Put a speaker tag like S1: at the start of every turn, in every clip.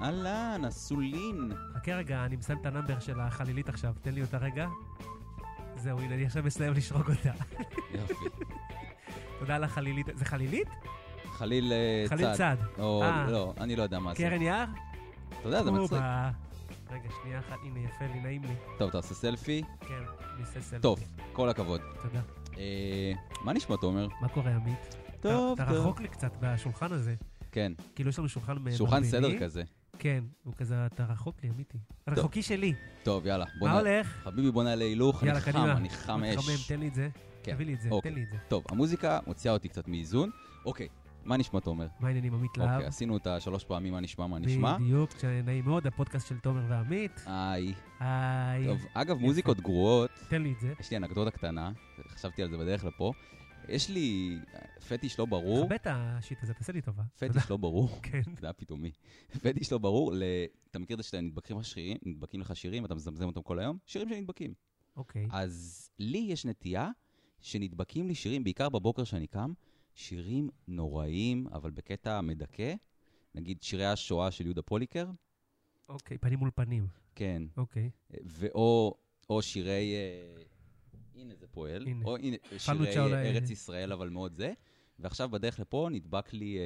S1: אהלן, הסולין.
S2: חכה רגע, אני מסיים את הנאמבר של החלילית עכשיו, תן לי אותה רגע. זהו, הנה, אני עכשיו מסיים לשרוק אותה.
S1: יופי.
S2: תודה על החלילית. זה חלילית?
S1: חליל אה, צד.
S2: חליל צד.
S1: או
S2: אה.
S1: לא, אני לא יודע מה זה.
S2: קרן יער?
S1: אתה יודע, זה מצחיק.
S2: אובה. רגע, שנייה אחת, הנה, יפה לי, נעים לי.
S1: טוב, תעשה סלפי.
S2: כן, אני עושה סלפי.
S1: טוב, כל הכבוד.
S2: תודה.
S1: אה, מה נשמע, תומר?
S2: מה קורה, עמית? אתה-
S1: טוב,
S2: אתה
S1: טוב.
S2: רחוק לי קצת בשולחן הזה.
S1: כן,
S2: כאילו, יש לנו שולחן מ-
S1: שולחן
S2: מרבני.
S1: סדר כזה.
S2: כן, הוא כזה, אתה רחוק לי, עמיתי. רחוקי שלי.
S1: טוב, יאללה. בוא
S2: מה
S1: נע-
S2: הולך?
S1: חביבי, בוא נעלה הילוך.
S2: יאללה,
S1: אני חם,
S2: קדימה.
S1: אני חם
S2: מתחמם,
S1: אש.
S2: תן לי את זה.
S1: כן,
S2: תביא לי את זה,
S1: אוקיי.
S2: תן לי את זה.
S1: טוב, המוזיקה מוציאה אותי קצת מאיזון. אוקיי, מה נשמע, תומר?
S2: מה העניינים, עמית להב?
S1: אוקיי, עשינו את השלוש פעמים מה נשמע, מה נשמע.
S2: בדיוק, נעים מאוד, הפודקאסט של תומר ועמית.
S1: היי.
S2: היי,
S1: טוב, אגב,
S2: יפה.
S1: מוזיקות גרועות,
S2: תן לי את זה.
S1: יש לי אנקדוטה קטנה, חשבתי על זה בדרך לפה. יש לי פטיש לא ברור,
S2: תכבה את השיט הזה, תעשה לי טובה. תודה.
S1: פטיש לא ברור,
S2: כן.
S1: זה היה פתאומי. פטיש לא ברור, ל- אתה מכיר את זה שאתה נדבקים לך שירים, נדבקים לך שירים, אתה מזמזם אותם כל היום? שירים שנדבקים.
S2: אוקיי.
S1: אה. אז לי יש נטייה שנדבקים לי שירים, בעיקר בבוקר שאני קם, שירים נוראיים, אבל בקטע מדכא. נגיד שירי השואה של יהודה פוליקר,
S2: אוקיי, פנים מול פנים.
S1: כן,
S2: אוקיי.
S1: ואו או שירי... אה, הנה זה פועל.
S2: הנה.
S1: או הנה, שירי
S2: פלוצ'ה
S1: אה,
S2: אולי.
S1: ארץ ישראל, אבל מאוד זה. ועכשיו בדרך לפה נדבק לי אה,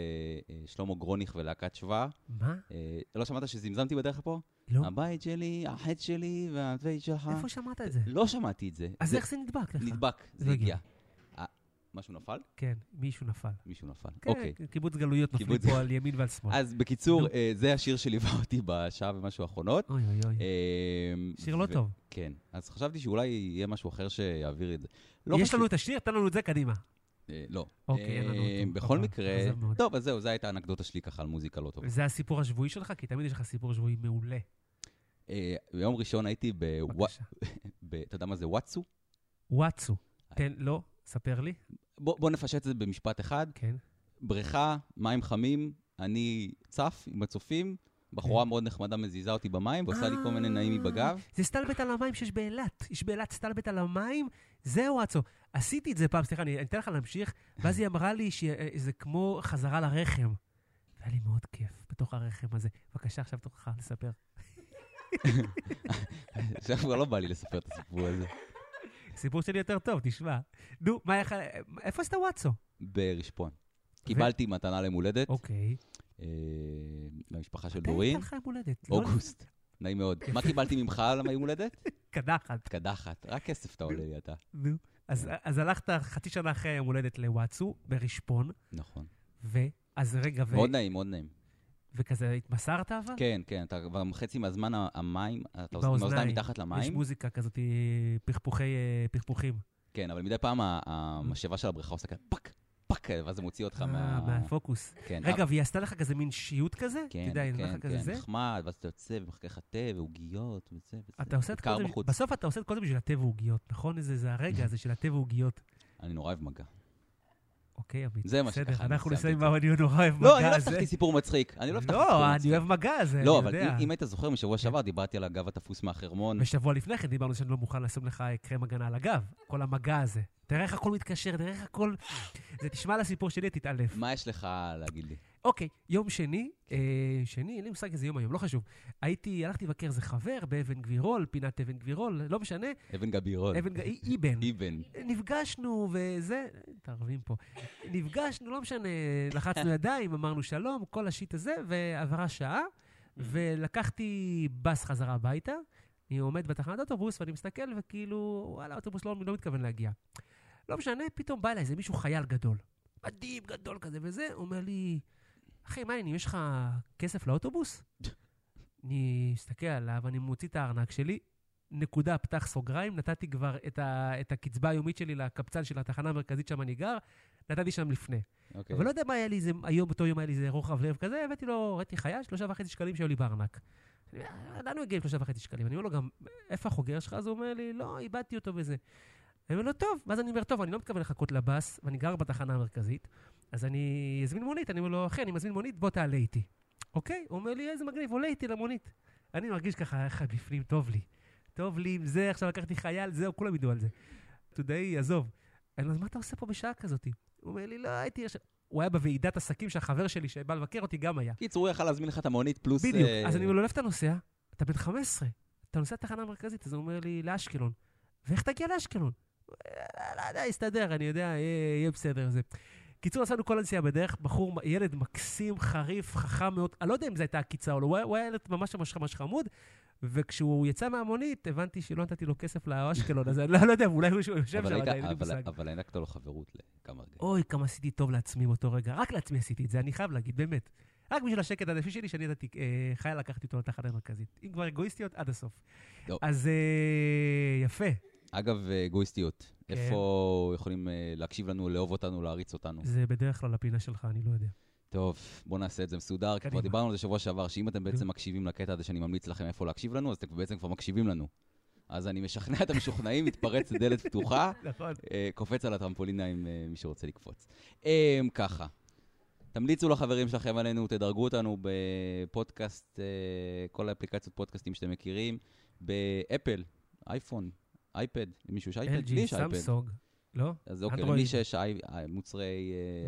S1: אה, שלמה גרוניך ולהקת שווה.
S2: מה?
S1: אה, לא שמעת שזמזמתי בדרך לפה?
S2: לא.
S1: הבית שלי, החטא שלי והבית שלך.
S2: איפה שמעת את זה?
S1: לא שמעתי את זה.
S2: אז
S1: זה
S2: איך זה נדבק לך?
S1: נדבק,
S2: לא
S1: זה
S2: הגיע.
S1: הגיע. אה, משהו נפל?
S2: כן, מישהו נפל.
S1: מישהו נפל.
S2: כן,
S1: אוקיי.
S2: קיבוץ גלויות נופלים
S1: קיבוץ-
S2: פה על ימין ועל שמאל.
S1: אז בקיצור,
S2: נו.
S1: אה, זה השיר שליווה אותי בשעה ומשהו האחרונות.
S2: אוי אוי אוי.
S1: אה,
S2: שיר לא
S1: ו-
S2: טוב.
S1: כן. אז חשבתי שאולי יהיה משהו אחר שיעביר את זה. לא
S2: יש
S1: חשוב.
S2: לנו את השיר, תן לנו את זה קדימה.
S1: אה, לא.
S2: אוקיי, אין לנו
S1: אה,
S2: אותו.
S1: בכל
S2: אוקיי,
S1: מקרה,
S2: עזב מאוד.
S1: טוב, אז זהו, זו הייתה האנקדוטה שלי ככה על מוזיקה לא טובה.
S2: זה הסיפור השבועי שלך? כי תמיד יש לך סיפור שבועי מעולה.
S1: אה, ביום ראשון הייתי ב...
S2: בבקשה.
S1: ב- אתה יודע מה זה וואטסו?
S2: וואטסו.
S1: אה.
S2: תן, לא, ספר לי.
S1: בוא בוא נפשט את זה במשפט אחד.
S2: כן.
S1: בריכה, מים חמים, אני צף עם הצופים,
S2: כן.
S1: בחורה מאוד נחמדה מזיזה אותי במים ועושה לי כל
S2: אה.
S1: מיני נעימי בגב.
S2: זה סטלבט על המים שיש באילת. יש באילת סטלבט על המים, זה וואטסו. עשיתי את זה פעם, סליחה, אני אני אתן לך להמשיך, ואז היא אמרה לי שזה כמו חזרה לרחם. והיה לי מאוד כיף בתוך הרחם הזה. בבקשה, עכשיו תורך לספר.
S1: עכשיו כבר לא בא לי לספר את הסיפור הזה.
S2: סיפור שלי יותר טוב, תשמע. נו, מה איך... איפה עשית וואטסו?
S1: ברשפון. קיבלתי מתנה למולדת,
S2: אוקיי.
S1: אה, למשפחה של
S2: תן
S1: דורין,
S2: לך יום הולדת. לא-
S1: אוגוסט. נעים מאוד. מה קיבלתי ממך על היום הולדת?
S2: קדחת.
S1: קדחת, רק כסף אתה עולה לי אתה.
S2: לא, נו. אז
S1: אה.
S2: אז הלכת חצי שנה אחרי היום הולדת לוואטסו, ברשפון,
S1: נכון.
S2: ו... אז רגע, ו...
S1: מאוד נעים, מאוד נעים.
S2: וכזה התמסרת אבל?
S1: כן, כן, אתה כבר חצי מהזמן ה- המים, אתה
S2: באוזניים.
S1: באוזניים מתחת
S2: יש
S1: למים.
S2: מוזיקה כזאת, אה, פכפוכי, אה, פכפוכים.
S1: כן, אבל מדי פעם ה- המשאבה של הבריכה עושה כזה פאק, פאק, ואז זה מוציא אותך
S2: אה,
S1: מה...
S2: מהפוקוס.
S1: כן,
S2: רגע,
S1: אה,
S2: והיא עשתה לך כזה מין שיוט כזה? אתה
S1: כן,
S2: יודע, היא נתנה
S1: כן,
S2: לך כזה
S1: כן,
S2: זה?
S1: נחמד, ואז אתה יוצא ומחכה לך תה ועוגיות וזה וזה.
S2: אתה עושה את כל
S1: בעיקר
S2: זה,
S1: בחוץ.
S2: בסוף אתה עושה את כל זה בשביל התה ועוגיות, נכון? זה זה הרגע הזה של התה ועוגיות.
S1: אני נורא אוהב מגע.
S2: אוקיי, עמית,
S1: זה מה
S2: בסדר,
S1: שככה אני
S2: אנחנו
S1: סיימתי
S2: נסיים
S1: את זה.
S2: מה אני נורא אוהב
S1: לא, אני
S2: מגע
S1: לא
S2: הזה.
S1: הבטחתי סיפור מצחיק. אני לא הבטחתי סיפור
S2: לא,
S1: מצחיק.
S2: אני אוהב מגע זה, אני
S1: לא, אבל
S2: יודע. כן.
S1: אם- אם היית זוכר משבוע שעבר, דיברתי על הגב התפוס מהחרמון.
S2: ושבוע לפני כן דיברנו שאני לא מוכן לשים לך קרם הגנה על הגב, כל המגע הזה. תראה איך הכל מתקשר, תראה איך הכל... זה תשמע לסיפור שלי, תתעלף.
S1: מה יש לך להגיד לי?
S2: אוקיי, יום שני, אה, שני, אין לי מושג איזה יום היום, לא חשוב. הייתי, הלכתי לבקר איזה חבר באבן גבירול, פינת אבן גבירול, לא משנה,
S1: אבן גבירול.
S2: אבן, ג- אי- איבן.
S1: איבן.
S2: נפגשנו וזה, מתערבים פה. נפגשנו, לא משנה, לחצנו ידיים, אמרנו שלום, כל השיט הזה, ועברה שעה, ולקחתי בס חזרה הביתה. אני עומד בתחנת אוטובוס ואני מסתכל, וכאילו, וואלה, האוטובוס לא, לא מתכוון להגיע. לא משנה, פתאום בא אליי איזה מישהו חייל גדול. מדהים, גדול כזה וזה, הוא אומר לי, אחי, מה העניינים, יש לך כסף לאוטובוס? אני מסתכל עליו, אני מוציא את הארנק שלי, נקודה, פתח סוגריים, נתתי כבר את, ה, את הקצבה היומית שלי לקבצן של התחנה המרכזית שם אני גר, נתתי שם לפני.
S1: אוקיי.
S2: אבל לא יודע מה היה לי איזה, היום, באותו יום היה לי איזה רוחב לב כזה, הבאתי לו, ראיתי חייל, שלושה וחצי שקלים שהיו לי בארנק. אני אומר, לאן הוא הגיע עם שלושה וחצי שקלים? אני אומר לו גם, איפה החוגר שלך? אז הוא אומר לי, לא, איבדתי אותו וזה. אני אומר לו, טוב, ואז אני אומר, טוב, אני לא מתכוון לחכות לבאס, ואני גר בתחנה המרכזית, אז אני אזמין מונית. אני אומר לו, אחי, אני מזמין מונית, בוא תעלה איתי. אוקיי? הוא אומר לי, איזה מגניב, עולה איתי למונית. אני מרגיש ככה, איך בפנים טוב לי. טוב לי עם זה, עכשיו לקחתי חייל, זהו, כולם ידעו על זה. תודעי, עזוב. אני אומר, מה אתה עושה פה בשעה כזאת? הוא אומר לי, לא, הייתי... עכשיו... הוא היה בוועידת עסקים שהחבר שלי שבא לבקר אותי גם היה.
S1: קיצור, הוא יכל להזמין לך את המונית פלוס...
S2: בדיוק.
S1: אה,
S2: אז אני לא אומר לו, איפה אתה נוסע? אתה בן 15, אתה נוסע לתחנה המרכזית. אז הוא אומר לי, לאשקלון. ואיך תגיע לאשקלון? "אה, לא יודע, יסתדר, אני יודע, אה, יהיה יהיה בסדר זה. קיצור, נסענו כל הנסיעה בדרך, בחור, ילד מקסים, חריף, חכם מאוד, אני לא יודע אם זו הייתה עקיצה או לא, הוא היה- הוא היה ילד ממש ממש ממש חמוד, וכשהוא יצא מהמונית, הבנתי שלא נתתי לו כסף לאשקלון, אז אני לא לא יודע, אולי הוא יושב שם
S1: אבל היית-
S2: עדיין, אין לי
S1: אבל-
S2: מושג.
S1: אבל הענקת לו חברות לכמה רגעים.
S2: אוי, כמה עשיתי טוב לעצמי מאותו רגע. רק לעצמי עשיתי את זה, אני חייב להגיד, באמת. רק בשביל השקט הנפשי שלי, שאני ידעתי, אה, חיה לקחתי אותו לתחנה המרכזית. אם כבר אגואיסטיות, עד הסוף.
S1: טוב.
S2: אז אה, יפה.
S1: אגב, אה, אגואיסטיות,
S2: כן.
S1: איפה יכולים אה, להקשיב לנו, לאהוב אותנו, להעריץ אותנו?
S2: זה בדרך כלל הפינה שלך, אני לא יודע.
S1: טוב, בואו נעשה את זה מסודר, כי כבר
S2: קדימה.
S1: דיברנו על זה שבוע שעבר, שאם אתם בעצם מקשיבים לקטע הזה שאני ממליץ לכם איפה להקשיב לנו, אז אתם בעצם כבר מקשיבים לנו. אז אני משכנע את המשוכנעים, מתפרץ לדלת פתוחה,
S2: נכון.
S1: אה, קופץ על הטרמפולינה עם אה, מי שרוצה לקפוץ. אה, ככה, תמליצו לחברים שלכם עלינו, תדרגו אותנו בפודקאסט, אה, כל האפליקציות פודקאסטים שאתם מכירים, באפל, אייפון, אייפד, למישהו יש אייפד? לי
S2: LG,
S1: יש אייפד.
S2: סמסונג. לא?
S1: אז אוקיי,
S2: אנדרואיד.
S1: למי שיש אי- אי- מוצרי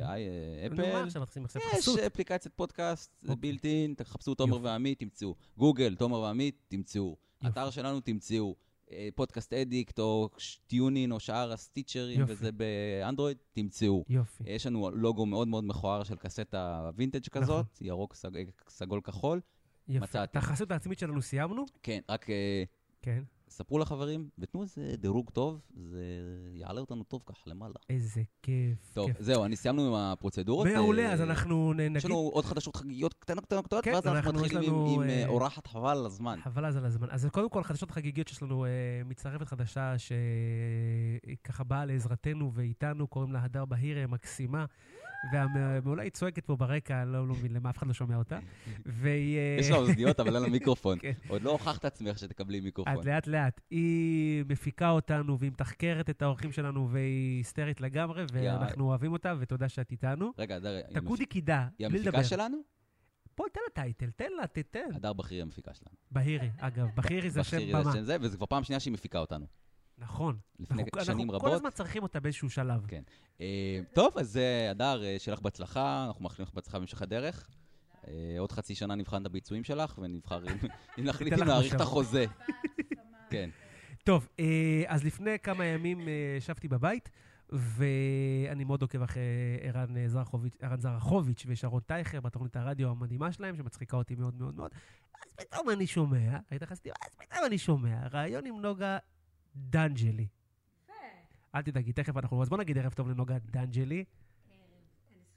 S1: אה, אי- אה,
S2: נו, מה
S1: אפל,
S2: עכשיו מתחילים עכשיו
S1: יש
S2: חסות?
S1: אפליקציית פודקאסט, זה
S2: אוקיי.
S1: בילט אין, תחפשו תומר
S2: יופי.
S1: ועמית, תמצאו. גוגל, תומר ועמית, תמצאו.
S2: יופי.
S1: אתר שלנו, תמצאו. אה, פודקאסט אדיקט, או ש- טיונין, או שאר הסטיצ'רים,
S2: יופי. אוקיי.
S1: וזה באנדרואיד, תמצאו.
S2: יופי.
S1: יש לנו לוגו מאוד מאוד מכוער של קסטה וינטג'
S2: נכון.
S1: כזאת, ירוק, סג- סגול כחול.
S2: יפה. את
S1: מצאתי.
S2: החסות העצמית שלנו סיימנו?
S1: כן, רק אה,
S2: כן.
S1: ספרו לחברים, ותנו איזה דירוג טוב, זה יעלה אותנו טוב ככה למעלה.
S2: איזה כיף.
S1: טוב,
S2: כיף.
S1: זהו, אני סיימנו עם הפרוצדורות.
S2: מעולה,
S1: אה,
S2: אז אנחנו נ- נגיד...
S1: יש לנו עוד חדשות חגיגיות קטנות קטנות קטנות,
S2: כן,
S1: ואז אנחנו
S2: אנחנו, יש
S1: מתחילים עם-
S2: לנו,
S1: עם אה,
S2: אה,
S1: אורחת חבל על הזמן.
S2: חבל אז על הזמן. אז קודם כל, חדשות חגיגיות שיש לנו, אה, מצטרפת חדשה שככה באה לעזרתנו ואיתנו, קוראים לה הדר בהיר, אה, מקסימה, ואולי היא צועקת פה ברקע, לא לא מבין למה, אף אחד לא שומע אותה. והיא... אה,
S1: יש לה אוזניות, אבל אין לה מיקרופון.
S2: כן.
S1: עוד לא הוכחת עצמך שתקבלי
S2: את
S1: מיקרופון.
S2: לאט לאט. היא מפיקה אותנו והיא מתחקרת את האורחים שלנו והיא היסטרית לגמרי, ואנחנו אוהבים אותה, ותודה שאת איתנו.
S1: רגע, הדר, היא המפיק-
S2: תקודי קידה,
S1: היא
S2: בלי לדבר.
S1: המפיקה שלנו?
S2: פה, תן לה טייטל, תן לה, תתן.
S1: הדר בכיר היא המפיקה שלנו.
S2: בהירי, אגב, בהירי זה
S1: בכיר
S2: שם
S1: היא
S2: במה.
S1: השם זה, וזה כבר פעם שנייה שהיא מפיקה אותנו.
S2: נכון.
S1: לפני
S2: אנחנו-
S1: שנים
S2: אנחנו כל
S1: רבות.
S2: הזמן צריכים אותה באיזשהו שלב.
S1: כן. אה, טוב, אז אה, הדר, אה, שיהיה לך בהצלחה, אנחנו מאחלים לך בהצלחה בהמשך הדרך. אה, עוד חצי שנה נבחן את הביצועים שלך, ונבחר אם- אם נחליט
S2: ניתן
S1: אם
S2: לך
S1: להאריך את
S2: משאב.
S1: החוזה. כן.
S2: טוב, אה, אז לפני כמה ימים אה, ישבתי בבית, ואני מאוד עוקב אחרי ערן אה, זרחוביץ'- ערן זרחוביץ' ושרון טייכר בתוכנית הרדיו המדהימה שלהם, שמצחיקה אותי מאוד מאוד מאוד. אז פתאום אני שומע, היית חסידי, אז פתאום אני שומע, ראיון עם נוגה דנג'לי. אל תדאגי, תכף אנחנו... אז בוא נגיד ערב טוב לנוגה דנג'לי.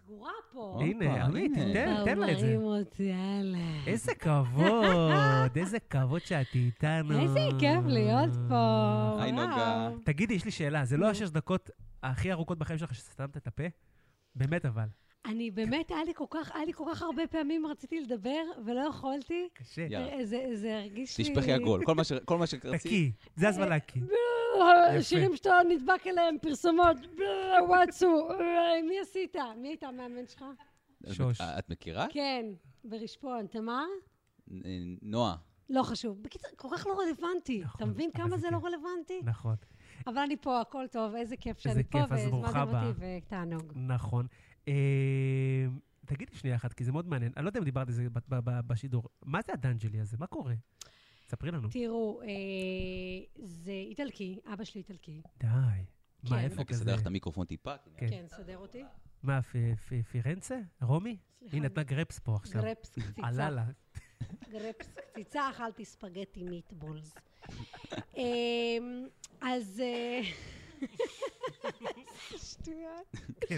S3: סגורה פה.
S1: הופה,
S2: הנה, עמית,
S1: הנה.
S2: תיתן, כן, תן לה את זה.
S3: מרים אותי, יאללה.
S2: איזה כבוד, איזה כבוד שאת איתנו.
S3: איזה כיף להיות פה.
S1: היי,
S3: וואו.
S1: נוגה.
S2: תגידי, יש לי שאלה, זה לא
S3: נו.
S2: השש דקות הכי ארוכות בחיים שלך שסתמת את הפה? באמת אבל.
S3: אני באמת, היה לי כל כך, היה לי כל כך הרבה פעמים רציתי לדבר ולא יכולתי. אה,
S2: קשה.
S1: יאללה.
S3: זה זה הרגיש לי...
S1: תשפכי הגול, כל מה ש- כל מה שרצית.
S2: תקי, זה הזמן להקיא. יפה.
S3: אה, שירים שאתה נדבק אליהם, פרסומות, בלה, וואטסו, אה, מי עשית? מי הייתה המאמן שלך?
S1: את-
S2: שוש.
S1: את מכירה?
S3: כן, ברשפון, תמר?
S1: נ- אה, נועה.
S2: אוקיי,
S3: לא חשוב. בקיצור, כל כך לא רלוונטי. אתה
S2: נכון,
S3: מבין
S2: אבל זה
S3: כמה זה לא
S2: כן.
S3: רלוונטי?
S2: נכון,
S3: אבל אני פה, הכל טוב, איזה כיף
S2: איזה
S3: שאני פה,
S2: כיף, אז ברוכה
S3: והזמנתם
S2: הבאה.
S3: אותי, ותענוג.
S2: נכון. אה, תגידי שנייה אחת, כי זה מאוד מעניין. אני לא יודע אם דיברת על זה ב- ב- ב- בשידור. מה זה הדנג'לי הזה? מה קורה? ספרי לנו.
S3: תראו, אה, זה איטלקי, אבא שלי איטלקי.
S2: די. מה,
S3: כן.
S2: איפה
S1: רק
S2: כזה?
S1: אסדר לך את המיקרופון טיפה. כי
S2: כן.
S3: כן, סדר אותי.
S2: מה, פ- פ- פירנצה? רומי?
S3: סליחה,
S2: היא נתנה גרפס פה עכשיו.
S3: גרפס קציצה.
S2: עלה לה.
S3: גרפס קציצה, אכלתי ספגטי מיטבולס. אמ, אז... אה, שטויות.
S2: כן.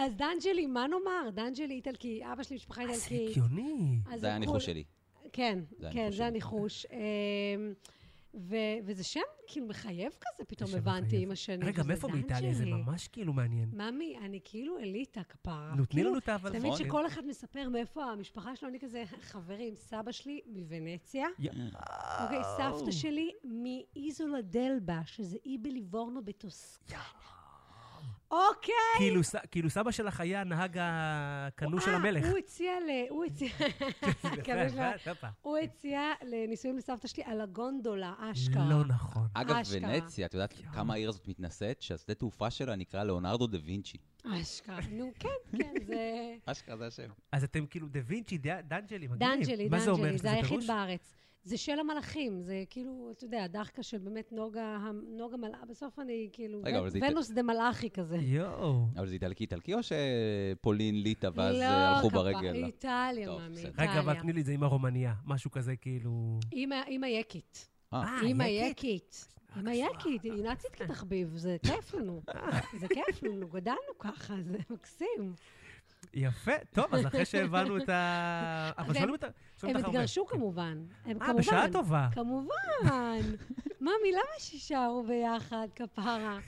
S3: אז דנג'לי, מה נאמר? דנג'לי איטלקי, אבא שלי משפחה
S2: אה, זה
S3: איטלקית.
S2: הגיוני.
S3: אז
S1: זה היה
S3: הוא
S1: הניחוש
S3: כול-
S1: שלי.
S3: כן,
S1: זה
S3: כן,
S1: הניחוש
S3: זה
S1: שלי.
S3: הניחוש. אמ, ו- וזה שם כאילו מחייב כזה, פתאום
S2: שם
S3: הבנתי
S2: מחייב.
S3: עם השנים.
S2: רגע,
S3: שזה
S2: מאיפה מאיטליה? זה
S3: דנג'לי.
S2: ממש כאילו מעניין.
S3: ממי, אני כאילו אליטה כפרה.
S2: נו, תני
S3: כאילו,
S2: לנו את ה... אבל-
S3: אתה מבין
S1: נכון.
S3: שכל אחד מספר מאיפה המשפחה שלו, אני כזה, חברים, סבא שלי מוונציה, אוקיי, סבתא שלי מאיזולה דלבה, שזה אי בליבורנו בטוסקנה. אוקיי.
S2: כאילו ס- כאילו סבא שלך היה הנהג הכנוש של
S3: אה,
S2: המלך.
S3: הוא הציע ל... הוא הציע... הכנוש של המלך.
S2: הופה.
S3: הוא הציע לנישואים לסבתא שלי על הגונדולה, אשכרה.
S2: לא נכון.
S1: אגב,
S3: אשכרה.
S1: ונציה, את יודעת כמה העיר הזאת מתנשאת? שהשדה תעופה שלה נקרא ליאונרדו דה וינצ'י.
S3: אשכרה. נו, כן, כן, זה...
S1: אשכרה זה השם.
S2: אז אתם כאילו דה וינצ'י, דה- דאנג'לי, מגניב.
S3: דאנג'לי,
S2: מה זה אומר?
S3: דאנג'לי, זה היחיד
S2: פירוש?
S3: בארץ. זה של המלאכים, זה כאילו, אתה יודע, דחקה של באמת נוגה, נוגה מלאך, בסוף אני כאילו,
S1: רגע, אבל זה-
S3: ונוס דה מלאכי כזה.
S2: יואו.
S1: אבל זה איטלקי איטלקי או שפולין, ליטא, ואז אה, הלכו
S3: לא, כפרה,
S1: ברגל?
S3: איטליה,
S1: טוב,
S3: מאמי,
S1: בסדר.
S2: רגע, אבל
S3: איטליה.
S2: תני לי את זה עם הרומניה, משהו כזה כאילו...
S3: אימא אימא יקית.
S1: אה,
S3: אימא
S2: יקית. אה,
S3: יקית. אימא יקית, היא נאצית כתחביב, זה כיף לנו.
S2: אה.
S3: זה כיף לנו, גדלנו ככה, זה מקסים.
S2: יפה, טוב, אז אחרי שהבנו את ה... אבל
S3: הם-
S2: שואלים אותך
S3: הם
S2: שואלים אותך הרבה.
S3: התגרשו כמובן. הם
S2: אה,
S3: כמובן.
S2: בשעה טובה.
S3: כמובן. ממי, למה שיישארו ביחד, כפרה?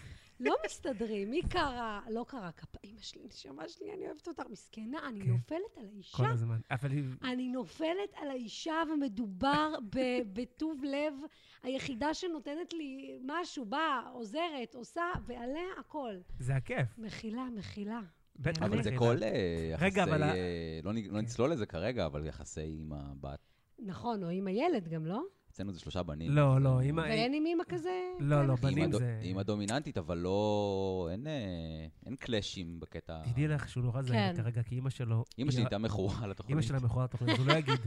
S3: לא מסתדרים, מי קרה? לא קרה, כפרה. אמא שלי, נשמה שלי, אני אוהבת אותך, מסכנה, אני
S2: כן.
S3: נופלת על האישה.
S2: כל הזמן. אבל היא...
S3: אני נופלת על האישה ומדובר ב- בטוב לב, היחידה שנותנת לי משהו, באה, עוזרת, עושה, ועליה הכל.
S2: זה הכיף.
S3: מחילה, מחילה.
S2: בטח.
S1: אבל זה
S2: מחילה.
S1: כל אה,
S2: רגע,
S1: יחסי...
S2: אבל ה- כן.
S1: אה, לא נ- לא נצלול לזה כרגע, אבל יחסי עם הבת.
S3: נכון, או עם הילד גם, לא?
S1: אצלנו זה שלושה בנים.
S2: לא,
S1: אז,
S2: לא,
S1: אה,
S2: אמא...
S3: ואין עם אמא כזה?
S2: לא, לא,
S3: כן,
S1: היא
S2: בנים
S1: הדו-
S2: זה...
S1: היא הדומיננטית, אבל לא... אין, אה, אין קלאשים בקטע...
S2: תדעי לך שהוא נורא זהיר
S3: כן.
S2: כרגע, כי אימא שלו...
S1: אמא שלי
S2: היא-
S1: הייתה מכורה לתוכנית.
S2: אימא שלה מכורה לתוכנית, אז הוא לא יגיד.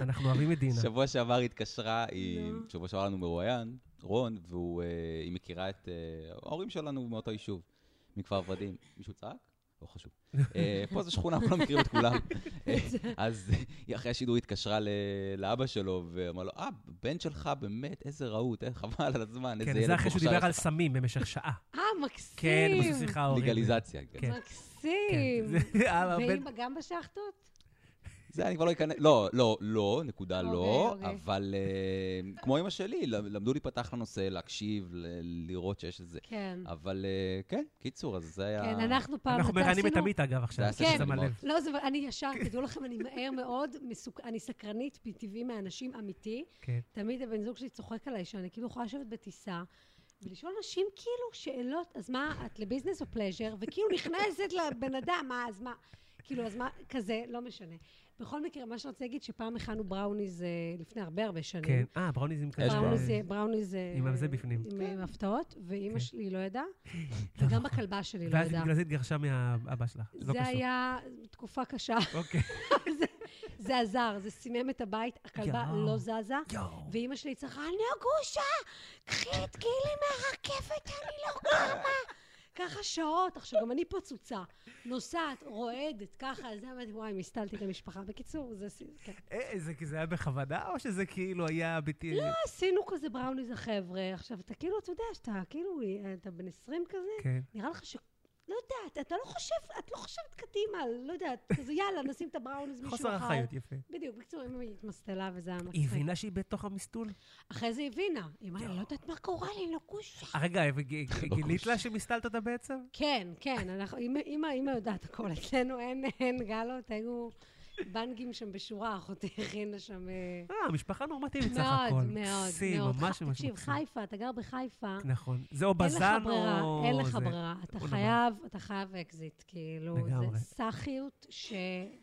S2: אנחנו אוהבים את דינה.
S1: שבוע שעבר היא התקשרה, היא...
S3: נו.
S1: שבוע שעבר לנו מרואיין, רון, והוא, אה, היא מכירה את... אה, ההורים שלנו מאותו יישוב, מכפר ורדים. מישהו צעק? לא חשוב. אה, פה זו שכונה, כולם מכירים את כולם. אה, אז היא אחרי השידור התקשרה ל- לאבא שלו, ואמר לו, אה, בן שלך באמת, איזה רהוט, אה, חבל על הזמן, איזה
S2: כן,
S1: ילד
S2: זה אחרי שהוא
S1: מוכשר
S2: דיבר
S1: יש
S2: על
S1: לך."
S2: סמים במשך שעה.
S3: אה, מקסים.
S2: כן, הם עשו שיחה כן. אה, הורית.
S1: לגליזציה. כן.
S2: כן.
S3: מקסים. ואימא גם בשחטות?
S1: זה, אני כבר לא אכנס, לא, לא, לא, נקודה לא,
S3: אוקיי, אוקיי.
S1: אבל אה, כמו אמא שלי, ל- למדו להיפתח לנושא, להקשיב, ל- לראות שיש את זה.
S3: כן.
S1: אבל אה, כן, קיצור, אז זה היה...
S3: כן, אנחנו פעם...
S2: אה, אנחנו
S3: אתה
S2: מרענים את
S3: עשינו-
S2: עמית, אגב, עכשיו.
S1: הסשן
S2: כן.
S3: שלי
S2: שמה
S1: מאוד.
S2: לב.
S3: לא, זה, אני ישר, תדעו לכם, אני מהר מאוד, מסוק, אני סקרנית מטבעי מאנשים אמיתי.
S2: כן.
S3: תמיד הבן זוג שלי צוחק עליי, שאני כאילו יכולה לשבת בטיסה, ולשאול אנשים כאילו שאלות, אז מה, את לביזנס או פלז'ר? וכאילו נכנסת לבן אדם, מה, אז מה? כאילו, אז מה, כזה, לא משנה. בכל מקרה, מה שאני רוצה להגיד, שפעם הכנו בראוניז אה, לפני הרבה הרבה שנים.
S2: כן. אה, בראוניזם כזה.
S3: בראוניז, אה, בראוניז... אה,
S2: עם זה בפנים.
S3: עם, עם הפתעות, ואימא
S2: כן.
S3: שלי לא ידעה,
S2: לא
S3: וגם
S2: נכון.
S3: הכלבה שלי לא
S2: ואז
S3: ידעה.
S2: בגלל זה התגרשה מהאבא שלך. לא
S3: זה
S2: קשור.
S3: היה תקופה קשה.
S2: אוקיי.
S3: זה- זה עזר, זה סימם את הבית, הכלבה
S2: יואו.
S3: לא זזה,
S2: יואו.
S3: ואימא שלי צריכה, נגושה, קחי את גילי מהרכבת, אני לא קמה. ככה שעות, עכשיו גם אני פצוצה, נוסעת, רועדת, ככה, אז אמרתי, וואי, מסתלתי את המשפחה. בקיצור, זה... סי- כן.
S2: אה, זה כי זה היה בכוונה, או שזה כאילו היה ביטי... לא.
S3: עשינו כזה בראוניז החבר'ה, עכשיו, אתה כאילו, אתה יודע, שאתה כאילו, אתה בן 20 כזה,
S2: כן.
S3: נראה לך ש... לא יודעת, אתה לא חושב, את לא חושבת קדימה, לא יודעת, כזה יאללה, נשים את הבראוניז מישהו אוקיי.
S2: חוסר
S3: אחד.
S2: אחריות, יפה.
S3: בדיוק, בקיצור, אמא היא התמסטלה וזה היה
S2: היא
S3: מצחיק.
S2: הבינה שהיא בתוך המסלול?
S3: אחרי זה הבינה. היא אמרה, אני לא יודעת מה קורה לי, לא כושה.
S2: אה, רגע, וג-
S3: לא
S2: גילית לה שמסתלת אותה בעצם?
S3: כן, כן, אנחנו, אמא- אמא, אמא יודעת הכל. אצלנו אין, אין גלות, היו בנגים שם בשורה, אחותי הכינה שם... אה,
S2: אה, משפחה נורמטיבית סך
S3: מאוד,
S2: הכל.
S3: מאוד, מאוד.
S2: מקסים, ממש
S3: ח-
S2: ממש
S3: תקשיב,
S2: מקסים.
S3: חיפה, אתה גר בחיפה.
S2: נכון. זה או
S3: אין לך
S2: בזן
S3: ברירה,
S2: או...
S3: אין לך
S2: זה.
S3: ברירה. אתה
S2: או נורא.
S3: חייב, אתה חייב אקזיט, כאילו,
S2: לגמרי.
S3: זה סאחיות ש...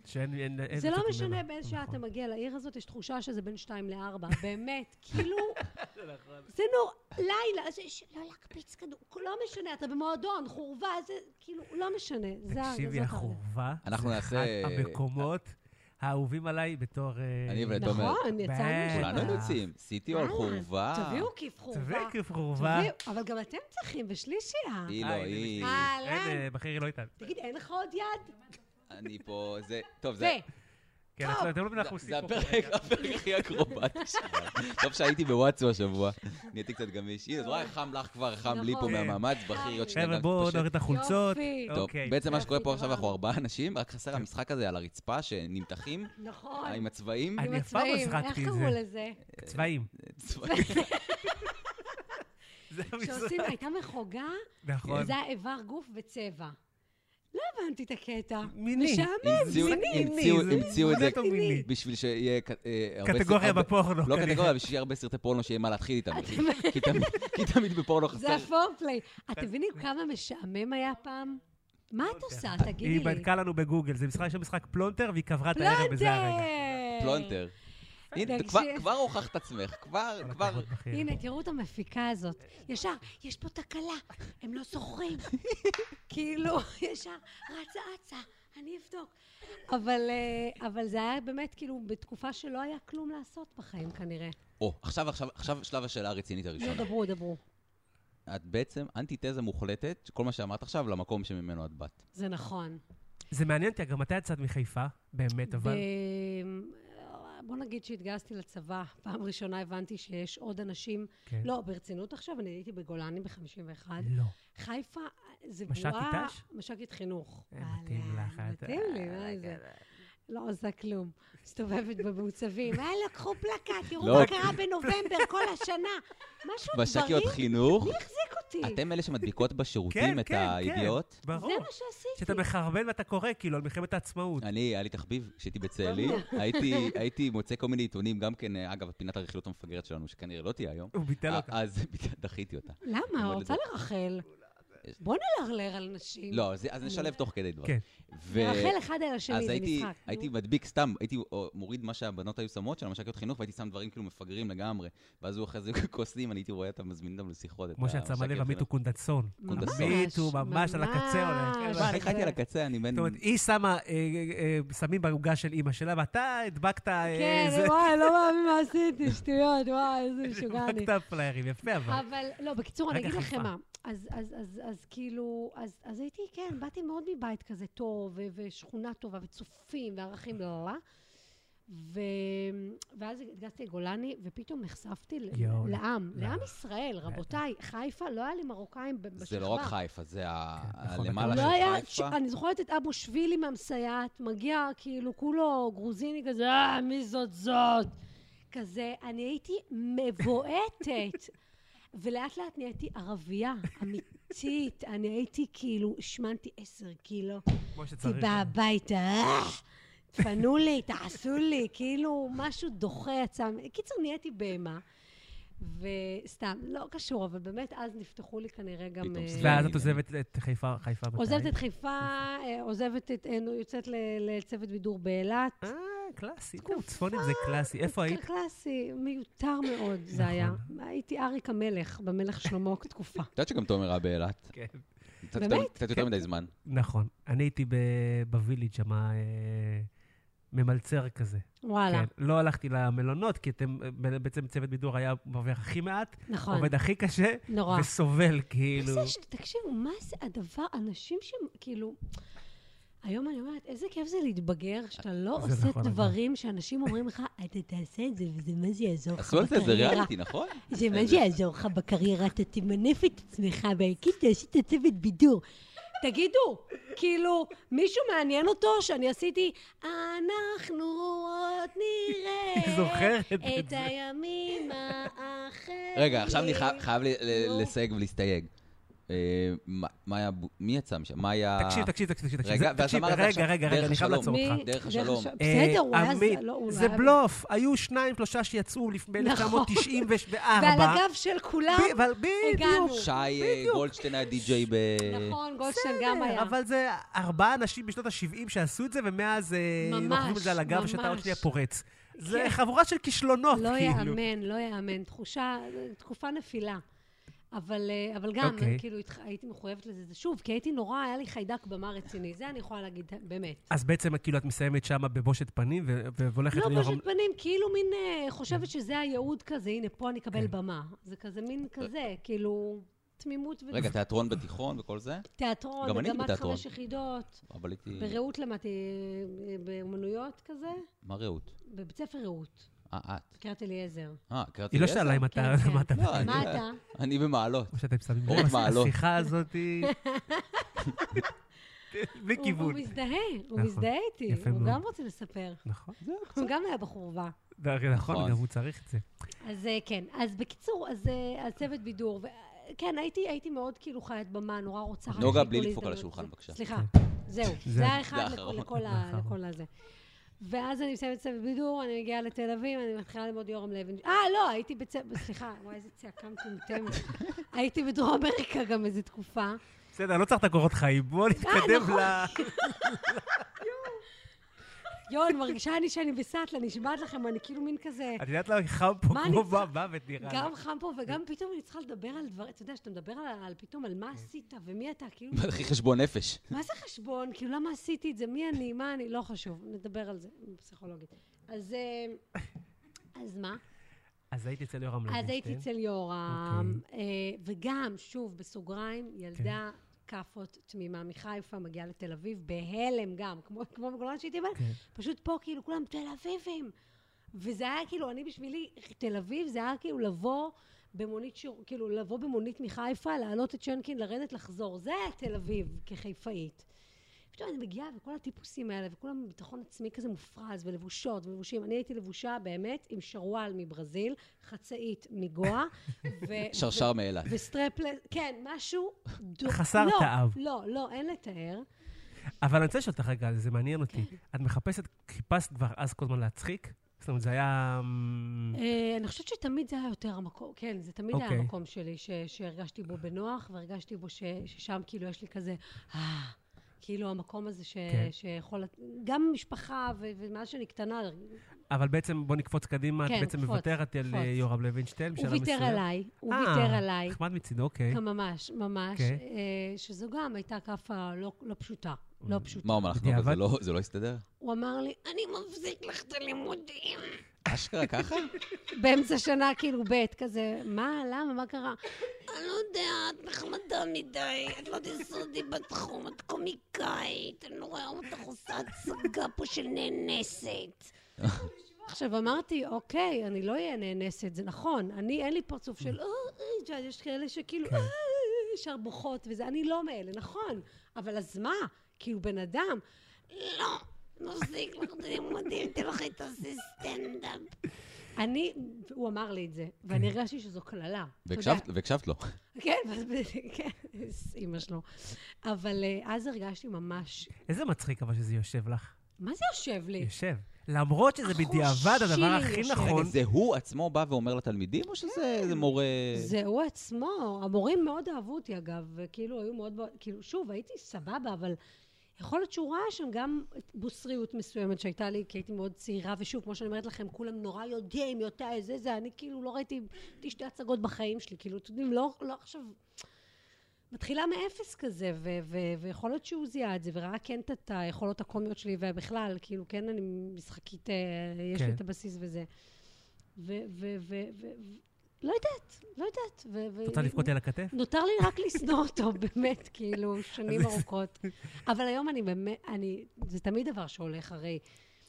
S2: שאין... אין- אין
S3: זה לא
S2: לצאת
S3: משנה
S2: ממנה.
S3: באיזה שעה
S2: נכון.
S3: אתה מגיע לעיר הזאת, יש תחושה שזה בין שתיים לארבע. באמת, כאילו...
S2: נכון.
S3: זה נור... לילה, זה ש- לא להקפיץ כדור, לא משנה, אתה במועדון, חורבה, זה כאילו, לא משנה. זה הר-
S2: תקשיבי,
S3: זאת
S2: החורבה,
S1: אנחנו
S2: זה
S1: נעשה-
S2: אחד המקומות האהובים עליי בתור... אה,
S1: אני
S3: הר-
S1: ואתה אומר,
S3: נכון, יצאנו
S2: בטח.
S1: כולנו
S2: אה,
S1: היינו
S3: שם.
S1: יוצאים, סיטי
S3: אה,
S1: על חורבה.
S3: תביאו כיף חורבה.
S2: צווי כיף חורבה.
S3: תביאו, אבל גם אתם צריכים, בשלישייה.
S1: היא
S2: אה,
S1: לא,
S2: הנה,
S1: היא...
S3: אה.
S2: אין, אה, בכיר היא לא איתנו.
S3: תגיד, אין לך עוד יד?
S1: אני פה, זה... טוב, זה...
S3: זה.
S2: כן,
S3: טוב.
S2: את לא- אתם לא מבינים, אנחנו
S1: זה- זה
S2: עושים פה...
S1: הפרק הפרק הכי אקרובטי שלנו. טוב שהייתי בוואטסו השבוע, נהייתי קצת גמיש. הנה, את רואה, חם לך כבר, חם לי פה
S3: נכון.
S1: מהמאמץ, בכיר עוד שנייה.
S2: חבר'ה,
S1: גם
S2: בואו
S1: תתפשט.
S2: נוריד את החולצות.
S3: יופי.
S1: טוב,
S2: אוקיי.
S1: בעצם מה
S3: יופי,
S1: שקורה פה עכשיו,
S3: גמרנו.
S1: אנחנו ארבעה אנשים, רק חסר המשחק הזה על הרצפה, שנמתחים אה,
S3: נכון.
S1: עם הצבעים.
S2: אני
S3: עם
S2: אף פעם לא
S3: הצבעים,
S2: זרקתי
S3: איך
S2: את
S3: קראו
S2: זה. לא
S3: לזה?
S2: צבעים.
S1: צבעים.
S2: זה המשחק.
S3: שעושים, הייתה מחוגה,
S2: נכון.
S3: זה היה איבר גוף וצבע. לא הבנתי את הקטע.
S2: מיני.
S3: משעמם,
S1: המציאו-
S3: מיני.
S1: המציאו-
S2: זה-
S1: המציאו את זה
S2: נטו מיני.
S1: בשביל שיהיה... ק- אה, הרבה
S2: קטגוריה
S1: סרטי-
S2: בפורנו.
S1: לא
S2: כנראה.
S1: קטגוריה, בשביל שיהיה הרבה סרטי פורנו שיהיה מה להתחיל איתם. כי-
S2: אוקיי.
S1: כי תמיד- כי תמיד בפורנו
S3: זה
S1: חסר.
S3: הפורפליי.
S2: כן.
S3: אתם מבינים כמה משעמם היה פעם? מה את עושה?
S2: לא היא
S3: תגידי לי.
S2: בדקה לנו בגוגל, זה משחק של משחק פלונטר, והיא קברה את הערב בזה הרגע.
S3: פלונטר!
S1: פלונטר.
S2: יפה.
S1: הנה,
S3: תקשיב.
S1: כבר- כבר הוכחת עצמך, כבר,
S2: כל
S1: כבר...
S2: הכבוד, בחיר.
S3: הנה, תראו את המפיקה הזאת. ישר, יש פה תקלה, הם לא זוכרים. כאילו, ישר, רצה אצה, אני אבדוק. אבל, אה, אבל זה היה באמת כאילו בתקופה שלא היה כלום לעשות בחיים כנראה.
S1: או, עכשיו, עכשיו, עכשיו שלב השאלה הרצינית הראשונה.
S3: לא, דברו, דברו.
S1: את בעצם אנטיתזה מוחלטת, כל מה שאמרת עכשיו, למקום שממנו את באת.
S3: זה נכון.
S2: זה מעניין אותי, גם מתי יצאת מחיפה? באמת, אבל...
S3: ב- אה, בוא נגיד שהתגייסתי לצבא, פעם ראשונה הבנתי שיש עוד אנשים,
S2: כן.
S3: לא, ברצינות עכשיו, אני הייתי בגולני ב-51.
S2: לא.
S3: חיפה אה, זה
S2: מש"קית
S3: בועה...
S2: ת"ש?
S3: מש"קית חינוך.
S2: אה, מתאים
S3: אהלן,
S2: לך. את- אה, כן.
S3: מתאים לי, מה זה? לא עושה כלום. מסתובבת במוצבים. אה, לקחו פלקט, תראו
S1: לא.
S3: מה קרה בנובמבר כל השנה.
S2: אה,
S3: משהו
S1: בשקיות
S3: דברים,
S1: חינוך,
S3: מי החזיק אותי?
S1: אתם אלה שמדביקות
S2: כן,
S1: בשירותים את
S2: כן, כן.
S1: הידיעות?
S3: זה
S2: ברור.
S3: מה
S2: שאתה
S3: שעשיתי. אה,
S2: מחרבן ואתה קורא, כאילו, על מלחמת העצמאות.
S1: אני, היה לי תחביב, כשהייתי בצאלים, הייתי, הייתי מוצא כל מיני עיתונים, גם כן, אה, אגב, פינת הרכילות המפגרת שלנו, שכנראה לא תהיה היום.
S2: הוא ביטל
S1: אה,
S2: אותה.
S1: אז בדיוק, דחיתי אותה.
S3: למה?
S1: ללמוד
S3: רוצה
S1: את
S3: לרחל. בוא נלרלר על נשים.
S1: אה, לא, אז אז נשלב תוך כדי דברים.
S2: כן.
S1: ו-
S3: נרחל אחד על השני,
S1: אז
S3: זה
S1: הייתי,
S3: משחק.
S1: הייתי
S3: נו.
S1: מדביק סתם, הייתי או, מוריד מה שהבנות היו שמות של המש"קיות חינוך, והייתי שם דברים כאילו מפגרים לגמרי. ואז הוא אחרי זה כוסים, אני הייתי רואה אותם, מזמין אותם לשיחות. את
S2: כמו שאת
S3: אה,
S2: שמה
S1: המש"קיות
S2: לב, עמית הוא
S1: חינוך.
S2: קונדסון.
S1: קונדסון.
S2: עמית הוא ממש על הקצה הולך. כאילו.
S3: ממש.
S1: מה, אני חייתי על
S3: כן.
S1: הקצה, אני בן...
S2: זאת אומרת, היא שמה, אה, אה, אה, שמים בעוגה של אימא שלה, ואתה הדבקת... אה,
S3: כן,
S2: זה-
S3: וואי, לא מאמין מה עשיתי, שטויות, וואי, איזה משוגע אני.
S2: הדבקת פליירים, יפה אבל.
S3: אבל, לא, בקיצור, אני
S2: רגע,
S3: אגיד
S2: חיפה.
S3: לכם מה. אז, אז, אז, אז כאילו, אז, אז הייתי, כן, באתי מאוד מבית כזה טוב, ו- ושכונה טובה, וצופים, וערכים, לא, לא, לא. ו- ואז התגייסתי לגולני, ופתאום נחשפתי ל-
S2: יואו,
S3: לעם,
S2: לא.
S3: לעם ישראל, רבותיי, חיפה, לא היה לי מרוקאים ב- בשכבה.
S1: זה לא רק חיפה, זה ה-
S2: כן, נכון,
S1: הלמעלה
S3: לא היה,
S1: של חיפה.
S3: ש- אני זוכרת את אבו שבילי מהמסייעת, מגיע כאילו כולו גרוזיני כזה, אה, מי זאת זאת? כזה, אני הייתי מבועטת. ולאט לאט נהייתי ערבייה, אמיתית. אני הייתי כאילו, השמנתי עשר קילו,
S2: כמו
S3: הייתי
S2: שצריך.
S3: באה הביתה, "אה, תפנו לי, תעשו לי, כאילו, משהו דוחה יצא. קיצור, נהייתי בהמה. וסתם, לא קשור, אבל באמת אז נפתחו לי כנראה גם...
S1: פתאום
S3: אה,
S1: סלאם.
S2: ואז את עוזבת את חיפה, חיפה מתי?
S3: עוזבת את חיפה, אה, עוזבת את... אה, נו, יוצאת ל- לצוות בידור באילת.
S2: אה, קלאסי. נו, צפונים זה קלאסי. איפה היית?
S3: קלאסי, מיותר מאוד זה היה.
S2: נכון.
S3: הייתי אריק המלך, במלך שלמה תקופה.
S1: את יודעת שגם תומר היה באילת.
S2: כן.
S1: קצת
S3: באמת?
S1: יותר- קצת יותר
S2: כן.
S1: מדי זמן.
S2: נכון. אני הייתי ב- בוויליג' שם, אה, ממלצר כזה.
S3: וואלה,
S2: כן. לא הלכתי למלונות, כי אתם, אה, בעצם צוות בידור היה מרוויח הכי מעט,
S3: נכון.
S2: כן. עובד הכי קשה,
S3: נורא.
S2: וסובל,
S3: מה
S2: כאילו.
S3: זה ש- תקשיבו, מה זה הדבר, אנשים שכאילו... היום אני אומרת, איזה כיף זה להתבגר, שאתה לא
S2: זה
S3: עושה
S2: נכון,
S3: דברים שאנשים אומרים לך, אתה תעשה את זה, וזה מה זה יעזור לך
S1: עשו על לא, זה איזה
S3: בקריירה.
S1: ריאליטי, נכון?
S3: זה מה שיעזור לך בקריירה, אתה תמנף את עצמך, והקיס תעשי את הצוות בידור. תגידו, כאילו, מישהו מעניין אותו שאני עשיתי, אנחנו עוד
S2: היא
S3: נראה
S2: זוכרת את
S3: את
S2: זה.
S3: הימים האחרים.
S1: רגע, עכשיו אני חי- חייב ל- ל-
S3: נו.
S1: לסייג ולהסתייג. אה, מה- מה היה... בו- מי יצא משם? מה היה...
S2: תקשיב, תקשיב, תקשיב, תקשיב.
S1: רגע,
S2: זה-
S1: ואז
S2: תקשיב,
S1: אמרת
S2: רגע,
S1: עכשיו,
S2: רגע,
S1: דרך
S2: רגע, אני
S1: השלום.
S2: חייב לעצור
S3: מי-
S2: אותך.
S1: דרך השלום.
S3: בסדר, הוא
S2: אה,
S3: היה...
S2: עמית,
S3: לא, הוא
S2: זה
S3: היה-
S2: בלוף. היו שניים, שלושה שיצאו לפני
S3: נכון.
S2: 1994.
S3: ועל הגב של כולם,
S2: ב- אבל
S3: הגענו.
S2: בדיוק.
S1: שי אה,
S2: בדיוק.
S1: גולדשטיין היה די-ג'יי ב...
S3: נכון, גולדשטיין
S2: בסדר,
S3: גם היה.
S2: אבל זה ארבעה אנשים בשנות ה-70 שעשו את זה, ומאז אה,
S3: ממש,
S2: לוקחים את זה על הגב
S3: ממש.
S2: שאתה עוד שנייה פורץ. זה
S3: כן.
S2: חבורה של כישלונות,
S3: לא
S2: כאילו.
S3: יאמן, לא יאמן. תחושה, תקופה נפילה. אבל, אה, אבל גם,
S2: אוקיי.
S3: okay. כאילו, התח- הייתי מחויבת לזה. זה שוב, כי הייתי נורא, היה לי חיידק במה רציני. זה אני יכולה להגיד, באמת.
S2: אז בעצם, כאילו, את מסיימת שם בבושת פנים, ו- ו- והולכת
S3: לא
S2: להיות-
S3: פשוט פנים, כאילו מין אה, חושבת שזה הייעוד כזה, הנה, פה אני אקבל
S2: כן.
S3: במה. זה כזה מין כזה, כאילו, תמימות
S1: רגע, תיאטרון בתיכון וכל זה?
S3: ותיאטרון,
S1: גם אני הייתי
S3: מגמת
S1: בתיאטרון.
S3: חמש יחידות.
S1: אבל הייתי...
S3: ברעות למדתי, אה, באומנויות כזה,
S1: מה רעות?
S3: בבית ספר רעות,
S1: אה, את.
S3: קריית אליעזר.
S1: אה, קראתי
S2: היא לא
S1: לעשר?
S2: שאלה אם אתה...
S3: כן,
S2: מה אתה...
S1: לא, אני-
S3: מה אתה?
S1: אני במעלות.
S2: או שאתם שמים
S1: אורות
S2: לב,
S3: לא?
S1: מעלות.
S2: השיחה הזאת היא... בלי
S3: הוא-
S2: כיוון.
S3: הוא מזדהה, הוא
S2: נכון.
S3: מזדהה איתי,
S2: יפה
S3: הוא
S2: מאוד.
S3: גם רוצה לספר.
S2: נכון.
S3: הוא גם היה בחורבה.
S2: נכון,
S1: נכון.
S2: גם הוא צריך את זה.
S3: אז אה, כן, אז בקיצור, אז אה, אז צוות בידור, ו- אה, כן, הייתי הייתי מאוד כאילו חיית במה, נורא רוצה...
S1: נוגה,
S3: רק
S1: בלי
S3: כאילו
S1: לדפוק על
S3: להזדמנות.
S1: השולחן, בבקשה.
S3: סליחה, זהו,
S2: זה
S3: כן. זה האחד
S1: האחרון.
S3: לכל- לכל ה-
S2: האחרון.
S3: לכל הזה. ואז אני מסיימת צוות בידור, אני מגיעה לתל אביב, אני מתחילה ללמוד יורם לוין. אה, לא, הייתי בצוות, סליחה, וואי, איזה צעקה מטומטמת. הייתי בדרום אמריקה גם איזה תקופה. אה,
S2: בסדר, לא צריך את הקורות חיים, בואו נתקדם
S3: נכון.
S2: ל...
S3: יואן, מרגישה אני שאני בסטלה, נשבעת לכם, אני כאילו מין כזה...
S2: את יודעת למה חם פה
S3: מה
S2: כמו
S3: אני צריכה-
S2: במוות נראה לי.
S3: גם חם פה וגם פתאום אני צריכה לדבר על דברים, אתה יודע, שאתה מדבר על, על פתאום על מה עשית ומי אתה, כאילו,
S1: הכי חשבון נפש.
S3: מה זה חשבון? כאילו, למה עשיתי את זה? מי אני? מה אני? לא חשוב, נדבר על זה פסיכולוגית. אז... אה, אז מה?
S2: אז הייתי אצל יורם
S3: אז הייתי
S2: לוינשטיין.
S3: אצל יורם, אה, וגם, שוב, בסוגריים, ילדה כאפות תמימה מחיפה, מגיעה לתל אביב, בהלם גם, כמו כמו בגולן שהייתי בהם,
S2: כן.
S3: פשוט פה כאילו כולם תל אביבים. וזה היה כאילו, אני בשבילי, תל אביב זה היה כאילו לבוא במונית, שור- כאילו לבוא במונית מחיפה, לעלות את שינקין, לרדת, לחזור. זה היה תל אביב כחיפאית. פתאום אני מגיעה, וכל הטיפוסים האלה, וכולם עם ביטחון עצמי כזה מופרז, ולבושות, ולבושים. אני הייתי לבושה באמת עם שרוואל מברזיל, חצאית מגואה, ו...
S1: שרשר מאילת.
S3: וסטרפלס, כן, משהו... דו-
S2: חסר
S3: לא,
S2: תאב.
S3: לא, לא, אין לתאר.
S2: אבל אני רוצה לשאול אותך רגע, זה מעניין אותי.
S3: כן.
S2: את מחפשת, חיפשת כבר אז כל הזמן להצחיק? זאת אומרת, זה היה... אמ,
S3: אה, אני חושבת שתמיד זה היה יותר המקום, כן, זה תמיד היה
S2: אוקיי.
S3: המקום שלי, ש- שהרגשתי בו בנוח, והרגשתי בו ש- ששם כאילו יש לי כזה, אה, כאילו המקום הזה ש-
S2: כן.
S3: שיכול, גם משפחה, ו- ומאז שאני קטנה,
S2: אבל בעצם, בוא נקפוץ קדימה, את
S3: כן,
S2: בעצם
S3: קפוץ,
S2: מוותרת על
S3: קפוץ.
S2: אה, יורם לוינשטיין.
S3: הוא
S2: בשלב
S3: ויתר
S2: מסוים.
S3: עליי, הוא
S2: אה,
S3: ויתר עליי.
S2: נחמד מצידו, אוקיי.
S3: כן, ממש, ממש,
S2: אוקיי.
S3: אה, שזו גם הייתה כאפה לא, לא פשוטה, לא פשוטה.
S1: מה הוא אמר לך? נו, אבל זה
S2: בדיעבד?
S1: לא- זה לא הסתדר?
S3: הוא אמר לי, אני מפסיק לך את הלימודים.
S1: אשכרה ככה?
S3: באמצע שנה, כאילו, ב', כזה, מה, למה, מה קרה? אני לא יודע, את נחמדה מדי, את לא תסודי בתחום, את קומיקאית, אני לא רואה אותך עושה הצגה פה של נאנסת. עכשיו אמרתי, אוקיי, אני לא אהיה נאנסת, זה נכון. אני, אין לי פרצוף של, "אה, אה", את יודעת, יש כאלה שכאילו, "אה, אה, אה", ישר בוכות וזה, אני לא מאלה, נכון. אבל אז מה? כאילו, בן אדם, לא, נפסיק לך את הלימודים, תלכי תעשי סטנדאפ. אני, הוא אמר לי את זה, ואני הרגשתי שזו קללה. אתה יודע,
S1: והקשבת- והקשבת לו.
S2: נכון.
S3: כן, ו- כן, אימא שלו. אבל אה, אז הרגשתי ממש,
S2: איזה מצחיק אבל שזה יושב לך.
S3: מה זה יושב לי?
S2: יושב. למרות שזה
S3: החוש
S2: בדיעבד הדבר
S3: שלי
S2: הכי
S3: אה. יושב.
S2: נכון.
S1: רגע, זה הוא עצמו בא ואומר לתלמידים, או שזה איזה מורה...
S3: זה הוא עצמו. המורים מאוד אהבו אותי, אגב, וכאילו היו מאוד... כאילו, שוב, הייתי סבבה, אבל יכול להיות שהוא ראה שם גם בוסריות מסוימת שהייתה לי, כי הייתי מאוד צעירה, ושוב, כמו שאני אומרת לכם, כולם נורא יודעים, יודע, זה, זה, אני כאילו לא ראיתי, ראיתי שתי הצגות בחיים שלי, כאילו, אתם יודעים, לא, לא עכשיו... מתחילה מאפס כזה, ו- ו- ויכול להיות שהוא זיהה את זה, וראה כן את- את היכולות הקומיות שלי, ובכלל, כאילו, כן, אני משחקית, אה, יש
S2: כן.
S3: לי את הבסיס וזה. ו- ו- ו- ו- ו- לא יודעת, לא יודעת. ו- ו-
S2: רוצה לבכות לי על הכתף?
S3: נותר לי רק לשנוא אותו, באמת, כאילו, שנים
S2: אז-
S3: ארוכות. אבל היום אני באמת, אני, זה תמיד דבר שהולך, הרי.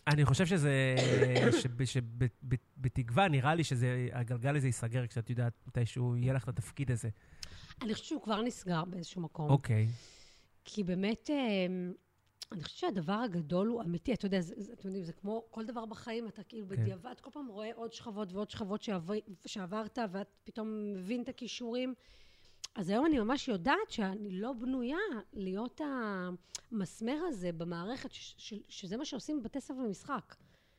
S2: אני חושב שזה, שב- שב- ב- בתקווה נראה לי שזה, הגלגל הזה ייסגר כשאת יודעת מתישהו יהיה לך את התפקיד הזה.
S3: אני חושבת שהוא כבר נסגר באיזשהו מקום.
S2: אוקיי.
S3: כי באמת, אה, אני חושבת שהדבר הגדול הוא אמיתי. אתה יודע, זה- זה- אתם יודעים, זה כמו כל דבר בחיים, אתה כאילו
S2: כן.
S3: בדיעבד, כל פעם רואה עוד שכבות ועוד שכבות שעבר, שעברת, ואת פתאום מבין את הכישורים. אז היום אני ממש יודעת שאני לא בנויה להיות המסמר הזה במערכת, ש- ש- שזה מה שעושים בבתי ספר למשחק.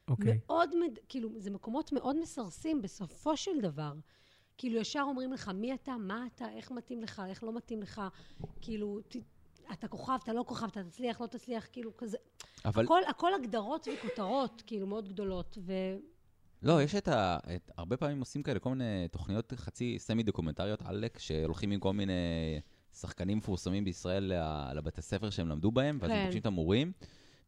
S2: אוקיי.
S3: מאוד, מד... כאילו, זה מקומות מאוד מסרסים בסופו של דבר. כאילו, ישר אומרים לך, מי אתה, מה אתה, איך מתאים לך, איך לא מתאים לך, כאילו, ת... אתה כוכב, אתה לא כוכב, אתה תצליח, לא תצליח, כאילו, כזה.
S1: אבל
S3: הכל, הכל הגדרות וכותרות, כאילו, מאוד גדולות, ו...
S1: לא, יש את ה... את... הרבה פעמים עושים כאלה כל מיני תוכניות חצי סמי דוקומנטריות עלק, שהולכים עם כל מיני שחקנים מפורסמים בישראל ל- לבתי הספר שהם למדו בהם, ואז הם
S3: כן.
S1: פוגשים את המורים,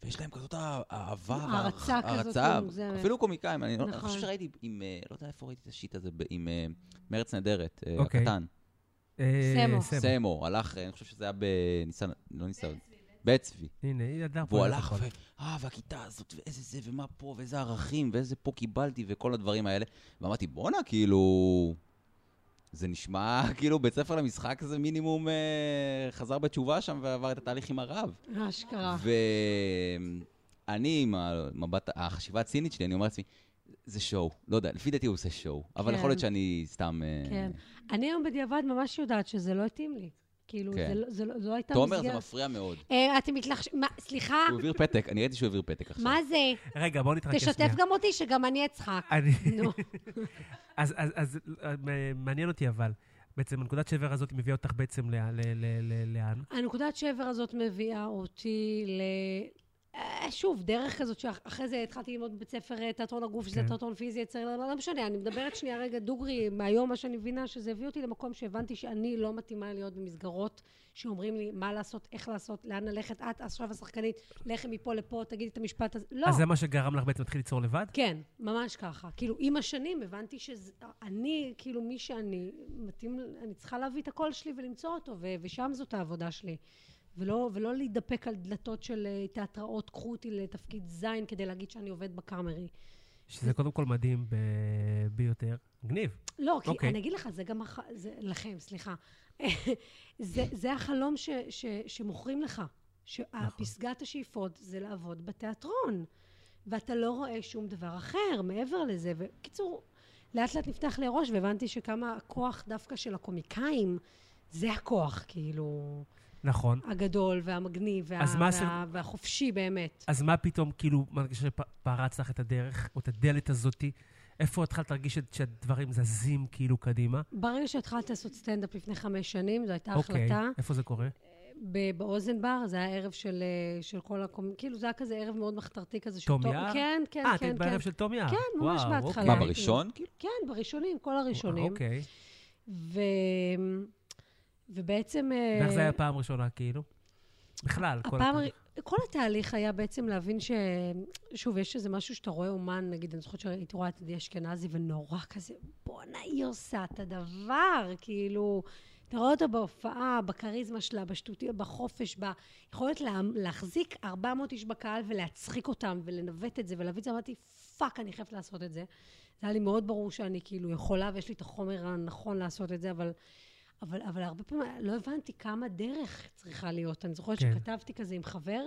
S1: ויש להם כזאת אה- אהבה,
S3: הערצה
S1: והערצ-
S3: כזאת
S1: הערצה,
S3: מוגזמת.
S1: אפילו קומיקאים, אני, נכון. אני
S3: נכון.
S1: חושב שראיתי עם, אה, לא יודע איפה ראיתי את השיט הזה, ב- עם אה, מרץ נהדרת, אה,
S2: אוקיי.
S1: הקטן,
S2: אה,
S3: סמו.
S2: סמו.
S1: סמו, הלך, אה, אני חושב שזה היה בניסן, לא ניסן, בית צבי.
S2: הנה, היא ידעה פה.
S1: והוא
S3: נכון,
S2: את
S1: הלך,
S2: הכל.
S1: ו... אה, והכיתה הזאת, ואיזה זה, ומה פה, ואיזה ערכים, ואיזה פה קיבלתי, וכל הדברים האלה. ואמרתי, בואנה, כאילו... זה נשמע כאילו בית ספר למשחק זה מינימום אה, חזר בתשובה שם ועבר את התהליך עם הרב.
S3: אשכרה.
S1: ואני, עם המבט, החשיבה הצינית שלי, אני אומר לעצמי, זה שואו. לא יודע, לפי דעתי הוא עושה שואו. אבל
S3: כן.
S1: יכול להיות שאני סתם... אה,
S3: כן. אני היום בדיעבד ממש יודעת שזה לא התאים לי. כאילו,
S1: כן.
S3: זה לא- זה לא- זו הייתה
S1: תומר,
S3: מסגרת.
S1: זה מפריע מאוד.
S3: אה, אתם מתלחשים... מה, סליחה?
S1: הוא אוקיי, העביר פתק, אני ראיתי שהוא העביר פתק עכשיו.
S3: מה זה?
S2: רגע, בואו נתרכז שנייה.
S3: תשתף גם אותי, שגם אני אצחק.
S2: אני-
S3: נו.
S2: אז- אז- אז אה, מעניין אותי אבל, בעצם הנקודת שבר הזאת מביאה אותך בעצם ל- ל- ל- ל- לאן?
S3: הנקודת שבר הזאת מביאה אותי ל... אה, שוב, דרך כזאת שאחרי זה התחלתי ללמוד בבית ספר אה, תיאטרון הגוף, שזה
S2: כן.
S3: תיאטרון פיזי, יצר, לא, לא, לא משנה, אני מדברת שנייה רגע דוגרי, מהיום מה שאני מבינה, שזה הביא אותי למקום שהבנתי שאני לא מתאימה להיות במסגרות שאומרים לי מה לעשות, איך לעשות, לאן ללכת, את עכשיו השחקנית, לכי מפה לפה, תגידי את המשפט הזה, לא.
S2: אז זה מה שגרם לך בעצם להתחיל ליצור לבד?
S3: כן, ממש ככה. כאילו, עם השנים הבנתי שאני, כאילו, מי שאני, מתאים, אני צריכה להביא את הקול שלי ולמצוא אותו, ו- ושם זאת העבודה שלי. ולא, ולא להידפק על דלתות של אה, תיאטראות, קחו אותי לתפקיד זין כדי להגיד שאני עובד בקאמרי.
S2: שזה קודם כל מדהים ב- ביותר. מגניב.
S3: לא, כי
S2: אוקיי.
S3: אני אגיד לך, זה גם... הח... זה... לכם, סליחה. זה, זה החלום ש... ש... שמוכרים לך.
S2: נכון.
S3: שהפסגת השאיפות זה לעבוד בתיאטרון. ואתה לא רואה שום דבר אחר מעבר לזה. וקיצור, לאט לאט נפתח לי הראש, והבנתי שכמה הכוח דווקא של הקומיקאים, זה הכוח, כאילו,
S2: נכון.
S3: הגדול והמגניב וה...
S2: אז מה
S3: וה...
S2: עשית?
S3: והחופשי באמת.
S2: אז מה פתאום, כאילו, מרגישה שפרץ לך את הדרך, או את הדלת הזאתי? איפה התחלת להרגיש ש- שהדברים זזים כאילו קדימה?
S3: ברגע שהתחלתי לעשות סטנדאפ לפני חמש שנים, זו הייתה
S2: אוקיי,
S3: החלטה.
S2: איפה זה קורה?
S3: ב- באוזן בר, זה היה ערב של, אה, של כל הקומ... כאילו, זה היה כזה ערב מאוד מחתרתי כזה. של
S2: תום
S3: תום-
S2: יער?
S3: כן, כן,
S2: אה, את
S3: כן.
S2: היית בערב
S3: כן.
S2: של תום יער.
S3: כן, ממש
S2: וואו,
S3: בהתחלה.
S2: אוקיי.
S1: מה, בראשון?
S3: כן, בראשונים, כל הראשונים.
S2: אוקיי.
S3: ו... ובעצם... אה,
S2: ואיך זה היה פעם ראשונה, כאילו? בכלל, כל
S3: הפעם,
S2: התהליך.
S3: הר- כל התהליך היה בעצם להבין ש... שוב, יש איזה משהו שאתה רואה אומן, נגיד, אני זוכרת שהייתי רואה את עדי אשכנזי, ונורא כזה, בואנה, היא עושה את הדבר, כאילו... אתה רואה אותה בהופעה, בכריזמה שלה, בשטותי, בחופש, ביכולת לה, להחזיק 400 איש בקהל ולהצחיק אותם ולנווט את זה ולהביא את זה, אמרתי, פאק, אני חייבת לעשות את זה. זה היה לי מאוד ברור שאני כאילו יכולה ויש לי את החומר הנכון לעשות את זה, אבל אבל, אבל הרבה פעמים לא הבנתי כמה דרך צריכה להיות. אני זוכרת
S2: כן.
S3: כן. שכתבתי כזה עם חבר,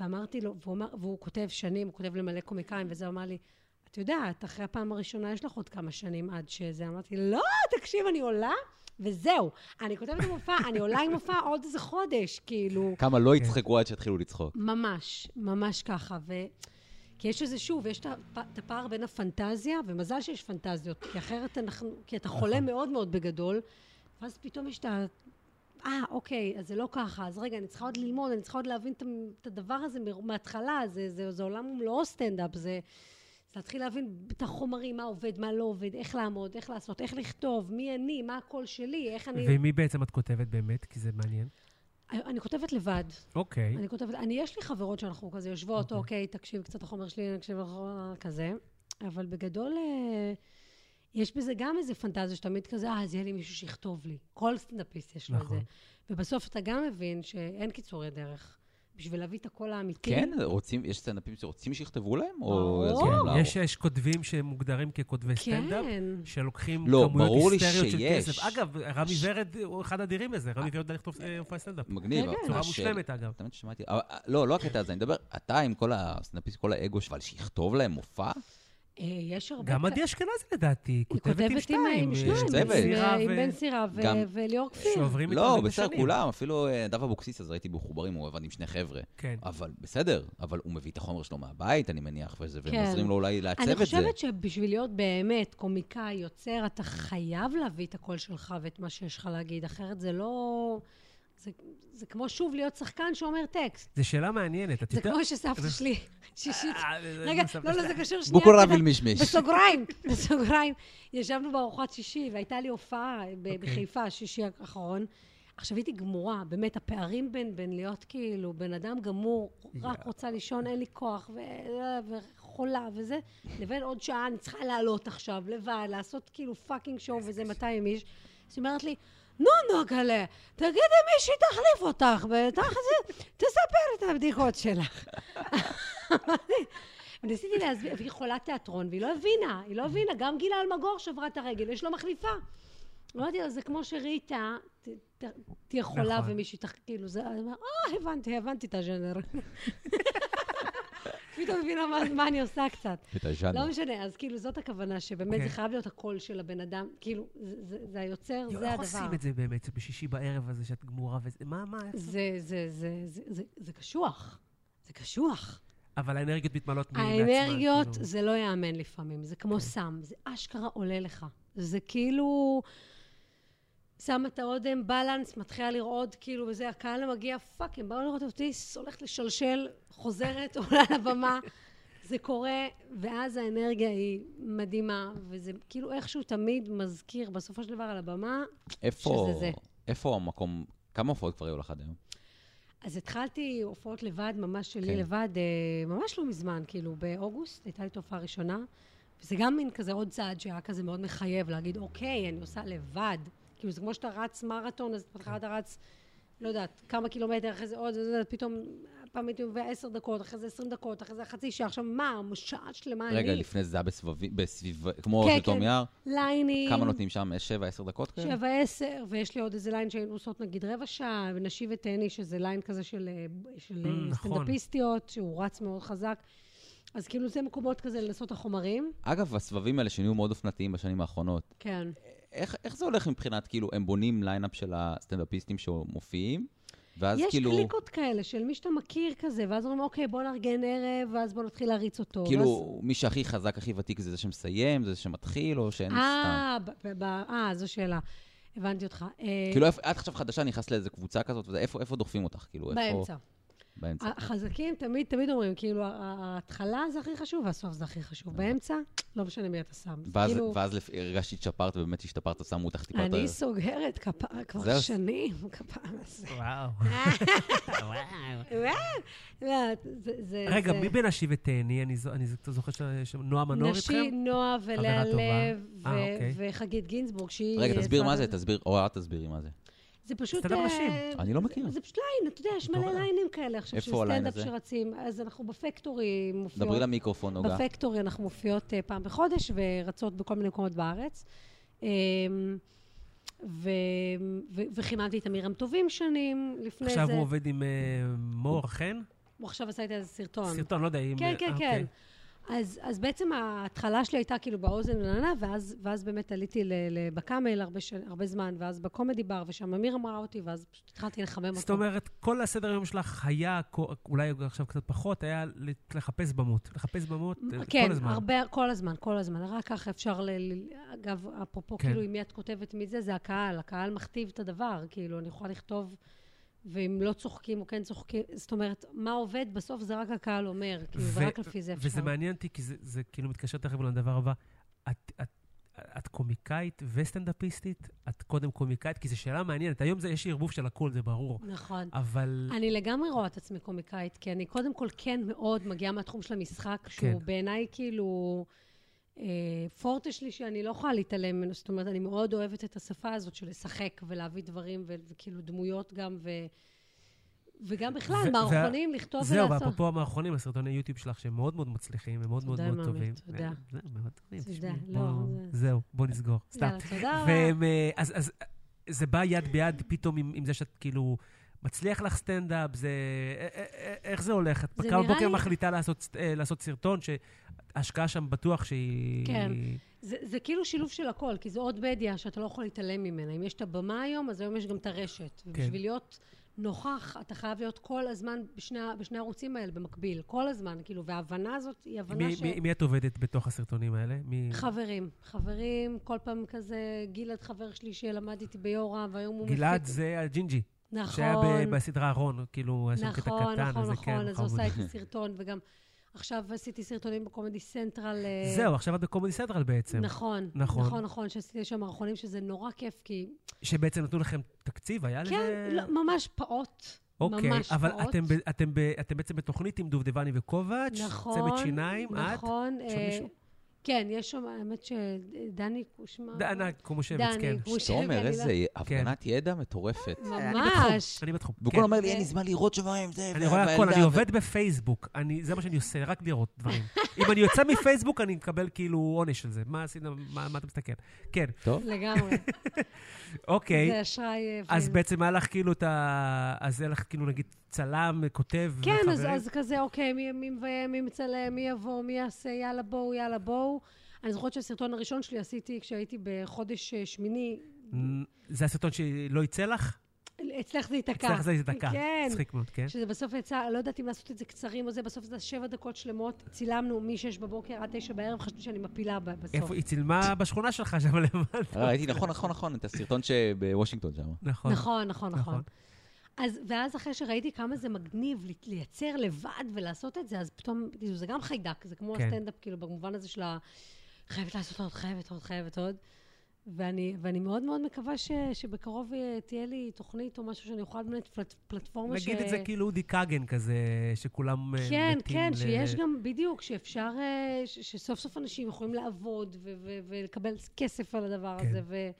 S3: ואמרתי לו, והוא, אמר, והוא כותב שנים, הוא כותב למלא קומיקאים, וזה הוא אמר לי, את יודעת, אחרי הפעם הראשונה יש לך עוד כמה שנים עד שזה. אמרתי, לא, תקשיב, אני עולה, וזהו. אני כותבת עם מופע, אני עולה עם מופע עוד איזה חודש, כאילו...
S1: כמה לא יצחקו עד שיתחילו לצחוק.
S3: ממש, ממש ככה. ו... כי יש איזה, שוב, יש את הפ- את הפער בין הפנטזיה, ומזל שיש פנטזיות, כי אחרת אנחנו, כי אתה חולה מאוד מאוד בגדול, ואז פתאום יש את ה... אה, אוקיי, אז זה לא ככה, אז רגע, אני צריכה עוד ללמוד, אני צריכה עוד להבין את ה- את הדבר הזה מ- מההתחלה, זה, זה, זה עולם ומלואו סטנדאפ, זה... זה להתחיל להבין את החומרים, מה עובד, מה לא עובד, איך לעמוד, איך לעשות, איך לכתוב, מי אני, מה הקול שלי, איך אני...
S2: ועם מי בעצם את כותבת באמת? כי זה מעניין.
S3: אני כותבת לבד.
S2: אוקיי.
S3: אני כותבת, אני, יש לי חברות שאנחנו כזה יושבות, אוקיי, תקשיב קצת לחומר שלי, אני אקשיב לחומר כזה, אבל בגדול, אה, יש בזה גם איזה פנטזיה שתמיד כזה, אה, אז יהיה לי מישהו שיכתוב לי. כל סטנדאפיסט יש לו את
S2: נכון.
S3: זה. ובסוף אתה גם מבין שאין קיצורי דרך. בשביל להביא את הקול האמיתי.
S1: כן, רוצים, יש סטנדאפים שרוצים שיכתבו להם? או
S3: ברור.
S1: יעזרו להם לערוך?
S2: כן, יש יש כותבים שמוגדרים ככותבי סטנדאפ,
S3: כן.
S2: שלוקחים
S1: לא,
S2: כמויות
S1: ברור לי
S2: היסטריות של
S1: שיש.
S2: כסף. אגב, רמי
S1: ש-
S2: ורד הוא אחד האדירים בזה, רמי ורד יודע לכתוב אה, הופעה סטנדאפ.
S1: מגניב.
S3: כן,
S1: אבל
S2: בצורה
S1: השאלה-
S2: מושלמת, אגב.
S1: תמיד שמעתי, אבל, אה, לא, לא הקטע הזה, אני מדבר, אתה עם כל הסטנדאפיסט, כל האגו שלך, אבל שיכתוב להם מופע?
S3: אה, יש הרבה...
S2: גם
S3: כ-
S2: עדי אשכנזי לדעתי,
S3: היא
S2: כותבת עם שתיים.
S3: עם
S2: אה,
S3: שניים,
S1: צוות.
S3: עם בן סירה, עם
S2: ו-
S3: בן סירה ו-
S1: גם-
S3: וליאור כפיר.
S2: שעוברים איתו
S1: לא,
S2: הרבה
S1: בסדר,
S2: שנים.
S1: כולם, אפילו אה, נדב אבוקסיס, אז ראיתי בחוברים, הוא עבד עם שני חבר'ה.
S2: כן.
S1: אבל בסדר, אבל הוא מביא את החומר שלו מהבית, אני מניח, וזה, והם
S3: כן.
S1: עוזרים לו אולי לעצב את זה.
S3: אני חושבת שבשביל להיות באמת קומיקאי, יוצר, אתה חייב להביא את הקול שלך ואת מה שיש לך להגיד, אחרת זה לא... זה, זה כמו שוב להיות שחקן שאומר טקסט.
S2: זו שאלה מעניינת, את
S3: זה
S2: יודעת...
S3: כמו שסבתא שלי, שישית.
S2: אה, זה-
S3: רגע,
S2: זה-
S3: לא, לא, זה קשור שנייה.
S1: בוקו
S3: אתה
S1: רביל
S3: יודע,
S1: מישמיש.
S3: בסוגריים, בסוגריים. ישבנו בארוחת שישי, והייתה לי הופעה ב-
S2: אוקיי.
S3: בחיפה, שישי האחרון. עכשיו הייתי גמורה, באמת, הפערים בין, בין להיות כאילו בן אדם גמור, רק רוצה לישון, אין לי כוח, ו- וחולה וזה, לבין עוד שעה אני צריכה לעלות עכשיו, לבד, לעשות כאילו פאקינג שואו וזה 200 איש. אז היא אומרת לי, נו, נו, גלה, תגידי מישהי תחליף אותך, ותח זה, תספר את הבדיחות שלך. וניסיתי להסביר, והיא חולת תיאטרון, והיא לא הבינה, היא לא הבינה, גם גילה אלמגור שברה את הרגל, יש לו מחליפה. אמרתי לו, זה כמו שריטה ת- ת- תהיה חולה
S2: נכון.
S3: ומישהי תח... כאילו, זה... אני אומר, אה, הבנתי, הבנתי את הז'אנר. פתאום הבינה מה- מה אני עושה קצת.
S1: את הז'אנר.
S3: לא משנה, אז כאילו זאת הכוונה, שבאמת
S2: כן.
S3: זה חייב להיות הקול של הבן אדם, כאילו, זה- זה זה היוצר,
S2: יואו,
S3: זה
S2: איך
S3: הדבר.
S2: עושים את זה באמת, בשישי בערב הזה, שאת גמורה וזה? מה, מה? איך-
S3: זה, זה, זה, זה, זה, זה קשוח. זה קשוח.
S2: אבל האנרגיות מתמלאות מ- מעצמן.
S3: האנרגיות,
S2: כאילו. כן.
S3: זה לא ייאמן לפעמים, זה כמו סם, זה אשכרה עולה לך. זה כאילו... שמה את האודם, בלנס, מתחילה לרעוד, כאילו, וזה, הקהל המגיע, פאק, הם באו לראות אותי, הולכת לשלשל, חוזרת, עולה לבמה. זה קורה, ואז האנרגיה היא מדהימה, וזה כאילו איכשהו תמיד מזכיר, בסופו של דבר על הבמה,
S1: איפה,
S3: שזה זה.
S1: איפה המקום, כמה הופעות כבר היו לך עד היום?
S3: אז התחלתי הופעות לבד, ממש שלי
S1: כן.
S3: כן. לבד, אה, ממש לא מזמן, כאילו, באוגוסט הייתה לי תופעה ראשונה, וזה גם מין כזה עוד צעד שהיה כזה מאוד מחייב, להגיד, אוקיי, אני עושה לבד. כאילו, זה כמו שאתה רץ מרתון, אז בהתחלה
S1: כן.
S3: אתה רץ, לא יודעת, כמה קילומטר, אחרי זה עוד, זה, זה, פתאום, פעם הייתי מביאה עשר דקות, אחרי זה עשרים דקות, אחרי זה חצי שעה, עכשיו מה, שעה שלמה,
S1: רגע,
S3: אני,
S1: לפני זה זה היה בסבבים, בסביב, כמו
S3: כן,
S1: של תום
S3: כן.
S1: יער,
S3: ליינים.
S1: כמה נותנים שם? יש 7-10 דקות כאלה?
S3: שבע עשר, ויש לי עוד איזה ליין שהיינו עושות נגיד רבע שעה, ונשי וטני, שזה ליין כזה של, אה, של
S2: Mm,
S3: אה,
S2: נכון.
S3: סטנדאפיסטיות, שהוא רץ מאוד חזק. אז כאילו זה מקומות כזה לנסות את החומרים.
S1: אגב, הסבבים האלה שנהיו מאוד אופנתיים בשנים האחרונות.
S3: כן.
S1: איך, איך זה הולך מבחינת, כאילו, הם בונים ליינאפ של הסטנדאפיסטים שמופיעים, ואז
S3: יש
S1: כאילו,
S3: קליקות כאלה של מי שאתה מכיר כזה, ואז אומרים, אוקיי, בוא נארגן ערב, ואז בוא נתחיל להריץ אותו. ואז-
S1: כאילו, מי שהכי חזק, הכי ותיק, זה זה שמסיים, זה זה שמתחיל, או שאין סתם.
S3: אה, ב- ב- ב- אה, זו שאלה. הבנתי אותך. אה,
S1: כאילו, איפה- את עכשיו חדשה, נכנסת לאיזה קבוצה כזאת, וזה, איפה, איפה דוחפים אותך? כאילו, איפה...
S3: באמצע. אה,
S1: באמצע.
S3: החזקים תמיד תמיד אומרים, כאילו, ה- ההתחלה זה הכי חשוב, והסוף זה הכי חשוב. באמצע, לא משנה מי אתה שם. זה
S1: ואז,
S3: כאילו-
S1: ואז לפ- הרגשת שהתשפרת, ובאמת השתפרת, שמו אותך טיפה
S3: אני
S1: יותר...
S3: סוגרת כפרה
S1: זהו.
S3: כבר שנים, כפרה זה.
S2: וואו. אה.
S3: לא, זה- זה-
S2: רגע,
S3: זה-
S2: מי בין השי ותהני? אני זו- אני זו- זוכר שנועה מנור איתכם?
S3: נשי, נועה ולאה
S2: חברה טובה.
S3: לב, ו-
S2: אה, אוקיי.
S3: וחגית גינזבורג, שהיא...
S1: רגע, תסביר מה זה,
S3: יצרה-
S1: תסביר, או את תסבירי מה זה.
S3: זה פשוט...
S2: סטנדאפ
S3: אה,
S2: נשים.
S1: אני לא מכיר.
S3: זה פשוט ליין, אתה יודע, יש מלא
S2: נורא.
S3: ליינים כאלה עכשיו, של
S1: איפה הליין
S3: סטנדאפ
S1: הזה?
S3: שרצים. אז אנחנו בפקטורי מופיעות.
S1: דברי למיקרופון, נוגה.
S3: בפקטורי אנחנו מופיעות אה, פעם בחודש ורצות בכל מיני מקומות בארץ. אמ, ו- ו- וכימנתי את עמירם טובים שנים לפני זה.
S2: עכשיו הוא עובד עם אה, מור חן?
S3: הוא עכשיו עשה איתי איזה סרטון.
S2: סרטון, לא יודע אם...
S3: כן, כן,
S2: אה,
S3: כן.
S2: אוקיי.
S3: אז, אז בעצם ההתחלה שלי הייתה כאילו באוזן ולנה, ואז, ואז באמת עליתי ל- ל- בקאמל הרבה, ש... הרבה זמן, ואז בקומדי בר, ושם אמיר אמרה אותי, ואז פשוט התחלתי לחמם אותו.
S2: זאת אומרת, כל הסדר יום שלך היה, כו- אולי עכשיו קצת פחות, היה לחפש במות. לחפש במות אה,
S3: כן,
S2: כל הזמן.
S3: הרבה, כל הזמן, כל הזמן. רק ככה אפשר ל... ל- אגב, אפרופו
S2: כן.
S3: כאילו עם מי את כותבת מי זה, זה הקהל. הקהל מכתיב את הדבר. כאילו, אני יכולה לכתוב, ואם לא צוחקים או כן צוחקים, זאת אומרת, מה עובד בסוף זה רק הקהל אומר. כאילו,
S2: ו-
S3: זה רק לפי זה אפשר.
S2: וזה מעניין אותי, כי זה, זה כאילו מתקשר תכף לדבר הבא. את, את, את קומיקאית וסטנדאפיסטית? את קודם קומיקאית? כי זו שאלה מעניינת. היום זה, יש ערבוב של הכול, זה ברור.
S3: נכון.
S2: אבל...
S3: אני לגמרי רואה את עצמי קומיקאית, כי אני קודם כל כן מאוד מגיעה מהתחום של המשחק, שהוא
S2: כן.
S3: בעיניי כאילו אה, פורטה שלי שאני לא יכולה להתעלם ממנו, זאת אומרת, אני מאוד אוהבת את השפה הזאת של לשחק ולהביא דברים ו- וכאילו דמויות גם, ו... וגם בכלל,
S2: ו- וה-
S3: מערכונים, לכתוב
S2: זהו,
S3: ולעשות.
S2: ואפרופו המערכונים, הסרטוני יוטיוב שלך, שהם מאוד מאוד מצליחים ומאוד מאוד
S3: תודה,
S2: מאוד
S3: מאמי,
S2: טובים.
S3: תודה.
S2: זהו, מאוד טובים.
S3: תודה,
S2: תשמעי,
S3: לא,
S2: בוא-
S3: זה-
S2: זהו, בוא נסגור. סתם.
S3: יאללה, תודה רבה.
S2: והם, אה, אז, אז אה, זה בא יד ביד פתאום עם, עם זה שאת כאילו, מצליח לך סטנדאפ, זה... אה, אה, אה, איך זה הולך? את
S3: זה
S2: קמה
S3: נראה
S2: בבוקר
S3: לי-
S2: מחליטה לעשות, סט- אה, לעשות סרטון, שההשקעה שם בטוח שהיא...
S3: כן. זה, זה כאילו שילוב של הכל, כי זה עוד מדיה שאתה לא יכול להתעלם ממנה. אם יש את הבמה היום, אז היום יש גם את הרשת.
S2: כן.
S3: ובשביל להיות נוכח, אתה חייב להיות כל הזמן בשני, ה- בשני הערוצים האלה, במקביל. כל הזמן, כאילו, וההבנה הזאת היא הבנה
S2: מי,
S3: ש...
S2: מי, מי את עובדת בתוך הסרטונים האלה? מי...
S3: חברים, חברים, כל פעם כזה, גלעד חבר שלי שלמד איתי ביורם, והיום הוא...
S2: גלעד
S3: מפיק-
S2: זה הג'ינג'י,
S3: נכון,
S2: שהיה ב- בסדרה אהרון, כאילו, היה שם קטע
S3: נכון,
S2: קטן,
S3: נכון,
S2: וזה כן,
S3: נכון, אז הוא
S2: חמוד.
S3: עשה איתי סרטון, וגם עכשיו עשיתי סרטונים בקומדי סנטרל. אה,
S2: זהו, עכשיו את בקומדי סנטרל בעצם.
S3: נכון,
S2: נכון.
S3: נכון, נכון, שעשיתי שם מערכונים, שזה נורא כיף, כי
S2: שבעצם נתנו לכם תקציב, היה לזה...
S3: כן, לא, ממש פעוט.
S2: אוקיי,
S3: ממש
S2: אבל
S3: פעוט.
S2: אתם, ב- אתם, ב- אתם בעצם בתוכנית עם דובדבני וקובץ',
S3: נכון,
S2: צמד שיניים, את,
S3: נכון.
S2: יש עוד
S3: אה,
S2: מישהו?
S3: כן, יש שם, האמת שדני קושמר.
S2: דנה קומושבץ,
S3: דני,
S2: כן.
S3: הוא ש-
S1: תומר,
S3: אני
S1: איזה
S3: לא-
S1: הפגנת ידע מטורפת.
S2: אני בתחום,
S3: ממש.
S2: אני בתחום.
S1: והוא
S2: כן.
S1: כל אומר לי, אין לי זמן לראות שבועיים, זה...
S2: אני רואה הכל, אני עובד בפייסבוק, אני- זה מה שאני עושה, רק לראות דברים. אם אני יוצא מפייסבוק, אני מקבל כאילו עונש על זה. מה עשית, מה מה אתה מסתכל? כן,
S1: טוב,
S3: לגמרי. זה
S2: אוקיי.
S3: אשראי... אה,
S2: אז
S3: ו-
S2: בעצם היה לך כאילו את ה... אז היה לך כאילו נגיד צלם, כותב,
S3: כן, אז,
S2: וחברים.
S3: אז כזה, אוקיי, מי, מי מביים, מי מצלם, מי יבוא, מי יעשה, יאללה בואו, יאללה בואו. אני זוכרת שהסרטון הראשון שלי עשיתי כשהייתי בחודש אה, שמיני.
S2: זה הסרטון שלא יצא לך?
S3: אה, אצלך זה ייתקע.
S2: אצלך זה ייתקע.
S3: כן.
S2: מצחיק מאוד, כן.
S3: שזה בסוף יצא, לא יודעת אם לעשות את זה קצרים או זה, בסוף זה שבע דקות שלמות. צילמנו מ-6 בבוקר עד 9 בערב, חשבתי שאני מפילה ב- בסוף.
S2: איפה, היא צילמה בשכונה שלך שם למטה.
S1: אה, ראיתי, נכון, נכון, נכון, את הסרטון שבוושינגטון שם.
S2: נכון.
S3: נכון, נכון,
S2: נכון.
S3: נכון. אז, ואז אחרי שראיתי כמה זה מגניב לי- לייצר לבד ולעשות את זה, אז פתאום, כאילו, זה גם חיידק, זה כמו
S2: כן.
S3: הסטנדאפ, כאילו, במובן הזה של ה... חייבת לעשות עוד, חייבת עוד, חייבת עוד. ואני, ואני מאוד מאוד מקווה ש, שבקרוב אה, תהיה לי תוכנית או משהו שאני אוכל באמת פלט, פלטפורמה
S2: נגיד את זה כאילו אודי כגן כזה, שכולם אה, מתים
S3: אה, כן, כן,
S2: ל-
S3: שיש גם, בדיוק, שאפשר, אה, ש- שסוף סוף אנשים יכולים לעבוד ו- ו- ולקבל כסף על הדבר
S2: כן.
S3: הזה. ו-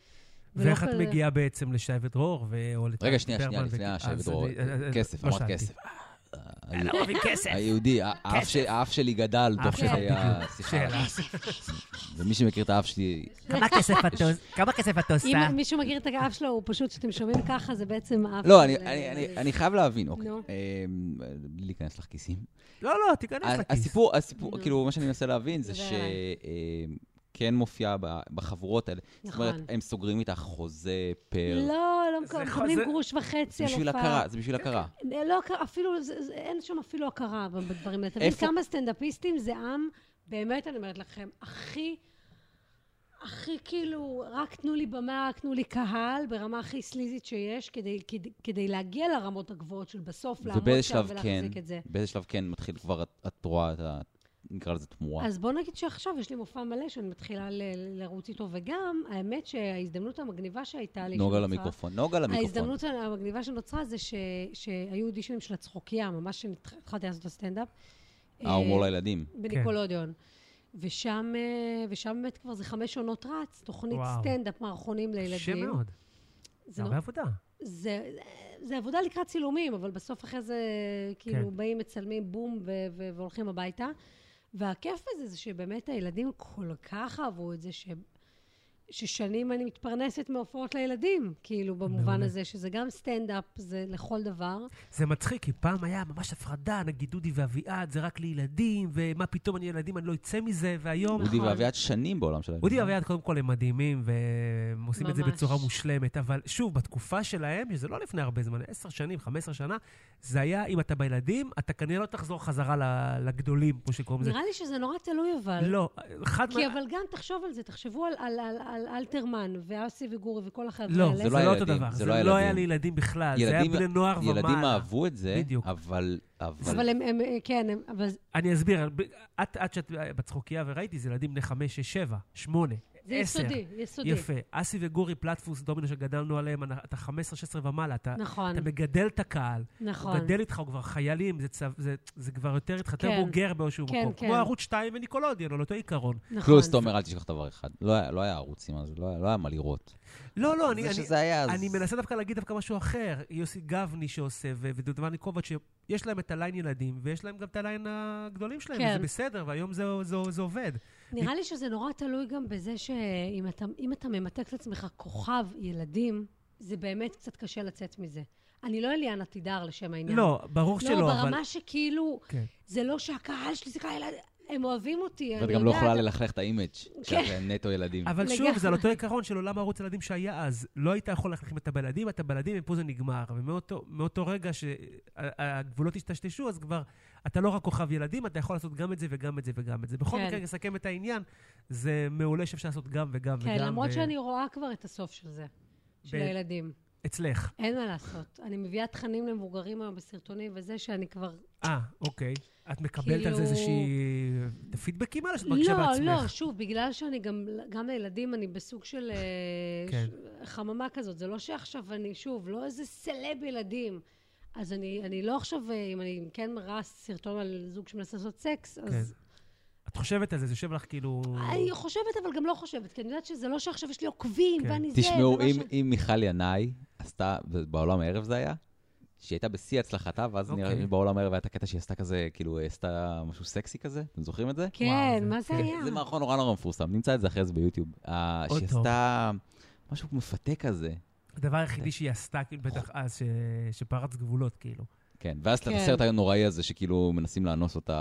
S3: ולא
S2: ואיך את
S3: כזה-
S2: מגיעה בעצם לשי ודרור, ו- או לטל
S1: רגע, שנייה, שנייה,
S2: ברמן
S1: לפני
S2: וג-
S1: השי
S2: אז
S1: ודרור.
S2: אני- אה, אה,
S1: כסף,
S2: לא
S1: אמרת
S2: שאלתי.
S1: כסף. אה,
S2: אה,
S1: היהודי-
S2: לא אוהבים כסף.
S1: היהודי, ה- האף ש- האף שלי גדל
S2: האף
S1: תוך
S3: שלך
S1: כדי
S2: בדיוק.
S1: השיחה.
S2: שאלה.
S1: ומי שמכיר את האף שלי,
S2: כמה כסף את עוש- כמה כסף את
S3: אם
S2: עושה?
S3: מישהו מכיר את הגרף שלו, הוא פשוט, כשאתם שומעים ככה, זה בעצם אף...
S1: לא,
S3: של-
S1: אני- אני- אני- אני חייב להבין, אוקיי.
S3: נו.
S1: אמ, בלי להיכנס לך כיסים.
S2: לא, לא, תיכנס
S1: ה-
S2: לכיס.
S1: הסיפור, הסיפור,
S3: נו.
S1: כאילו, מה שאני מנסה להבין זה
S3: דבר
S1: שכן מופיע ב- בחבורות האלה. זאת אומרת,
S3: נכון.
S1: הם סוגרים איתך חוזה פר...
S3: לא, לא
S2: זה
S3: מקו-
S2: ח-
S3: מקבלים
S2: זה-
S3: גרוש
S1: זה
S3: וחצי על הופעה.
S1: בשביל הכרה, זה בשביל הכרה.
S3: לא, הכרה, אפילו, זה- זה- אין שם אפילו הכרה ב- בדברים האלה. אתה מבין
S1: איפה-
S3: כמה סטנדאפיסטים זה עם, באמת אני אומרת לכם, הכי, הכי כאילו, רק תנו לי במה, רק תנו לי קהל, ברמה הכי סליזית שיש, כדי- כדי- כדי להגיע לרמות הגבוהות של בסוף לעמוד
S1: ובאיזה
S3: שם
S1: שלב כן,
S3: ולהחזיק את זה.
S1: באיזה שלב כן מתחיל כבר, את- את רואה את ה... נקרא לזה תמורה.
S3: אז בוא נגיד שעכשיו יש לי מופע מלא שאני מתחילה ל- לרוץ איתו, וגם, האמת שההזדמנות המגניבה שהייתה לי...
S1: נוגה
S3: שנוצרה-
S1: למיקרופון, נוגה למיקרופון.
S3: ההזדמנות המגניבה שנוצרה זה ש- שהיו אודישנים של הצחוקייה, ממש כשהתחלתי לעשות את הסטנדאפ.
S1: ההומור
S3: אה,
S1: לילדים.
S3: בניקולודיון.
S2: כן.
S3: ושם, אה, ושם באמת כבר זה חמש עונות רץ, תוכנית
S2: וואו.
S3: סטנדאפ מערכונים לילדים.
S2: קשה מאוד. זה
S3: זה, לא נו-
S2: הרבה עבודה.
S3: זה, זה עבודה לקראת צילומים, אבל בסוף אחרי זה כאילו
S2: כן.
S3: באים, מצלמים, בום, ו- ו- והולכים הביתה. והכיף בזה זה שבאמת הילדים כל כך אהבו את זה, ש... ששנים אני מתפרנסת מהופעות לילדים, כאילו, במובן
S2: מעולה.
S3: הזה, שזה גם סטנדאפ, זה לכל דבר.
S2: זה מצחיק, כי פעם היה ממש הפרדה, נגיד דודי ואביעד, זה רק לילדים, ומה פתאום אני ילדים, אני לא אצא מזה, והיום...
S1: אודי
S3: נכון.
S1: ואביעד שנים בעולם שלהם.
S2: אודי ואביעד קודם כל הם מדהימים, והם עושים את זה
S3: ממש.
S2: בצורה מושלמת, אבל שוב, בתקופה שלהם, שזה לא לפני הרבה זמן, 10 שנים, 15 שנה, זה היה, אם אתה בילדים, אתה כנראה לא תחזור חזרה ל- לגדולים, כמו שקוראים לזה.
S3: נראה לי שזה נורא תלוי, אבל.
S2: לא, חד...
S3: כי אבל גם תחשוב על זה, תחשבו על, על, על, על אלתרמן ואסי וגורי וכל החבר'ה
S2: לא,
S3: האלה.
S2: זה
S1: לא
S2: לא
S1: היה
S2: אותו
S1: ילדים,
S2: דבר.
S1: זה
S2: זה
S1: לא היה
S2: לא היה
S1: ילדים.
S2: לילדים בכלל, זה היה
S1: ילדים-
S2: בני נוער ומעלה.
S1: ילדים אהבו את זה,
S2: בדיוק.
S1: אבל... אבל... לא,
S3: אבל הם, הם, כן, הם, אבל
S2: אני אסביר, ב- את את שאת בצחוקייה וראיתי, זה ילדים בני 5, 6, 7, 8, 10.
S3: זה יסודי, יסודי.
S2: יפה. אסי וגורי, פלטפוס דומינו שגדלנו עליהם, אנ- אתה 15-16 ומעלה, אתה...
S3: נכון,
S2: אתה מגדל את הקהל, הוא
S3: נכון.
S2: גדל איתך, הוא כבר חיילים, זה, צו, זה, זה כבר יותר איתך, יותר
S3: כן.
S2: בוגר באיזשהו
S3: כן,
S2: מקום.
S3: כן.
S2: כמו ערוץ 2 וניקולודיאן, על אותו עיקרון.
S3: נכון.
S1: פלוס, תומר, אל תשכח דבר אחד. לא היה- לא היה ערוצים אז, לא היה- לא היה מה לראות.
S2: לא, לא, אני,
S1: זה
S2: אני,
S1: שזה היה אז...
S2: אני מנסה דווקא להגיד דווקא משהו אחר. יוסי גבני שעושה, ו- ודודמני קובץ', שיש להם את הליין ילדים, ויש להם גם את הליין הגדולים שלהם,
S3: כן.
S2: וזה בסדר, והיום זה, זה, זה עובד.
S3: נראה לי שזה נורא תלוי גם בזה שאם אתה, אם אתה ממתק את עצמך כוכב ילדים, זה באמת קצת קשה לצאת מזה. אני לא אליאנה תידר לשם העניין.
S2: לא, ברור שלא,
S3: כן. לא,
S2: אבל...
S3: ברמה שכאילו,
S2: כן.
S3: זה לא שהקהל שלי זה כאלה, הם אוהבים אותי,
S1: ואת
S3: אני
S1: גם לא יכולה
S3: יודעת,
S1: ללכלך את האימג'
S3: כן.
S1: שאת נטו ילדים.
S2: אבל שוב,
S3: לגמרי.
S2: זה על אותו עיקרון של עולם ערוץ הילדים שהיה אז. לא היית יכול ללכת עם את הבלדים, את הבלדים, ופה זה נגמר. ומאותו מאותו רגע שהגבולות השטשטשו, אז כבר אתה לא רק כוכב ילדים, אתה יכול לעשות גם את זה וגם את זה וגם את זה. בכל
S3: כן.
S2: מקרה, נסכם את העניין, זה מעולה שאפשר לעשות גם וגם וגם. אה,
S3: כן, למרות
S2: ו-
S3: שאני רואה כבר את הסוף של זה, של
S2: ב-
S3: הילדים.
S2: אצלך.
S3: אין מה לעשות. אני מביאה תכנים למבוגרים היום בסרטונים וזה שאני כבר...
S2: אה, אוקיי. את מקבלת על זה
S3: כאילו-
S2: איזושהי... את הפידבקים האלה שאת מרגישה
S3: לא,
S2: בעצמך.
S3: לא, שוב, בגלל שאני גם, גם לילדים, אני בסוג של אה,
S2: כן.
S3: ש- חממה כזאת. זה לא שעכשיו אני, שוב, לא איזה סלב ילדים. אז אני, אני לא עכשיו, אה, אם אני כן מראה סרטון על זוג שמנסה לעשות סקס, אז
S2: כן. את חושבת על זה, זה יושב לך כאילו...
S3: לא. אני חושבת, אבל גם לא חושבת, כי אני יודעת שזה לא שעכשיו יש לי עוקבים,
S2: כן.
S3: ואני זה, לא
S1: תשמעו,
S3: ומה
S1: אם-
S3: ש-
S1: אם מיכל ינאי עשתה, בעולם הערב זה היה, שהיא הייתה בשיא הצלחתה, ואז
S2: אוקיי.
S1: נראה לי בעולם הערב היה את הקטע שהיא עשתה כזה, כאילו, היא עשתה משהו סקסי כזה, אתם זוכרים את זה?
S3: כן,
S2: וואו,
S3: מה
S2: זה-
S3: זה היה?
S1: זה מערכון נורא נורא מפורסם, נמצא את זה אחרי זה ביוטיוב. אה,
S2: עוד
S1: שהיא
S2: טוב.
S1: עשתה משהו מפתה כזה.
S2: הדבר היחידי שהיא עשתה, כאילו, בטח אז, ש- שפרץ גבולות, כאילו.
S1: כן, ואז את
S3: כן.
S1: הסרט הנוראי הזה, שכאילו מנסים לאנוס אותה,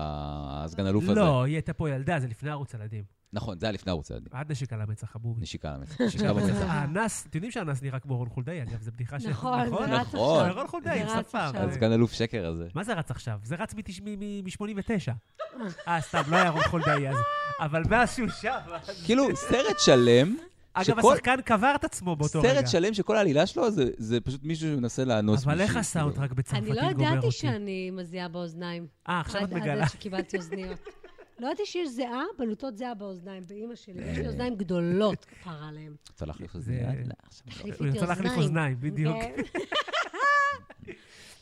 S1: הסגן אלוף הזה.
S2: לא, היא הייתה פה ילדה, זה לפני ערוץ הילדים.
S1: נכון, זה היה לפני ערוץ הילדים.
S2: עד נשיקה למצח, הבובי.
S1: נשיקה למצח, נשיקה במצח.
S2: האנס, אתם יודעים שהאנס נראה כמו רון חולדאי, אגב, זו בדיחה ש...
S3: נכון, זה רץ
S1: נכון.
S3: עכשיו.
S2: רון חולדאי, עם
S3: זה רץ
S2: שפם.
S3: עכשיו.
S1: אז כאן אלוף שקר הזה.
S2: מה זה רץ עכשיו? זה רץ מ-89. אה, סתם, לא היה רון חולדאי אז. אבל מאז שהוא שם... אז-
S1: כאילו, סרט שלם,
S2: אגב,
S1: שכל-
S2: השחקן קבר את עצמו באותו רגע.
S1: סרט שלם שכל העלילה שלו זה- זה פשוט מישהו שמנסה לאנוס מישהו.
S2: אבל איך
S1: כאילו.
S2: הסאונדטראק בצרפתית
S3: אני
S2: גומר
S3: לא
S2: אותי?
S3: ידעתי שאני מזיעה באוזניים.
S2: אה, עכשיו את
S3: עד- עד
S2: מגלה.
S3: עד שקיבלתי אוזניות. לא ידעתי שיש זיעה, בלוטות זיעה באוזניים, באימא שלי.
S2: אה.
S3: יש לי אוזניים גדולות, כפרה עליהם.
S1: רוצה להחליף את
S2: זה-
S1: זה? יאללה, עכשיו.
S3: תחליפי
S2: הוא
S3: איתי
S2: ירצה להחליף אוזניים, בדיוק.
S3: כן.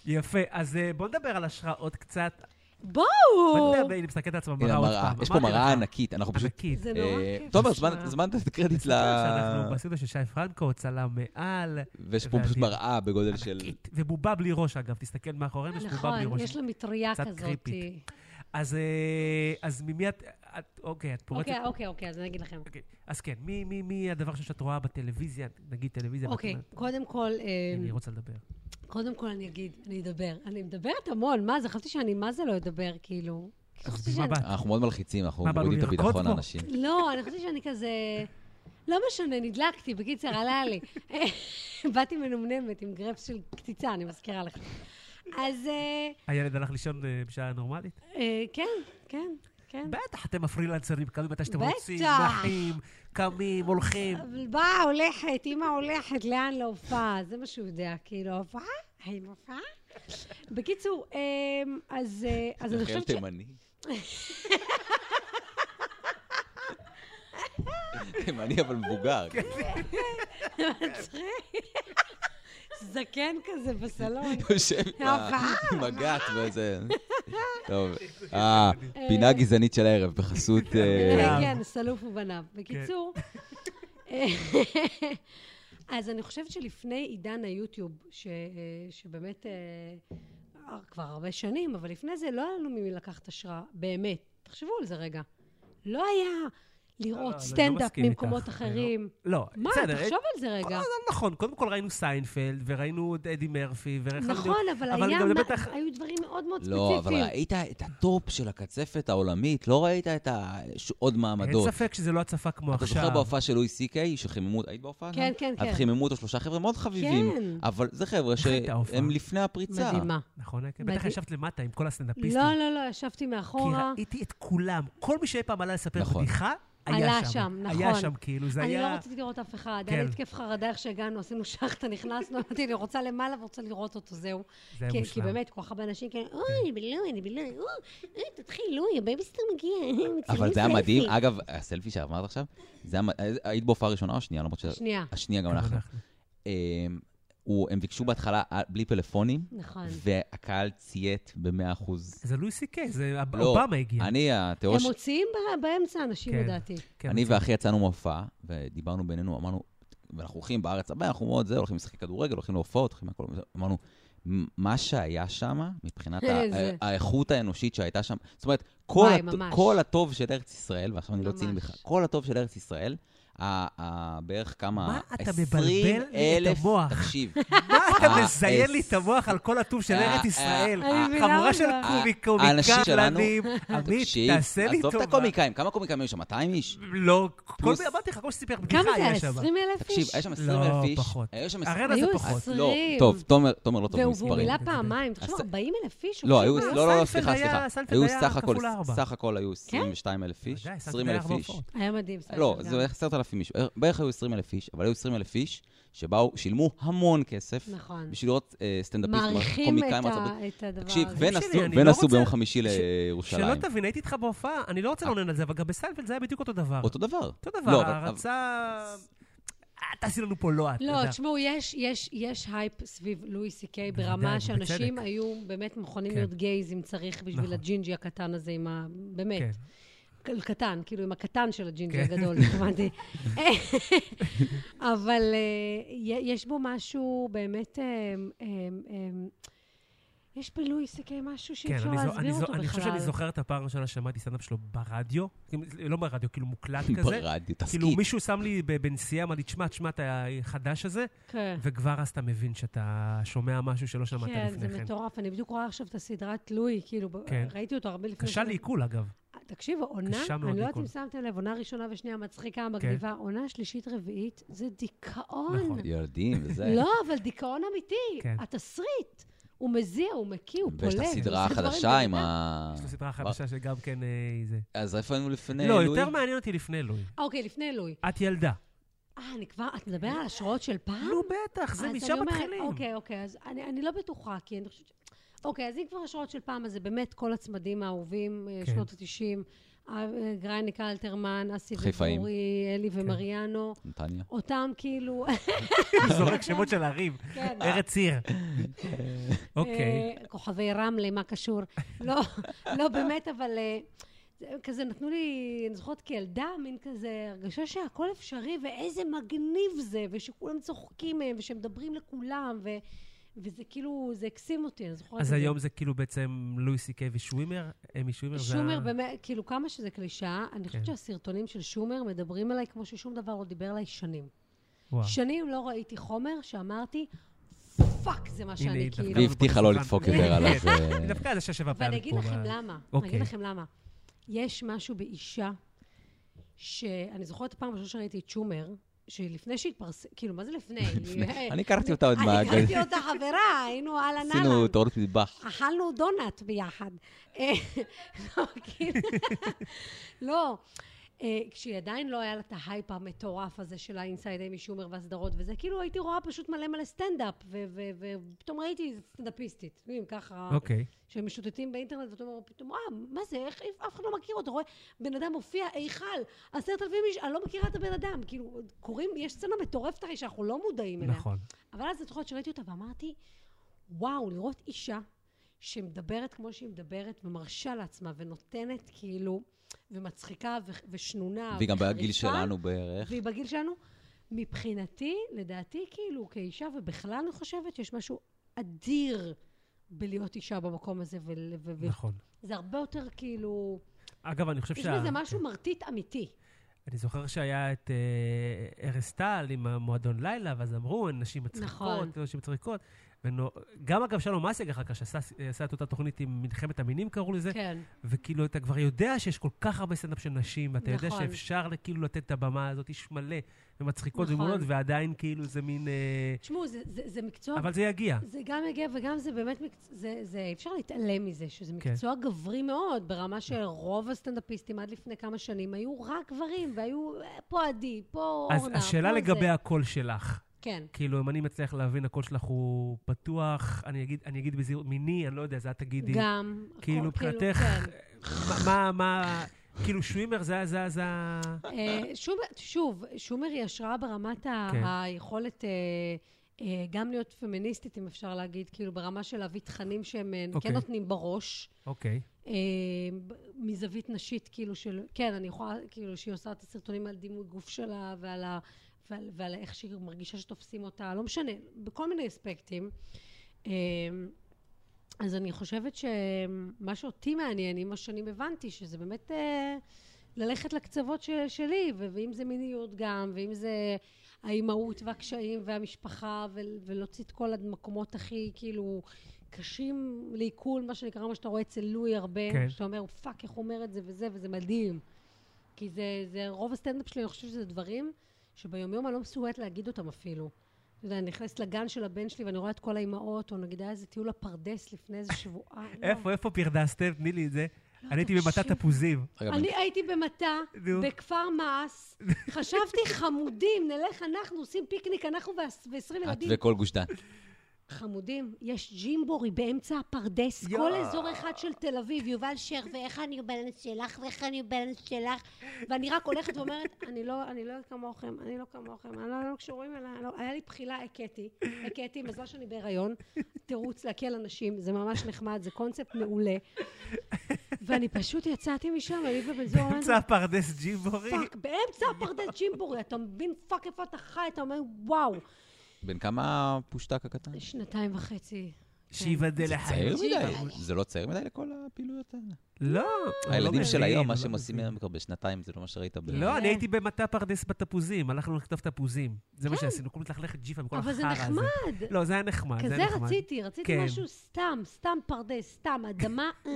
S2: יפה, אז אה, בוא נדבר על השראות קצת.
S3: בואו!
S2: בוא נדבר, הנה, מסתכלת לעצמה
S1: לא- הנה
S2: מראה עוד
S1: המראה,
S2: פעם.
S1: יש פה
S2: אמרתי
S1: מראה
S2: לך, כן,
S1: ענקית, אנחנו פשוט...
S2: ענקית.
S3: זה נורא
S1: אה,
S3: כיף.
S1: תומר,
S3: זה
S1: זמן-
S3: נורא.
S1: זמנת את הקרדיט ל...
S2: לא- שאנחנו בסרט של שי פרנקו, צלם מעל.
S1: ויש פה פשוט
S2: ועדי.
S1: מראה בגודל של...
S2: ענקית. ובובה בלי ראש, אגב, תסתכל מאחורינו, יש בובה בלי
S3: נכון,
S2: ראש.
S3: יש לה מטריה
S2: קצת
S3: כזאת. אוקיי,
S2: קריפית. אז, אה, אז ממי את... את- אוקיי, את פורצת...
S3: אוקיי, אוקיי, אוקיי, אז אני אגיד לכם.
S2: אוקיי. אז כן, מי- מי מי הדבר הראשון שאת רואה בטלוויזיה, נגיד טלוויזיה? ואת
S3: אוקיי,
S2: אומרת,
S3: קודם כל, אה,
S2: אני רוצה לדבר.
S3: קודם כל אני אגיד, אני אדבר. אני מדברת המון, מה זה? חשבתי שאני מה זה לא אדבר, כאילו. חשבתי
S2: בשביל מה
S3: שאני-
S2: באת?
S1: אנחנו מאוד מלחיצים, אנחנו
S2: מה, באנו
S1: מורידים את
S2: לרקוד
S1: הביטחון
S2: פה?
S1: לאנשים.
S3: לא, אני חושבת שאני כזה... לא משנה, נדלקתי, בקיצר, עלה לי. באתי מנומנמת עם גרפס של קציצה, אני מזכירה לך. אז אה,
S2: הילד הלך לישון אה, בשעה נורמלית?
S3: אה, כן, כן, כן.
S2: בטח, אתם הפרילנסרים, קמים מתי שאתם
S3: בטח.
S2: רוצים, נחים, קמים, הולכים.
S3: אבל באה הולכת, אימא הולכת, לאן להופעה? זה מה שהוא יודע, כאילו, הופעה? האם הופעה? בקיצור, אמ, אז אה, אז אני
S1: זה חייל
S3: חושבת ש...
S1: תימני. תימני אבל מבוגר.
S2: כן.
S3: זקן כזה בסלון.
S1: יושב עם ה-
S3: אבל-
S1: עם הגת וזה. טוב. אה, פינה גזענית של הערב בחסות... אה,
S3: כן,
S2: אה.
S3: כן, סלוף ובניו. בקיצור, אה, אז אני חושבת שלפני עידן היוטיוב, ש- אה, שבאמת אה, כבר הרבה שנים, אבל לפני זה לא היה לנו ממי לקחת השראה, באמת. תחשבו על זה רגע. לא היה
S2: לא, לא,
S3: לראות
S2: לא
S3: סטנדאפ
S2: מסכים איתך.
S3: ממקומות
S2: אני לא-
S3: אחרים.
S2: לא,
S3: מה,
S2: בסדר.
S3: תחשוב על זה
S2: כל
S3: רגע.
S2: הזמן נכון, קודם כל ראינו סיינפלד, וראינו את אדי מרפי, וראינו...
S3: נכון, אבל
S2: אבל
S3: היה
S2: גם
S3: מה-
S2: לבטח-
S3: היו דברים מאוד מאוד
S1: לא, אבל
S3: ספציפיים.
S1: ראית את הטופ של הקצפת העולמית, לא ראית את ה- ש- עוד מעמדות.
S2: אין ספק שזה לא הצפה כמו
S1: אתה
S2: עכשיו.
S1: זוכר בהופעה של לואי סי קיי, שחיממו, היית בהופעה?
S3: כן,
S1: נעם?
S3: כן,
S1: אז
S3: כן.
S1: חיממו אותו שלושה חבר'ה מאוד חביבים.
S3: כן.
S1: אבל זה חבר'ה
S2: איך הייתה ההופעה?
S1: שהם לפני הפריצה.
S3: מדהימה.
S2: נכון, כן?
S3: מדהים.
S2: בטח ישבת למטה עם כל הסטנדאפיסטים.
S3: לא, לא, לא, ישבתי מאחורה.
S2: כי ראיתי את כולם. כל מי שאי פעם עלה לספר
S1: נכון.
S2: בדיחה, היה
S3: עלה
S2: שם.
S3: שם,
S2: היה
S3: נכון.
S2: שם, כאילו, זה
S3: אני
S2: היה...
S3: לא רציתי לראות אף אחד.
S2: כן.
S3: היה לי התקף חרדה איך שהגענו, עשינו שחטה, נכנסנו, אמרתי, אני רוצה למעלה ורוצה לראות אותו, זהו.
S2: זה היה
S3: כן, כי- כי
S2: מושלם. כן.
S3: באמת, כל כך הרבה אנשים כאלה, אוי, אני בלוי, אני בלוי, אוי, אוי, תתחיל, לוי, הבייביסטר מגיע, מצלמים
S1: אבל זה היה
S3: סלפי."
S1: מדהים. אגב, הסלפי שאמרת עכשיו, זה היה... מד- היית בהופעה ראשונה או שנייה? למרות ש...
S3: שנייה. כן,
S1: השנייה גם
S2: גם
S1: אנחנו.
S2: אנחנו.
S1: אמ, הוא- הם ביקשו בהתחלה אה, בלי פלאפונים,
S3: נכון.
S1: והקהל ציית במאה אחוז.
S2: זה לואי סי קיי, זה
S1: לא,
S2: אובמה הגיע.
S1: אני, התיאוריה
S3: כן. הם
S1: ש-
S3: מוציאים ב- באמצע אנשים,
S2: כן.
S3: לדעתי.
S2: כן,
S1: אני
S2: זה-
S1: ואחי יצאנו מהופעה, ודיברנו בינינו, אמרנו, ואנחנו הולכים בארץ הבאה, אנחנו מאוד זה, הולכים לשחק כדורגל, הולכים להופעות, הולכים הכל, וזה." אמרנו, "מ- מה שהיה שם, מבחינת ה-
S3: איזה.
S1: ה- האיכות האנושית שהייתה שם, זאת אומרת, כל
S3: וואי,
S1: הט-
S3: ממש.
S1: כל הטוב של ארץ ישראל, ועכשיו אני לא ציני
S3: ממש.
S1: בכלל, כל הטוב של ארץ ישראל, ה- ה- בערך
S2: מה
S1: כמה,
S2: אתה מבלבל לי
S1: 20
S2: את
S1: אלף,
S2: המוח?
S1: תקשיב,
S2: מה אתה
S1: אה,
S2: מזיין
S1: אה,
S2: לי את המוח על כל הטוב של
S1: אה,
S2: ארץ
S1: אה,
S2: ישראל?
S1: אני
S3: מבינה
S2: חבורה של
S3: אותך.
S1: האנשים שלנו-
S2: קומיקלנים. עמית,
S1: תקשיב,
S2: תעשה לי
S1: עזוב את
S2: טובה.
S1: הקומיקאים, כמה קומיקאים היו שם? 200 איש?
S2: לא, כל
S1: פלוס-
S2: מי, אמרתי לך, כל שסיפר
S3: כמה
S2: בדיחה
S3: זה
S2: היה
S3: היה?
S2: שם.
S3: 20 אלף
S1: תקשיב,
S3: איש?
S1: היה שם 20
S2: לא,
S1: אלף איש,
S2: פחות.
S1: היו שם
S2: ארנה זה
S3: היו
S2: פחות. כן,
S1: אז לא,
S3: 20.
S1: טוב, תומר, תומר לא טוב
S3: והוא והוא
S1: במספרים.
S3: מילא פעמיים, תחשוב,
S1: אז-
S3: 40 אלף איש?
S1: לא, היו,
S3: הולכים
S1: לא,
S3: לה-
S1: לא, לא,
S2: סיינפלד
S1: סליחה,
S2: אה, היה-
S1: סליחה.
S2: סיינפלד
S1: היו
S2: היה
S1: סך הכל,
S2: כפול ארבע. כן?
S1: סך הכל היו 22 אלף איש,
S2: ודאי, סך
S1: 20
S2: הכל
S1: אלף
S2: ארבע
S1: איש.
S2: הופעות.
S3: היה מדהים. סתם
S1: לא,
S3: שזה
S1: זה
S3: היה-
S1: בערך 10,000 איש. אה, בערך היו 20 אלף איש, אבל היו 20 אלף איש שבאו, שילמו המון כסף.
S3: נכון.
S1: בשביל לראות אה, סטנדאפיסט,
S3: מעריכים את
S1: קומיקאים,
S3: ה-
S1: ארצות הברית.
S3: את הדבר
S1: תקשיב,
S3: הזה.
S2: שלי,
S1: ונסעו-
S2: אני לא
S1: ונסעו
S2: רוצה-
S1: ביום חמישי
S2: ש-
S1: לירושלים.
S2: שלא תבין, הייתי איתך בהופעה, אני לא רוצה לעונן על זה, אבל גם בסיינפלד זה היה בדיוק אותו דבר.
S1: אותו דבר.
S2: אותו דבר,
S1: אה. אוקיי. לא, אבל-
S2: הערצה... אה, תעשי לנו פה לא את. אתה
S3: לא,
S2: יודע.
S3: תשמעו, יש, יש, יש הייפ סביב לואי סי קיי
S2: בוודאי,
S3: ברמה
S2: ובצדק.
S3: שאנשים היו באמת מוכנים
S2: כן.
S3: להיות גייז אם צריך בשביל
S2: נכון.
S3: הג'ינג'י הקטן הזה עם ה... באמת.
S2: כן.
S3: כן. קטן, כאילו עם הקטן של הג'ינג'י
S2: כן.
S3: הגדול, התכוונתי. אבל אה, י- יש בו משהו באמת... אה, אה, אה, יש בלואי סי קיי משהו שאי
S2: כן,
S3: אפשר
S2: אני זו- אני
S3: להסביר
S2: זו-
S3: אותו בכלל.
S2: אני חושב שאני זוכר את הפעם הראשונה ששמעתי סטנדאפ שלו ברדיו, כאילו, לא ברדיו, כאילו מוקלט כזה.
S1: ברדיו,
S2: כאילו
S1: תסכים.
S2: מישהו שם לי ב- בנסיעה, אמר לי, תשמע, תשמע, אתה חדש הזה,
S3: כן.
S2: וכבר אז אתה מבין שאתה שומע משהו שלא שמעת
S3: כן,
S2: לפני
S3: זה
S2: כן.
S3: מטורף. אני בדיוק רואה עכשיו את הסדרת לואי, כאילו, ב-
S2: כן.
S3: ראיתי אותו הרבה לפני...
S2: קשה
S3: שנים.
S2: לעיכול, אגב.
S3: תקשיבו, עונה,
S2: קשה מאוד, כן.
S3: אני לא יודעת
S2: ניקול.
S3: אם שמתם לב, עונה ראשונה ושנייה מצחיקה, מגניבה, עונה שלישית, רביעית, זה
S2: נכון.
S3: דיכאון.
S1: ילדים וזה.
S3: לא, אבל דיכאון אמיתי.
S2: כן.
S3: התסריט. הוא מזיע, הוא מקיא, הוא פולט.
S1: ויש את הסדרה
S3: הוא עושה
S1: החדשה
S3: דברים
S1: עם
S3: בן אדם.
S1: ה...
S2: יש לו סדרה חדשה שגם כן אה, זה.
S1: אז איפה היינו לפני?
S2: לא,
S1: לואי?
S2: יותר מעניין אותי לפני לואי.
S3: אה, אוקיי, לפני אלוהי.
S2: את ילדה.
S3: אה, אני כבר, את מדברת על השראות של פעם?
S2: נו, בטח,
S3: אה, אז
S2: זה
S3: אני
S2: משם
S3: אומרת,
S2: מתחילים.
S3: אוקיי, אוקיי, אז אני, אני לא בטוחה, כי אני חושבת ש... אוקיי, אז אם כבר השראות של פעם, אז זה באמת כל הצמדים האהובים, אה,
S2: כן.
S3: שנות אה, ה-90, גרייניק אלתרמן, אסי
S1: חיפאים.
S3: וגורי, אלי
S2: כן.
S3: ומריאנו,
S1: נתניה.
S3: אותם כאילו...
S2: הוא זורק שמות של ערים.
S3: כן.
S2: ארץ עיר. אוקיי.
S3: אה, כוכבי רמלה, מה קשור? לא, לא באמת, אבל אה, זה כזה נתנו לי, אני זוכרת כילדה, מין כזה הרגשה שהכל אפשרי, ואיזה מגניב זה, ושכולם צוחקים מהם, ושמדברים לכולם, ו... וזה כאילו, זה הקסים אותי, אני זוכרת את
S2: אז
S3: זה.
S2: היום זה כאילו בעצם לואי סי קיי ושווימר? אמי שווימר זה... ה-
S3: שומר באמת, כאילו כמה שזה קלישאה, אני
S2: כן.
S3: חושבת שהסרטונים של שומר מדברים עליי כמו ששום דבר לא דיבר עליי שנים.
S2: וואו.
S3: שנים לא ראיתי חומר שאמרתי, פאק, זה מה
S2: הנה,
S3: שאני
S2: היא דווקא
S3: כאילו...
S1: והיא הבטיחה לא לדפוק יותר עליו. אה,
S2: היא דווקא על השש שבע פעמים.
S3: ואני אגיד
S2: פה
S3: לכם
S2: ב-
S3: למה. אני
S2: אוקיי.
S3: אגיד לכם למה. יש משהו באישה, שאני זוכרת את הפעם הראשונה שראיתי את שומר, שלפני שהתפרסם, כאילו, מה זה לפני?
S1: אני הכרתי אותה עוד
S3: אני
S1: מהגל.
S3: הכרתי אותה חברה, היינו אהלן
S1: עשינו
S3: אהלן.
S1: תורת מטבח.
S3: אכלנו דונלד ביחד. אה, לא, כאילו, לא. אה, כשהיא עדיין לא היה לה את ההייפ המטורף הזה של האינסייד אמי שומר והסדרות וזה, כאילו הייתי רואה פשוט מלא מלא סטנדאפ, ו- ו- ו- ופתאום ראיתי סטנדאפיסטית, אתם יודעים, ככה,
S2: אוקיי.
S3: שהם משוטטים באינטרנט, ואתה אומר, פתאום, אה, מה זה, איך, איך- אף אחד לא מכיר אותו, רואה, בן אדם מופיע, היכל, עשרת אלפים איש, אני לא מכירה את הבן אדם, כאילו, קוראים, יש סצנה מטורפת הרי שאנחנו לא מודעים אליה.
S2: נכון.
S3: אבל אז אני זוכרת שראיתי אותה ואמרתי, וואו, לראות אישה שמדברת כמו שהיא מדברת ומרשה לעצמה ונותנת כאילו, ומצחיקה ו-
S2: אה,
S3: ושנונה.
S1: והיא גם בגיל
S3: וחריפה,
S1: שלנו בערך.
S3: והיא בגיל שלנו. מבחינתי, לדעתי, כאילו, כאישה, ובכלל אני חושבת שיש משהו אדיר בלהיות אישה במקום הזה, ול- ו- ו-
S2: נכון.
S3: זה הרבה יותר כאילו,
S2: אגב, אני חושב
S3: יש
S2: שה...
S3: בזה משהו מרטיט אמיתי.
S2: אני זוכר שהיה את אה, ארז טל עם המועדון לילה, ואז אמרו, "הן נשים
S3: נכון.
S2: מצחיקות, נשים מצחיקות. ונו- גם אגב שלום אסיג אחר כך, שעשה עשה את אותה תוכנית עם מלחמת המינים, קראו לזה,
S3: כן.
S2: וכאילו אתה כבר יודע שיש כל כך הרבה סטנדאפ של נשים, ואתה יודע
S3: נכון.
S2: שאפשר כאילו לתת את הבמה הזאת, איש מלא ומצחיקות
S3: נכון.
S2: ומעולות, ועדיין כאילו זה מין... אה,
S3: תשמעו, זה, זה, זה מקצוע
S2: אבל זה יגיע.
S3: זה גם מגיע וגם זה באמת, מקצ... זה, זה, אי אפשר להתעלם מזה, שזה
S2: כן.
S3: מקצוע גברי מאוד, ברמה שרוב הסטנדאפיסטים עד לפני כמה שנים היו רק גברים, והיו אה, פה עדי, פה
S2: אז
S3: אורנה,
S2: השאלה
S3: פה
S2: לגבי
S3: זה.
S2: הקול שלך.
S3: כן.
S2: כאילו, אם אני מצליח להבין, הקול שלך הוא פתוח, אני אגיד, אני אגיד בזהירות, מיני, אני לא יודע, זה את תגידי.
S3: גם.
S2: כאילו,
S3: הכל-
S2: מבחינתך,
S3: כן.
S2: מה- מה, מה, כאילו, שווימר זה, זה, זה, ה-
S3: אה, שומר, שוב, שומר היא השראה ברמת ה-
S2: כן.
S3: היכולת אה, אה, גם להיות פמיניסטית, אם אפשר להגיד, כאילו, ברמה של להביא תכנים שהם אה,
S2: אוקיי.
S3: כן נותנים בראש.
S2: אוקיי.
S3: אה, ב- מזווית נשית, כאילו של... כן, אני יכולה, כאילו, שהיא עושה את הסרטונים על דימוי גוף שלה ועל, ה, ועל, ועל איך שהיא מרגישה שתופסים אותה, לא משנה, בכל מיני אספקטים. אה, אז אני חושבת שמה שאותי מעניין, עם השנים הבנתי שזה באמת אה, ללכת לקצוות ש, שלי, ו- ואם זה מיניות גם, ואם זה האימהות והקשיים והמשפחה, ו- ולהוציא את כל המקומות הכי, כאילו... קשים לעיכול, מה שנקרא, מה שאתה רואה אצל לואי הרבה,
S2: כן.
S3: כן. שאתה אומר, פאק, איך הוא אומר את זה וזה, וזה מדהים. כי זה, זה רוב הסטנדאפ שלי, אני חושבת שזה דברים שביומיום אני לא מסוגלת להגיד אותם אפילו. אתה יודע, אני נכנסת לגן של הבן שלי ואני רואה את כל האימהות, או נגיד היה איזה טיול לפרדס לפני איזה שבועיים.
S2: איפה, איפה פרדסתם? תני לי את זה.
S3: לא,
S2: אני הייתי במטע
S3: תקשיב.
S2: תפוזים.
S1: אגב,
S3: אני הייתי במטע,
S2: נו.
S3: בכפר מעש, חשבתי חמודים, נלך אנחנו, עושים פיקניק, אנחנו ועשרים
S1: את
S3: ילדים.
S1: וכל גוש דן.
S3: חמודים, יש ג'ימבורי באמצע הפרדס,
S2: יואו.
S3: כל אזור אחד של תל אביב, יובל שר, ואיך הניו בלנס שלך, ואיך הניו בלנס שלך, ואני רק הולכת ואומרת, אני לא, אני לא כמוכם, אני לא כמוכם, אני לא, לא קשורים אליי, לא, היה לי בחילה, הכיתי, הכיתי, מזל שאני בהיריון, תירוץ להקל אנשים, זה ממש נחמד, זה קונספט מעולה. ואני פשוט יצאתי משם, אני ובן זוג אמרנו,
S2: באמצע הפרדס ג'יבורי.
S3: פאק, באמצע הפרדס ג'ימבורי, אתה מבין פאק איפה אתה חי, אתה אומר, וואו.
S1: בן כמה פושטק הקטן?
S3: שנתיים וחצי.
S2: שייבדל
S1: זה צעיר
S2: לחיים.
S1: מדי,
S3: ג'יבה.
S1: זה לא צעיר מדי לכל הפעילויות האלה.
S2: לא. לא
S1: אה, הילדים של
S2: מבין,
S1: היום, מה
S2: לא
S1: שהם עושים
S2: מבין.
S1: היום כבר בשנתיים, זה לא מה שראית ב...
S2: לא, אני
S3: כן.
S2: הייתי במטע פרדס בתפוזים, הלכנו לכתוב תפוזים. זה מה
S3: כן.
S2: שעשינו, קוראים לתלכלך ג'יפה מכל החרא
S3: אבל
S2: הזה.
S3: זה נחמד.
S2: לא, זה היה נחמד, זה
S3: כזה
S2: היה נחמד.
S3: רציתי, רציתי
S2: כן.
S3: משהו סתם, סתם פרדס, סתם, אדמה, אה,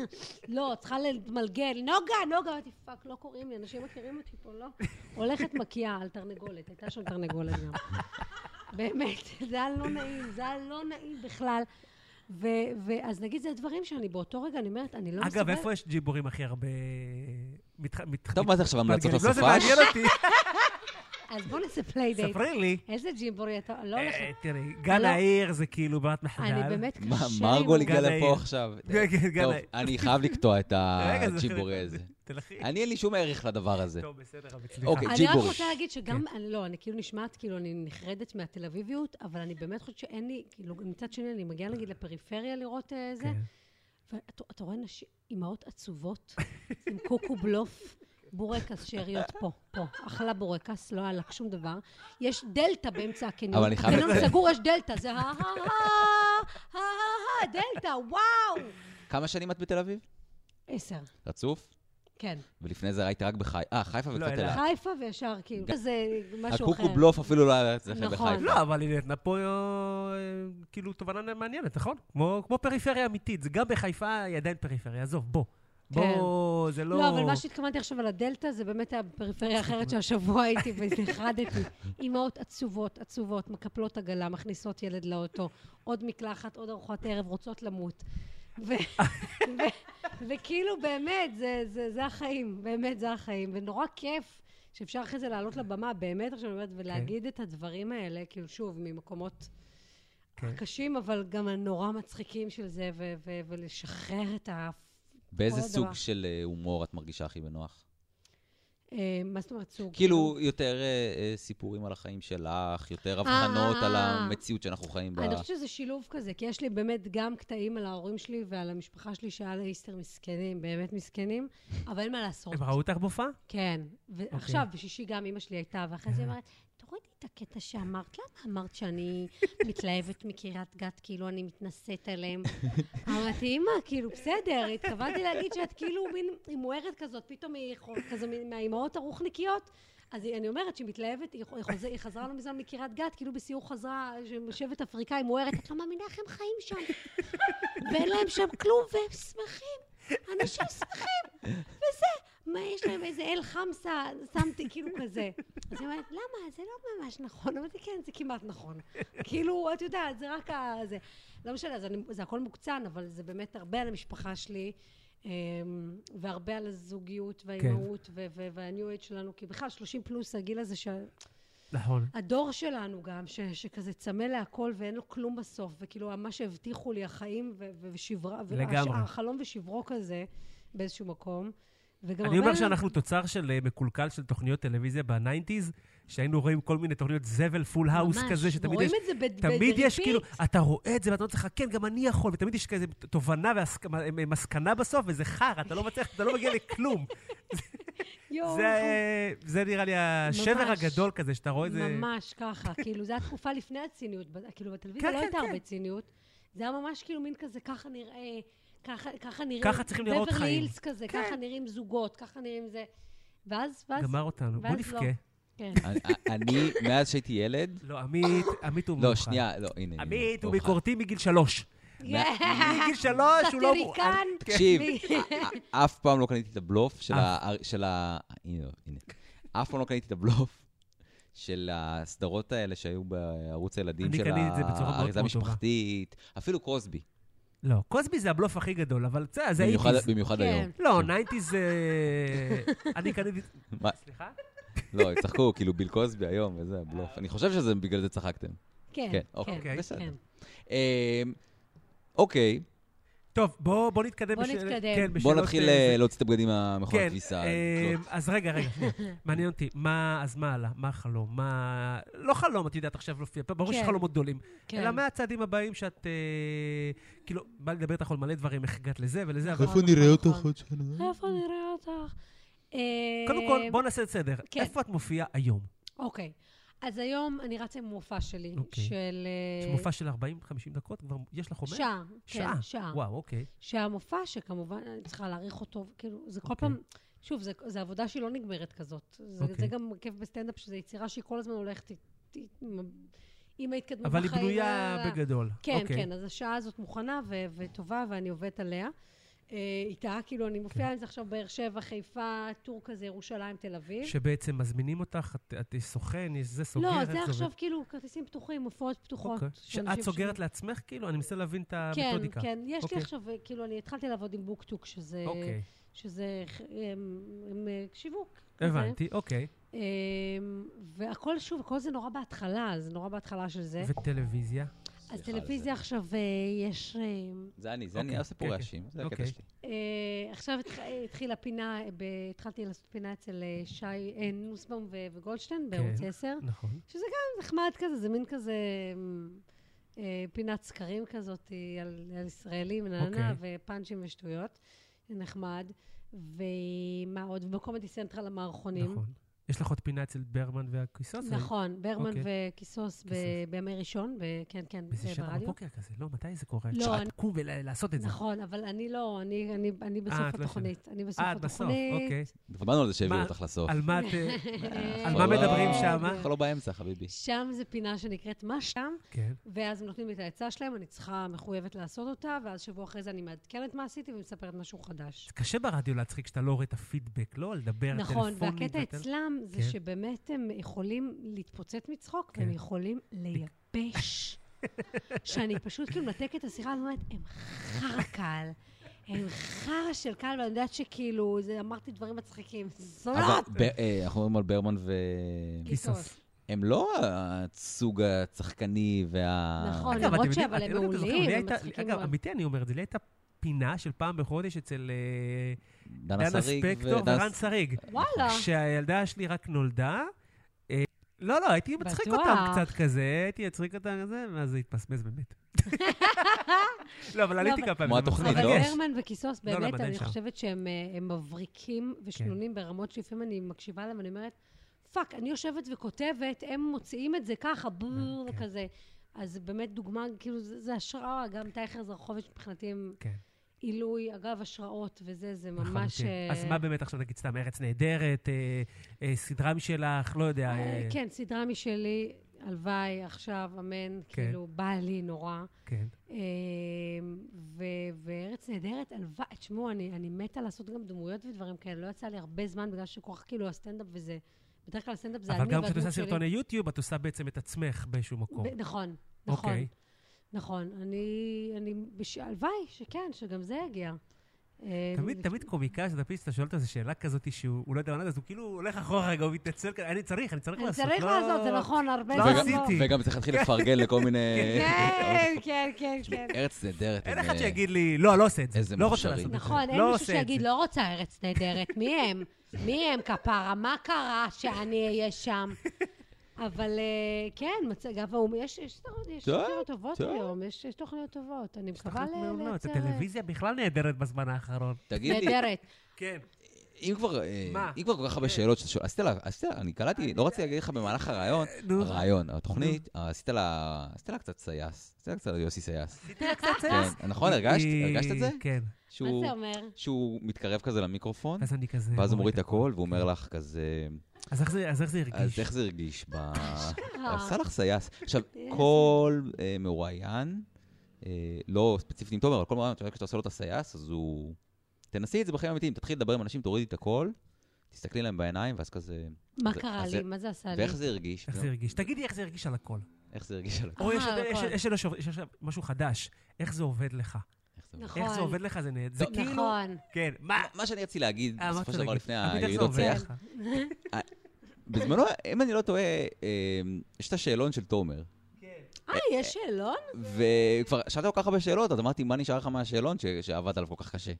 S3: לא, צריכה להתמלגל, נוגה, נוגה, אמרתי, פאק, לא קוראים לי, אנשים מכירים אותי פה, לא? הולכת מקיאה על תרנגולת, הייתה שם תרנגולת גם. באמת, זה היה לא נעים, זה היה לא נעים בכלל. ו- ואז נגיד זה הדברים שאני באותו רגע, אני אומרת, אני לא מסוגלת...
S2: אגב, איפה יש ג'יבורים הכי הרבה... מתח- מתח-
S1: טוב, מה זה עכשיו, המלצות
S2: מתגלגלים? לא,
S1: לסופש?
S2: זה מעניין אותי.
S3: אז בוא נעשה פליידייט.
S2: ספרי לי.
S3: איזה ג'ימבורי אתה... לא הולך...
S2: אה, תראי, גן
S3: לא.
S2: העיר זה כאילו ברירת מחדל.
S3: אני באמת קשה...
S1: מה,
S3: לי
S1: מרגול
S2: גן
S1: הגיע
S2: העיר.
S1: לפה עכשיו.
S2: כן, כן, גן
S1: טוב,
S2: העיר.
S1: אני חייב לקטוע את
S2: רגע, זה-
S1: הג'יבורי אה, הזה.
S2: תלכי.
S1: אני, אין לי שום ערך לדבר הזה.
S2: טוב, בסדר, אבל סליחה.
S1: אוקיי.
S3: אני רק
S1: ג'יבוריש.
S3: רוצה להגיד שגם,
S1: כן.
S3: אני- לא, אני כאילו נשמעת כאילו אני נחרדת מהתל אביביות, אבל אני באמת חושבת שאין לי, כאילו, מצד שני, אני מגיעה נגיד לפריפריה לראות אה, זה,
S2: כן.
S3: ואתה אתה רואה נשים, אימהות עצובות, עם קוקו בלוף, בורקס, שאריות פה, פה. אכלה בורקס, לא היה לה שום דבר. יש דלתא באמצע הקניון.
S1: אבל אני חייב
S3: הקניון
S1: לציין-
S3: סגור, יש דלתא, זה ה-ה-ה-ה-ה-ה, דלתא, וואו!
S1: כמה שנים את בתל אביב?
S3: עשר,
S1: רצוף?
S3: כן.
S1: ולפני זה היית רק בחיפה. אה, חיפה
S2: לא,
S1: וקצת
S2: אלעד.
S1: אילת.
S3: חיפה וישר, כאילו, זה משהו אחר.
S1: הקוקו בלוף אפילו לא היה אצלכם
S3: נכון.
S1: בחיפה.
S2: לא, אבל היא נתנה פה אה, כאילו תובנה מעניינת, נכון? כמו כמו פריפריה אמיתית, זה גם בחיפה היא עדיין פריפריה, עזוב, בוא. בוא, זה לא...
S3: כן. לא, אבל מה שהתכוונתי עכשיו על הדלתא, זה באמת הפריפריה האחרת שהשבוע הייתי ונחרדתי. אימהות עצובות, עצובות, מקפלות עגלה, מכניסות ילד לאוטו, עוד מקלחת, עוד ארוחת ערב, רוצות למות. ו- ו- וכאילו, באמת, זה- זה- זה החיים, באמת זה החיים, ונורא כיף. שאפשר אחרי זה לעלות לבמה, באמת עכשיו, אני אומרת, ולהגיד את הדברים האלה, כאילו, שוב, ממקומות
S2: כן.
S3: קשים, אבל גם הנורא מצחיקים של זה, ו- ו- ולשחרר את ה...
S1: באיזה
S3: כל
S1: סוג
S3: דבר.
S1: של אה, הומור את מרגישה הכי בנוח?
S3: אה, מה זאת אומרת סוג?
S1: כאילו, יותר אה, אה, סיפורים על החיים שלך, יותר הבחנות על
S3: אה.
S1: המציאות שאנחנו חיים בה.
S3: אני חושבת שזה שילוב כזה, כי יש לי באמת גם קטעים על ההורים שלי ועל המשפחה שלי שהיה לאיסטר מסכנים, באמת מסכנים, אבל אין מה לעשות.
S2: הם ראו אותך בהופעה?
S3: כן. ועכשיו, בשישי גם אימא שלי הייתה, ואחרי זה היא אומרת, תורידי את הקטע שאמרת, למה אמרת שאני מתלהבת מקריית גת, כאילו אני מתנשאת עליהם? אמרתי, אימא, כאילו, בסדר, התכוונתי להגיד שאת כאילו מין היא מוארת כזאת, פתאום היא חו- כזה מין- מהאימהות הרוחניקיות. אז היא- אני אומרת שהיא מתלהבת, היא חו- היא חוז- היא חזרה לא מזמן מקריית גת, כאילו בסיור חזרה, שבט אפריקאי מוארת, את לא מאמינה איך הם חיים שם, ואין להם שם כלום, והם שמחים, אנשים שמחים, וזה, מה יש להם איזה אל חמסה, שמתי כאילו כזה. אז היא אומרת, למה? זה לא ממש נכון. אמרתי, כן, זה כמעט נכון. כאילו, את יודעת, זה רק ה... זה. לא משנה, אז אני, זה הכל מוקצן, אבל זה באמת הרבה על המשפחה שלי, אמ, והרבה על הזוגיות והאימהות כן. וה-new age שלנו, כי בכלל 30 פלוס, הגיל הזה ש...
S2: נכון.
S3: הדור שלנו גם, ש, שכזה צמא להכל ואין לו כלום בסוף, וכאילו מה שהבטיחו לי, החיים ו- ו- ושברה,
S2: לגמרי.
S3: החלום ושברו כזה באיזשהו מקום. וגם
S2: אני
S3: הרבה-
S2: אומר שאנחנו תוצר של אה, מקולקל של תוכניות טלוויזיה בניינטיז, שהיינו רואים כל מיני תוכניות זבל, פול האוס
S3: ממש,
S2: כזה, שתמיד יש...
S3: ורואים את זה ב-
S2: תמיד יש
S3: ב-
S2: כאילו,
S3: repeat.
S2: אתה רואה את זה ואתה אומר לך, כן, גם אני יכול, ותמיד יש כזה תובנה ומסקנה בסוף, וזה חרא, אתה לא מצליח, אתה לא מגיע לכלום.
S3: יואו,
S2: זה, אה, זה נראה לי השבר
S3: לא. ממש.
S2: הגדול כזה, שאתה רואה את זה...
S3: ממש ככה, כאילו, זו התקופה לפני הציניות, ב- כאילו בטלוויזיה
S2: כן,
S3: לא
S2: כן,
S3: הייתה
S2: כן.
S3: הרבה ציניות, זה היה ממש כאילו מין כזה, ככה נראה, ככה ככה נראים,
S2: ככה צריכים לראות
S3: בברלי
S2: חיים.
S3: הילס כזה,
S2: כן.
S3: ככה נראים זוגות, ככה נראים זה, ואז, ואז,
S2: גמר אותנו, בוא
S3: ואז
S2: נבכה.
S3: לא. כן,
S1: אני- אני, מאז שהייתי ילד...
S2: לא, עמית, עמית הוא מאוחר.
S1: לא, שנייה, לא, הנה. הנה,
S2: עמית הוא
S1: אורך.
S2: ביקורתי מגיל שלוש.
S3: כן.
S2: מגיל שלוש הוא לא... כן.
S3: סטיריקן,
S1: תקשיב,
S3: מי-
S1: א- אף פעם לא קניתי את הבלוף של
S2: אף.
S1: ה... של ה... הנה, לא, הנה. אף פעם לא קניתי את הבלוף של הסדרות האלה שהיו בערוץ הילדים
S2: אני
S1: של
S2: קניתי את זה בצורה מאוד
S1: האריזה
S2: מאוד טובה.
S1: המשפחתית, אפילו קרוסבי.
S2: לא, קוסבי זה הבלוף הכי גדול, אבל בסדר, זה
S1: במיוחד-
S2: אייטיז.
S1: במיוחד
S3: כן.
S1: היום.
S2: לא, ניינטיז זה... אני קניתי...
S1: מה?
S2: סליחה?
S1: לא, הם צחקו, כאילו ביל קרוסבי היום, וזה הבלוף. אני חושב שזה בגלל זה צחקתם.
S3: כן,
S1: כן,
S3: כן,
S1: אוקיי,
S2: אה. כן.
S1: בסדר.
S3: כן.
S1: אמ, אוקיי,
S2: טוב, בוא בוא נתקדם.
S3: בוא
S2: בשאל-
S3: נתקדם.
S2: כן,
S1: בואו
S2: בשאלות,
S1: נתחיל
S2: אה,
S1: אה,
S2: זה-
S1: להוציא את הבגדים מהמכון
S2: כן,
S1: הכביסה.
S2: אה, אז רגע, רגע, שנייה. מעניין אותי, מה, אז מה הלאה? מה החלום? מה... לא חלום, את יודעת עכשיו להופיע, ברור שיש
S3: כן.
S2: חלומות גדולים.
S3: כן.
S2: אלא מה הצעדים הבאים שאת... אה, כאילו, בא לי לדבר איתך על מלא דברים, איך הגעת לזה ולזה, אבל...
S3: איפה נראה אותך עוד שנה? איפה נראה אותך? אה,
S2: קודם כל, בוא נעשה את סדר.
S3: כן.
S2: איפה את מופיעה היום?
S3: אוקיי. אז היום אני רצה עם מופע שלי,
S2: אוקיי.
S3: של...
S2: יש מופע של 40-50 דקות, כבר יש לך חומר?
S3: שעה, כן, שעה.
S2: וואו, אוקיי.
S3: שהמופע, שכמובן אני צריכה להעריך אותו, כאילו, זה כל
S2: אוקיי.
S3: פעם, שוב, זה- זה עבודה שהיא לא נגמרת כזאת. זה-
S2: אוקיי.
S3: זה גם כיף בסטנדאפ, שזו יצירה שהיא כל הזמן הולכת איט- איט- עם- עם ההתקדמות
S2: אבל
S3: בחיים.
S2: היא בנויה
S3: לה- לה- לה.
S2: בגדול.
S3: כן,
S2: אוקיי.
S3: כן, אז השעה הזאת מוכנה ו- וטובה, ואני עובדת עליה. אה, איתה, כאילו, אני
S2: אוקיי.
S3: מופיעה עם זה עכשיו באר שבע, חיפה, טור כזה, ירושלים, תל אביב.
S2: שבעצם מזמינים אותך, את- את יש סוכן, יש זה סוגר,
S3: לא,
S2: איך
S3: זה
S2: עובד?
S3: עכשיו כאילו כרטיסים פתוחים, הופעות פתוחות.
S2: אוקיי.
S3: של
S2: שאת
S3: אנשים
S2: סוגרת לעצמך, כאילו? אני מנסה להבין את
S3: כן,
S2: המתודיקה.
S3: כן, יש
S2: אוקיי.
S3: לי עכשיו, אה, כאילו, אני התחלתי לעבוד עם בוקטוק, שזה...
S2: אוקיי,
S3: שזה ח- אמ, אמ, שיווק. כזה.
S2: הבנתי, אוקיי.
S3: אמ, והכל, שוב, הכל זה נורא בהתחלה, זה נורא בהתחלה של זה.
S2: וטלוויזיה?
S3: אז
S1: סליחה על
S3: טלוויזיה עכשיו אה, יש... אמ,
S1: זה אני, זה אני,
S2: אוקיי,
S1: אני עושה פה
S2: כן, כן.
S1: רעשים, זה הקטע
S2: אוקיי.
S1: שלי.
S3: אה, עכשיו התח- אה, התחילה פינה, אה, ב- התחלתי לעשות פינה אצל אה, שי אה, נוסבאום ו- וגולדשטיין בערוץ 10.
S2: נכון.
S3: נחמד כזה, זה מין כזה אמ, אה, פינת סקרים כזאת אה, על, על ישראלים, נענה,
S2: אוקיי.
S3: ופאנצ'ים ושטויות. זה נחמד. ומה עוד? ובקומדי סנטרל המערכונים.
S2: נכון. יש לך עוד פינה אצל ברמן והכיסוס?
S3: נכון, ברמן
S2: אוקיי.
S3: וכיסוס ב-
S2: כיסוס.
S3: בימי ראשון, ב- כן, כן,
S2: באיזה
S3: אה,
S2: שעה
S3: ברדיו.
S2: בבוקר כזה, לא, מתי זה קורה?
S3: לא,
S2: שעת
S3: אני-
S2: קום ולעשות את זה.
S3: נכון, אבל אני לא, אני, אני, אני
S2: את לא
S3: בסוף
S2: שם.
S3: התוכנית. אני בסוף
S2: אה, את בסוף,
S3: התוכנית.
S2: אוקיי.
S1: דיברנו על זה שהעבירו
S2: מה-
S1: לא אותך לסוף.
S2: על מה את... אה,
S3: אה,
S2: על
S1: מה מדברים
S2: שמה?
S1: אנחנו לא באמצע, חביבי.
S3: שם זה פינה שנקראת מה שם,
S2: כן,
S3: ואז הם נותנים לי את העצה שלהם, אני צריכה, מחויבת לעשות אותה, ואז שבוע אחרי זה אני מעדכנת מה עשיתי ומספרת משהו חדש.
S2: זה קשה ברדיו להצחיק כשאתה לא רואה את הפידבק, לא? לדבר על
S3: נכון,
S2: טלפונים.
S3: והקטע
S2: והטל-
S3: אצלם זה
S2: כן.
S3: שבאמת הם יכולים להתפוצץ מצחוק,
S2: כן.
S3: והם יכולים לייבש. שאני פשוט כאילו מנתקת את השיחה, אני אומרת, הם חרא קהל. הם חרא של קהל, ואני יודעת שכאילו, זה- אמרתי דברים מצחיקים. לא
S1: אבל
S3: זונות!
S1: ב- אה, אנחנו מדברים על ברמן ו...
S2: כיסוס.
S1: הם לא הסוג הצחקני וה...
S3: נכון.
S2: אגב,
S3: למרות
S2: אתם יודעים-
S3: שאבל
S2: אני
S3: הם
S2: לא יודע אם אתם זוכרים,
S3: מעולים,
S2: לי
S3: הם
S2: הייתה-
S3: מצחיקים
S2: אגב,
S3: מאוד.
S2: אמיתי אני אומר את זה, לי הייתה פינה של פעם בחודש אצל אה,
S1: דנה
S2: דנה
S1: שריג
S2: ספקטור
S1: ודנה
S2: ורן
S1: ס-
S2: שריג.
S3: וואלה.
S2: כשהילדה שלי רק נולדה, אה, לא, לא, הייתי מצחיק
S3: בטוח.
S2: אותם קצת כזה, הייתי מצחיק אותם כזה, ואז זה התפספס באמת. לא, אבל עליתי
S3: אבל-
S2: כמה פעמים.
S1: כמו
S2: זה מצחיק.
S1: התוכנית,
S3: אבל
S1: לא?
S3: הרמן וכיסוס,
S2: לא, לא,
S3: באמת,
S2: מדהים
S3: אני
S2: שם. כן.
S3: חושבת שהם אה, הם מבריקים ושנונים ברמות שלפעמים אני מקשיבה להם ואני אומרת, פאק, אני יושבת וכותבת, הם מוציאים את זה ככה, בור,
S2: כן.
S3: כזה. אז זה באמת דוגמה, כאילו, זה זה השראה, גם טייכר זרחוביץ' מבחינתי הם
S2: כן,
S3: עילוי, אגב, השראות וזה, זה ממש...
S2: לחלוטין.
S3: אה,
S2: נכון, כן. אז מה באמת עכשיו, נגיד סתם, ארץ נהדרת, אה, אה, סדרה משלך, לא יודע.
S3: אה,
S2: אה,
S3: כן, סדרה משלי, הלוואי, עכשיו, אמן,
S2: כן.
S3: כאילו, בא לי נורא.
S2: כן.
S3: אמ, ו- וארץ נהדרת, הלוואי, תשמעו, אני, אני מתה לעשות גם דמויות ודברים כאלה, לא יצא לי הרבה זמן בגלל שכל כך כאילו הסטנדאפ וזה, בדרך כלל הסטנדאפ זה אני
S2: אבל גם כשאת עושה
S3: והדמות שלי.
S2: סרטוני יוטיוב, את עושה בעצם את עצמך באיזשהו מקום.
S3: ב- נכון, נכון,
S2: אוקיי.
S3: נכון. אני, אני, בש- הלוואי שכן, שגם זה יגיע. אה,
S2: תמיד, תמיד קומיקאי שאתה פשוט שואל אותו איזו שאלה כזאת שהוא לא יודע מה לענות, אז הוא כאילו הולך אחורה רגע, הוא מתנצל כזה, אני צריך, אני צריך
S3: אני
S2: לעשות.
S3: צריך
S2: לא-
S3: לעשות, זה נכון, הרבה
S2: לא
S3: זמן
S2: עשיתי.
S1: וגם צריך להתחיל לפרגן לכל מיני...
S3: כן, כן, כן, כן.
S1: ארץ נהדרת.
S2: אין
S1: הם,
S2: אחד
S1: אה,
S2: שיגיד לי, לא, לא עושה את זה.
S1: איזה
S2: לא רוצה
S1: מוכשרים.
S2: לעשות את זה.
S3: נכון, אין
S2: לא
S3: מישהו
S2: עושה את
S3: שיגיד,
S2: זה.
S3: לא רוצה ארץ נהדרת, מי הם? מי הם, כפרה? מה קרה שאני אהיה שם? אבל אה, כן, מצג, אבל הוא- יש יש סדרות- יש
S1: טוב,
S3: סדרות טובות
S1: טוב.
S3: היום, יש יש תוכניות טובות. אני
S2: יש
S3: מקווה
S2: תוכניות
S3: ל-
S2: מעולות,
S3: לייצר...
S2: לא,
S3: אה,
S2: הטלוויזיה בכלל נהדרת בזמן האחרון.
S1: תגיד לי,
S3: נהדרת.
S2: כן.
S1: אם כבר, אה,
S2: מה?
S1: אם כבר כל כך הרבה שאלות שאתה שואל, עשית לה, עשית לה, אני קלטתי, לא רציתי להגיד לך במהלך הרעיון,
S2: נו.
S1: הרעיון, התוכנית, אה, עשית לה, עשית לה קצת סייס, עשית לה קצת יוסי סייס. כן, נכון, הרגשת? הרגשת את זה?
S2: כן.
S3: מה
S1: שהוא-
S3: זה אומר?
S1: שהוא מתקרב כזה למיקרופון,
S2: ואז אני כזה...
S1: ואז הוא מוריד את
S2: הכובע.
S1: הכל, והוא אומר לך כזה,
S2: אז איך זה- אז איך זה הרגיש?
S1: אז איך זה הרגיש ב... עשה לך סייס. עכשיו, כל אה, מרואיין, אה, לא ספציפית עם תומר, אבל כל מרואיין, כשאתה עושה לו את הסייס, אז הוא... תנסי את זה בחיים אמיתיים, תתחיל לדבר עם אנשים, תורידי את הכל, תסתכלי להם בעיניים, ואז כזה...
S3: מה
S1: זה-
S3: קרה
S1: אז
S3: לי?
S1: זה-
S3: מה זה עשה לי?
S1: ואיך זה הרגיש?
S2: איך זה הרגיש? תגידי איך זה הרגיש על הכל.
S1: איך זה הרגיש על הכל?
S2: או יש-
S3: אה, על
S2: יש-
S3: הכל.
S2: יש יש- יש עכשיו משהו חדש, איך זה עובד לך?
S1: איך זה הרגיש?
S2: איך זה
S3: נכון.
S2: עובד לך זה נהדר. זה
S1: טוב.
S2: כאילו...
S3: נכון.
S2: כן, מה?
S1: מה שאני רציתי להגיד,
S2: אה, מה
S1: בסופו
S2: אתה
S1: של דבר
S2: תגיד?
S1: לפני
S2: אביטל, זה
S1: הירידות
S2: עובד
S1: סייח,
S2: לך.
S1: בזמנו, אם אני לא טועה, אה, יש את השאלון של תומר.
S3: אה, יש שאלון?
S1: וכבר שאלת כל כך הרבה שאלות, אז אמרתי, מה נשאר לך מהשאלון ש- שעבדת עליו כל כך קשה?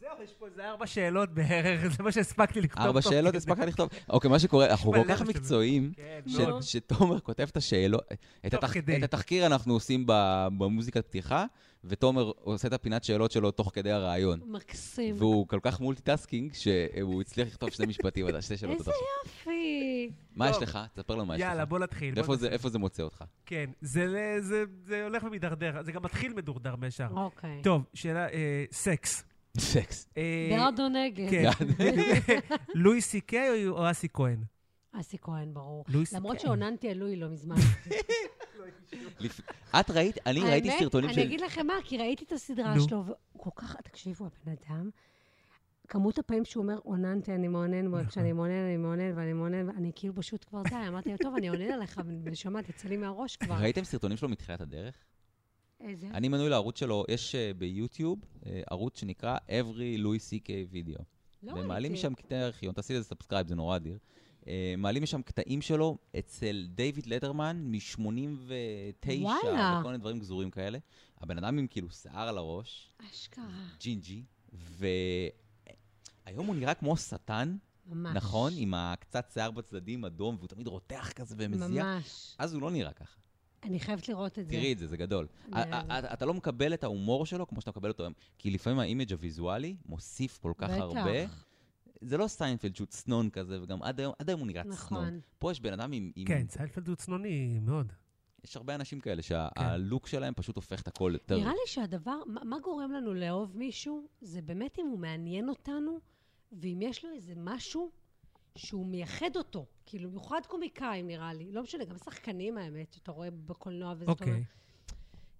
S2: זהו, טוב, יש פה איזה ארבע שאלות בערך, זה מה שהספקתי לכתוב.
S1: ארבע
S2: תוך
S1: שאלות
S2: כדי.
S1: הספקת לכתוב. אוקיי, מה שקורה, אנחנו כל
S2: מלא
S1: כך
S2: מה שאתם-
S1: מקצועיים,
S2: כן,
S1: ש-
S2: מאוד.
S3: נו.
S1: שתומר כותב את השאלות, את,
S2: תוך
S1: התח...
S2: כדי.
S1: את התחקיר אנחנו עושים ב- במוזיקת פתיחה, ותומר עושה את הפינת שאלות שלו תוך כדי הרעיון.
S3: מקסים.
S1: והוא כל כך מולטיטאסקינג, שהוא הצליח לכתוב שני משפטים, אתה שתי שאלות.
S3: איזה
S1: אתה-
S3: יופי.
S1: מה יש
S2: טוב.
S1: לך? תספר לנו מה יש לך.
S2: יאללה, בוא נתחיל. בוא
S1: איפה זה-
S2: נתחיל.
S1: איפה זה מוצא אותך?
S2: כן, זה- זה- זה הולך ומידרדר, זה גם מתחיל מדורדר מהשאר.
S3: אוקיי.
S2: טוב, שאלה, אה, סקס.
S1: סקס.
S2: אה,
S3: בעד או נגד?
S2: כן, בדיוק. לואי סי קיי או- או אסי כהן?
S3: אסי כהן, אה, ברור.
S2: לואי סי
S3: למרות
S2: קיי.
S3: שעוננתי על לואי לא מזמן.
S1: לפ- את ראית, אני ראיתי
S3: האמת,
S1: סרטונים של...
S3: אני אגיד לכם מה, כי ראיתי את הסדרה
S2: נו.
S3: שלו, והוא כל כך, תקשיבו, הבן אדם, כמות הפעמים שהוא אומר, עוננתי, אני מעונן, בו", כשאני מעונן, אני מעונן, ואני מעונן, ואני כאילו פשוט כבר די, אמרתי לו, טוב, אני עונן עליך, נשמה, תצא לי מהראש כבר. אה,
S1: ראיתם סרטונים שלו מתחילת הדרך?
S3: כן. איזה?
S1: אני מנוי לערוץ שלו, יש אה, ביוטיוב אה, ערוץ שנקרא Every Louis CK Video.
S3: לא
S1: ומעלים
S3: ראיתי.
S1: משם קטעי ארכיון, תעשי לזה סאבסקרייב, זה נורא אדיר. אה, מעלים משם קטעים שלו אצל דיוויד לטרמן מ-89,
S3: וואלה.
S1: וכל מיני דברים גזורים כאלה. הבן אדם עם כאילו שיער על הראש,
S3: אשכרה,
S1: ג'ינג'י, והיום הוא נראה כמו שטן,
S3: ממש.
S1: נכון? עם הקצת שיער בצדדים, אדום, והוא תמיד רותח כזה ומזיע.
S3: ממש.
S1: אז הוא לא נראה ככה.
S3: אני חייבת לראות את זה.
S1: תראי את זה, זה גדול.
S3: אני
S1: א- א- אתה לא מקבל את ההומור שלו כמו שאתה מקבל אותו היום, כי לפעמים האימג' הוויזואלי מוסיף כל כך הרבה.
S3: בטח,
S1: זה לא סיינפלד שהוא צנון כזה, וגם עד היום, עד היום הוא נראה צנון.
S3: נכון.
S1: פה יש בן אדם עם... עם-
S2: כן, סיינפלד הוא צנוני מאוד.
S1: יש הרבה אנשים כאלה
S2: כן.
S1: שהלוק שלהם פשוט הופך את הכל יותר...
S3: נראה לי שהדבר, מה, מה גורם לנו לאהוב מישהו, זה באמת אם הוא מעניין אותנו, ואם יש לו איזה משהו שהוא מייחד אותו. כאילו, במיוחד קומיקאים, נראה לי. לא משנה, גם שחקנים, האמת, אתה רואה בקולנוע וזה, אתה אומר,
S2: אוקיי.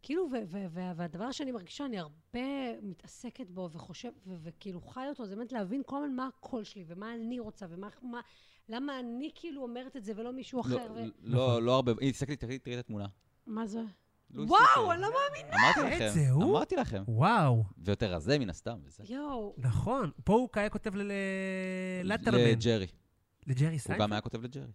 S3: כאילו, ו- ו- ו- והדבר שאני מרגישה, אני הרבה מתעסקת בו וחושב, ו- וכאילו חי אותו, זה באמת להבין כל הזמן מה הקול שלי, ומה אני רוצה, ומה... מה, למה אני כאילו אומרת את זה ולא מישהו
S1: לא-
S3: אחר, ו-
S1: לא,
S2: נכון.
S1: לא הרבה... הנה, תסתכלי, תראי תראי את התמונה.
S3: מה זה?
S1: לואי
S3: וואו,
S1: סי.קיי.
S3: אני לא מאמינה.
S1: אמרתי לכם,
S2: את זה הוא?
S1: אמרתי לכם.
S2: וואו,
S1: ויותר רזה מן הסתם, וזה.
S3: יואו,
S2: נכון. פה הוא כהיה כותב ללטרמן.
S1: לג'רי.
S2: לג'רי
S1: הוא גם
S2: סיינפלד?
S1: היה כותב לג'רי.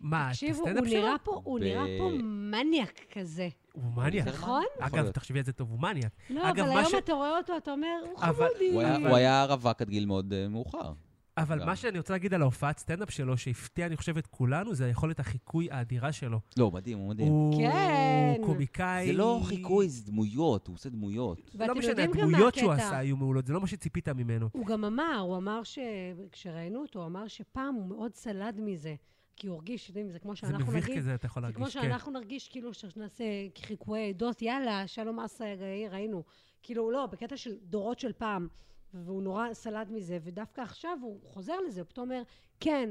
S2: מה, את
S3: תקשיבו,
S2: הסטנדאפ
S3: הוא
S2: שלו?
S3: נראה פה, הוא
S1: ב-
S3: נראה פה מניאק כזה.
S2: הוא מניאק.
S1: יותר
S3: נכון?
S1: יכול
S2: אגב,
S1: להיות.
S2: תחשבי על זה טוב, הוא מניאק.
S3: לא,
S2: אגב,
S3: אבל
S2: מה
S3: היום
S2: ש-
S3: אתה רואה אותו, אתה אומר, הוא
S2: אבל-
S3: חמודי.
S1: הוא היה-
S2: אבל-
S1: הוא היה רווק עד גיל מאוד אה, מאוחר.
S2: אבל
S1: גם.
S2: מה שאני רוצה להגיד על ההופעת סטנדאפ שלו, שהפתיע, אני חושב, את כולנו, זה היכולת החיקוי האדירה שלו.
S1: לא, הוא מדהים, הוא מדהים.
S2: הוא
S3: כן.
S2: קומיקאי...
S1: זה לא חיקוי, זה דמויות, הוא עושה דמויות.
S2: לא
S3: ואתם
S2: משנה,
S3: יודעים גם מה
S2: הדמויות שהוא
S3: הקטע.
S2: עשה היו מעולות, זה לא מה שציפית ממנו.
S3: הוא גם אמר, הוא אמר ש... כשראיינו אותו, הוא אמר שפעם הוא מאוד סלד מזה. כי הוא הרגיש, אתם יודעים, זה כמו
S2: זה
S3: שאנחנו
S2: מביך
S3: נגיד,
S2: כזה, אתה יכול
S3: זה כמו
S2: להרגיש, כן.
S3: שאנחנו נרגיש כאילו שנעשה חיקויי עדות, יאללה, שלום אסא יגאי, ראינו. כאילו, לא, בקטע של דורות של פעם, והוא נורא סלד מזה, ודווקא עכשיו הוא חוזר לזה, הוא פתאום אומר, כן,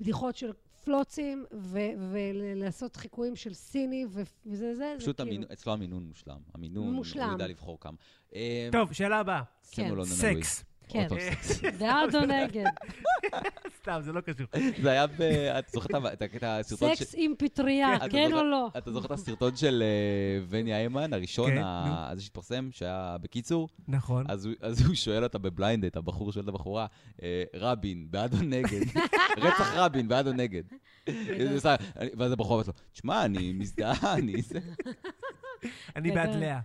S3: בדיחות של פלוצים, ו- ולעשות חיקויים של סיני, ו- וזה זה, זה
S1: פשוט
S3: כאילו...
S1: המינון- אצלו המינון מושלם. המינון,
S3: מושלם.
S1: הוא יודע לבחור כמה. אה,
S2: טוב, שאלה הבאה.
S1: שימו
S3: כן,
S1: לו ננה לואי.
S2: סקס.
S3: כן.
S1: עוד פעם סקס.
S3: בעד או נגד?
S2: סתם, זה לא קשור.
S1: זה היה ב... את זוכרת את ה- את הסרטון
S3: סקס עם פטריה,
S1: אתה
S3: כן
S1: זוכר-
S3: או לא?
S1: אתה זוכר את הסרטון של אה, וניה היימן, הראשון,
S2: כן,
S1: ה- הזה שהתפרסם, שהיה בקיצור?
S2: נכון.
S1: אז הוא- אז הוא שואל אותה בבליינד, את הבחור שואל את הבחורה, אה, רבין, בעד או נגד? רצח רבין, בעד או נגד? היא עושה- ואז הבחורה אומרת לו, תשמע, אני מזדהה, אני... זה."
S3: כן.
S2: אני בעד
S3: גדול.
S2: לאה.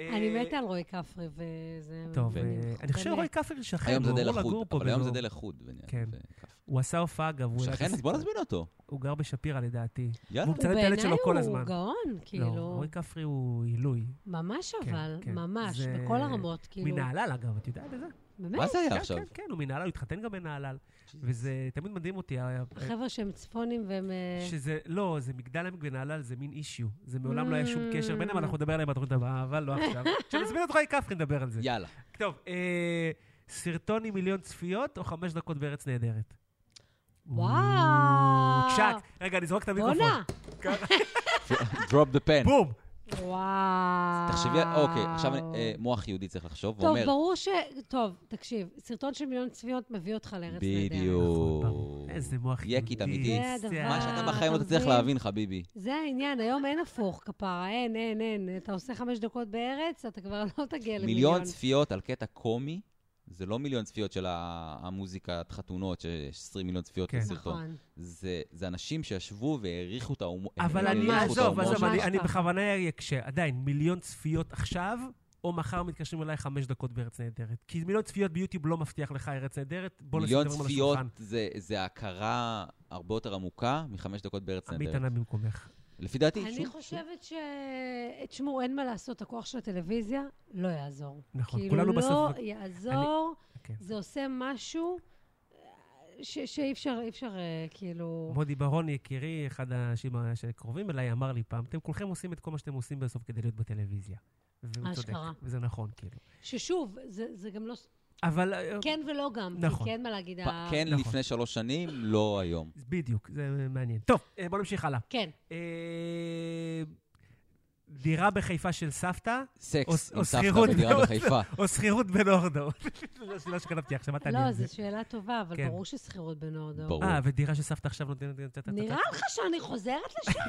S3: אה, אני
S2: אה,
S3: מתה על רועי כפרי, וזה...
S2: טוב, אה,
S3: מדהים.
S2: אני חושב
S3: באמת.
S2: שרועי כפר שכן,
S1: היום זה
S2: כן, הוא
S1: די
S2: אמור לגור
S1: לחוד,
S2: פה.
S1: אבל היום
S2: ולא-
S1: זה די לחוד. וניה,
S2: כן.
S1: וכף.
S2: הוא עשה הופעה, אגב, הוא העלה את
S1: שכן, אז בוא
S2: הסיפור.
S1: נזמין אותו.
S2: הוא גר בשפירא לדעתי.
S1: יאללה.
S2: והוא מצלם את הילד שלו כל הזמן.
S3: הוא גאון,
S2: לא,
S3: כאילו.
S2: רועי כפרי הוא עילוי.
S3: ממש
S2: כן,
S3: אבל,
S2: כן.
S3: ממש,
S2: זה-
S3: בכל הרמות, כאילו.
S2: מנהלל, אגב, את יודעת את זה?
S3: באמת,
S1: מה זה היה
S2: כן,
S1: עכשיו?
S2: כן, כן, הוא מנהלל, הוא התחתן גם בנהלל. וזה תמיד מדהים אותי. ה-
S3: החבר'ה שהם צפונים והם... אה,
S2: שזה, לא, זה מגדל עמק ונהלל, זה מין אישיו. זה מעולם לא היה
S3: Mm.
S2: שום קשר ביניהם, אנחנו נדבר עליהם בתוכנית הבאה, אבל לא עכשיו. כשנזמין אותך לכפרי נדבר על זה.
S1: יאללה.
S2: טוב, אה, סרטון עם מיליון צפיות או חמש דקות בארץ נהדרת?
S3: וואו.
S2: צ'אט. רגע, אני זורק את המיקרופון.
S3: בואנה!
S1: Drop the pen.
S2: בום!
S3: וואו.
S1: תחשבי, על- אוקיי, עכשיו אה, מוח יהודי צריך לחשוב,
S3: טוב,
S1: ואומר...
S3: ברור ש... טוב, תקשיב, סרטון של מיליון צפיות מביא אותך לארץ נהדרת.
S1: בדיוק.
S2: איזה מוח יהודי.
S1: יקית אמיתית.
S3: זה הדבר.
S2: כן.
S1: מה שאתה בחיים לא
S3: אה, אתה
S1: תצליח
S3: מבין?
S1: להבין, חביבי.
S3: זה העניין, היום אין הפוך, כפרה, אין, אין, אין. אתה עושה חמש דקות בארץ, אתה כבר לא תגיע למיליון.
S1: מיליון צפיות על קטע קומי, זה לא מיליון צפיות של ה- המוזיקת חתונות, שיש 20 מיליון צפיות
S2: כן.
S1: לסרטון.
S3: נכון. זה
S1: זה זה אנשים שישבו והעריכו את ההומור.
S2: אבל אני,
S3: ממש
S2: עזוב,
S3: ככה.
S2: עזוב, אני-
S3: ממש
S2: אני
S3: ככה.
S2: בכוונה אקשה. עדיין, מיליון צפיות עכשיו, או מחר מתקשרים אליי חמש דקות בארץ נהדרת. כי מיליון צפיות ביוטיוב לא מבטיח לך ארץ נהדרת, בוא נשים
S1: מיליון
S2: דברים על
S1: צפיות
S2: השולחן.
S1: זה- זה הכרה הרבה יותר עמוקה מחמש דקות בארץ
S2: עמית
S1: נהדרת.
S2: ענה במקומך.
S1: לפי דעתי,
S3: אני
S1: שוב,
S3: חושבת ש... תשמעו, אין מה לעשות, הכוח של הטלוויזיה לא יעזור.
S2: נכון,
S3: כאילו
S2: כולנו
S3: לא
S2: בסוף...
S3: יעזור,
S2: כן.
S3: זה עושה משהו אה, ש- שאי אפשר, אי אפשר, אה, כאילו...
S2: מודי ברון, יקירי, אחד האנשים שקרובים אליי, אמר לי פעם, אתם כולכם עושים את כל מה שאתם עושים בסוף כדי להיות בטלוויזיה. והוא צודק,
S3: אשכרה.
S2: וזה נכון, כאילו.
S3: ששוב, זה זה גם לא...
S2: אבל... אה,
S3: כן ולא גם.
S2: נכון.
S3: נכון. כי אין מה להגיד.
S1: פ-
S3: ה-
S1: כן
S2: נכון.
S1: לפני שלוש שנים, לא היום.
S2: בדיוק, זה מעניין. טוב, אה, בוא נמשיך הלאה.
S3: כן.
S2: אה, דירה בחיפה של סבתא, או-
S1: סקס
S2: או
S1: עם סבתא
S2: שכירות
S1: בדירה
S2: מאוד.
S1: בחיפה.
S2: או שכירות בנורדו. זה לא שכתבתי עכשיו, מה תעניין?
S3: לא, זו שאלה טובה, אבל
S2: כן.
S3: ברור ששכירות בנורדו.
S1: ברור.
S2: אה, ודירה שסבתא עכשיו נותנת...
S3: נראה לך שאני חוזרת לשם?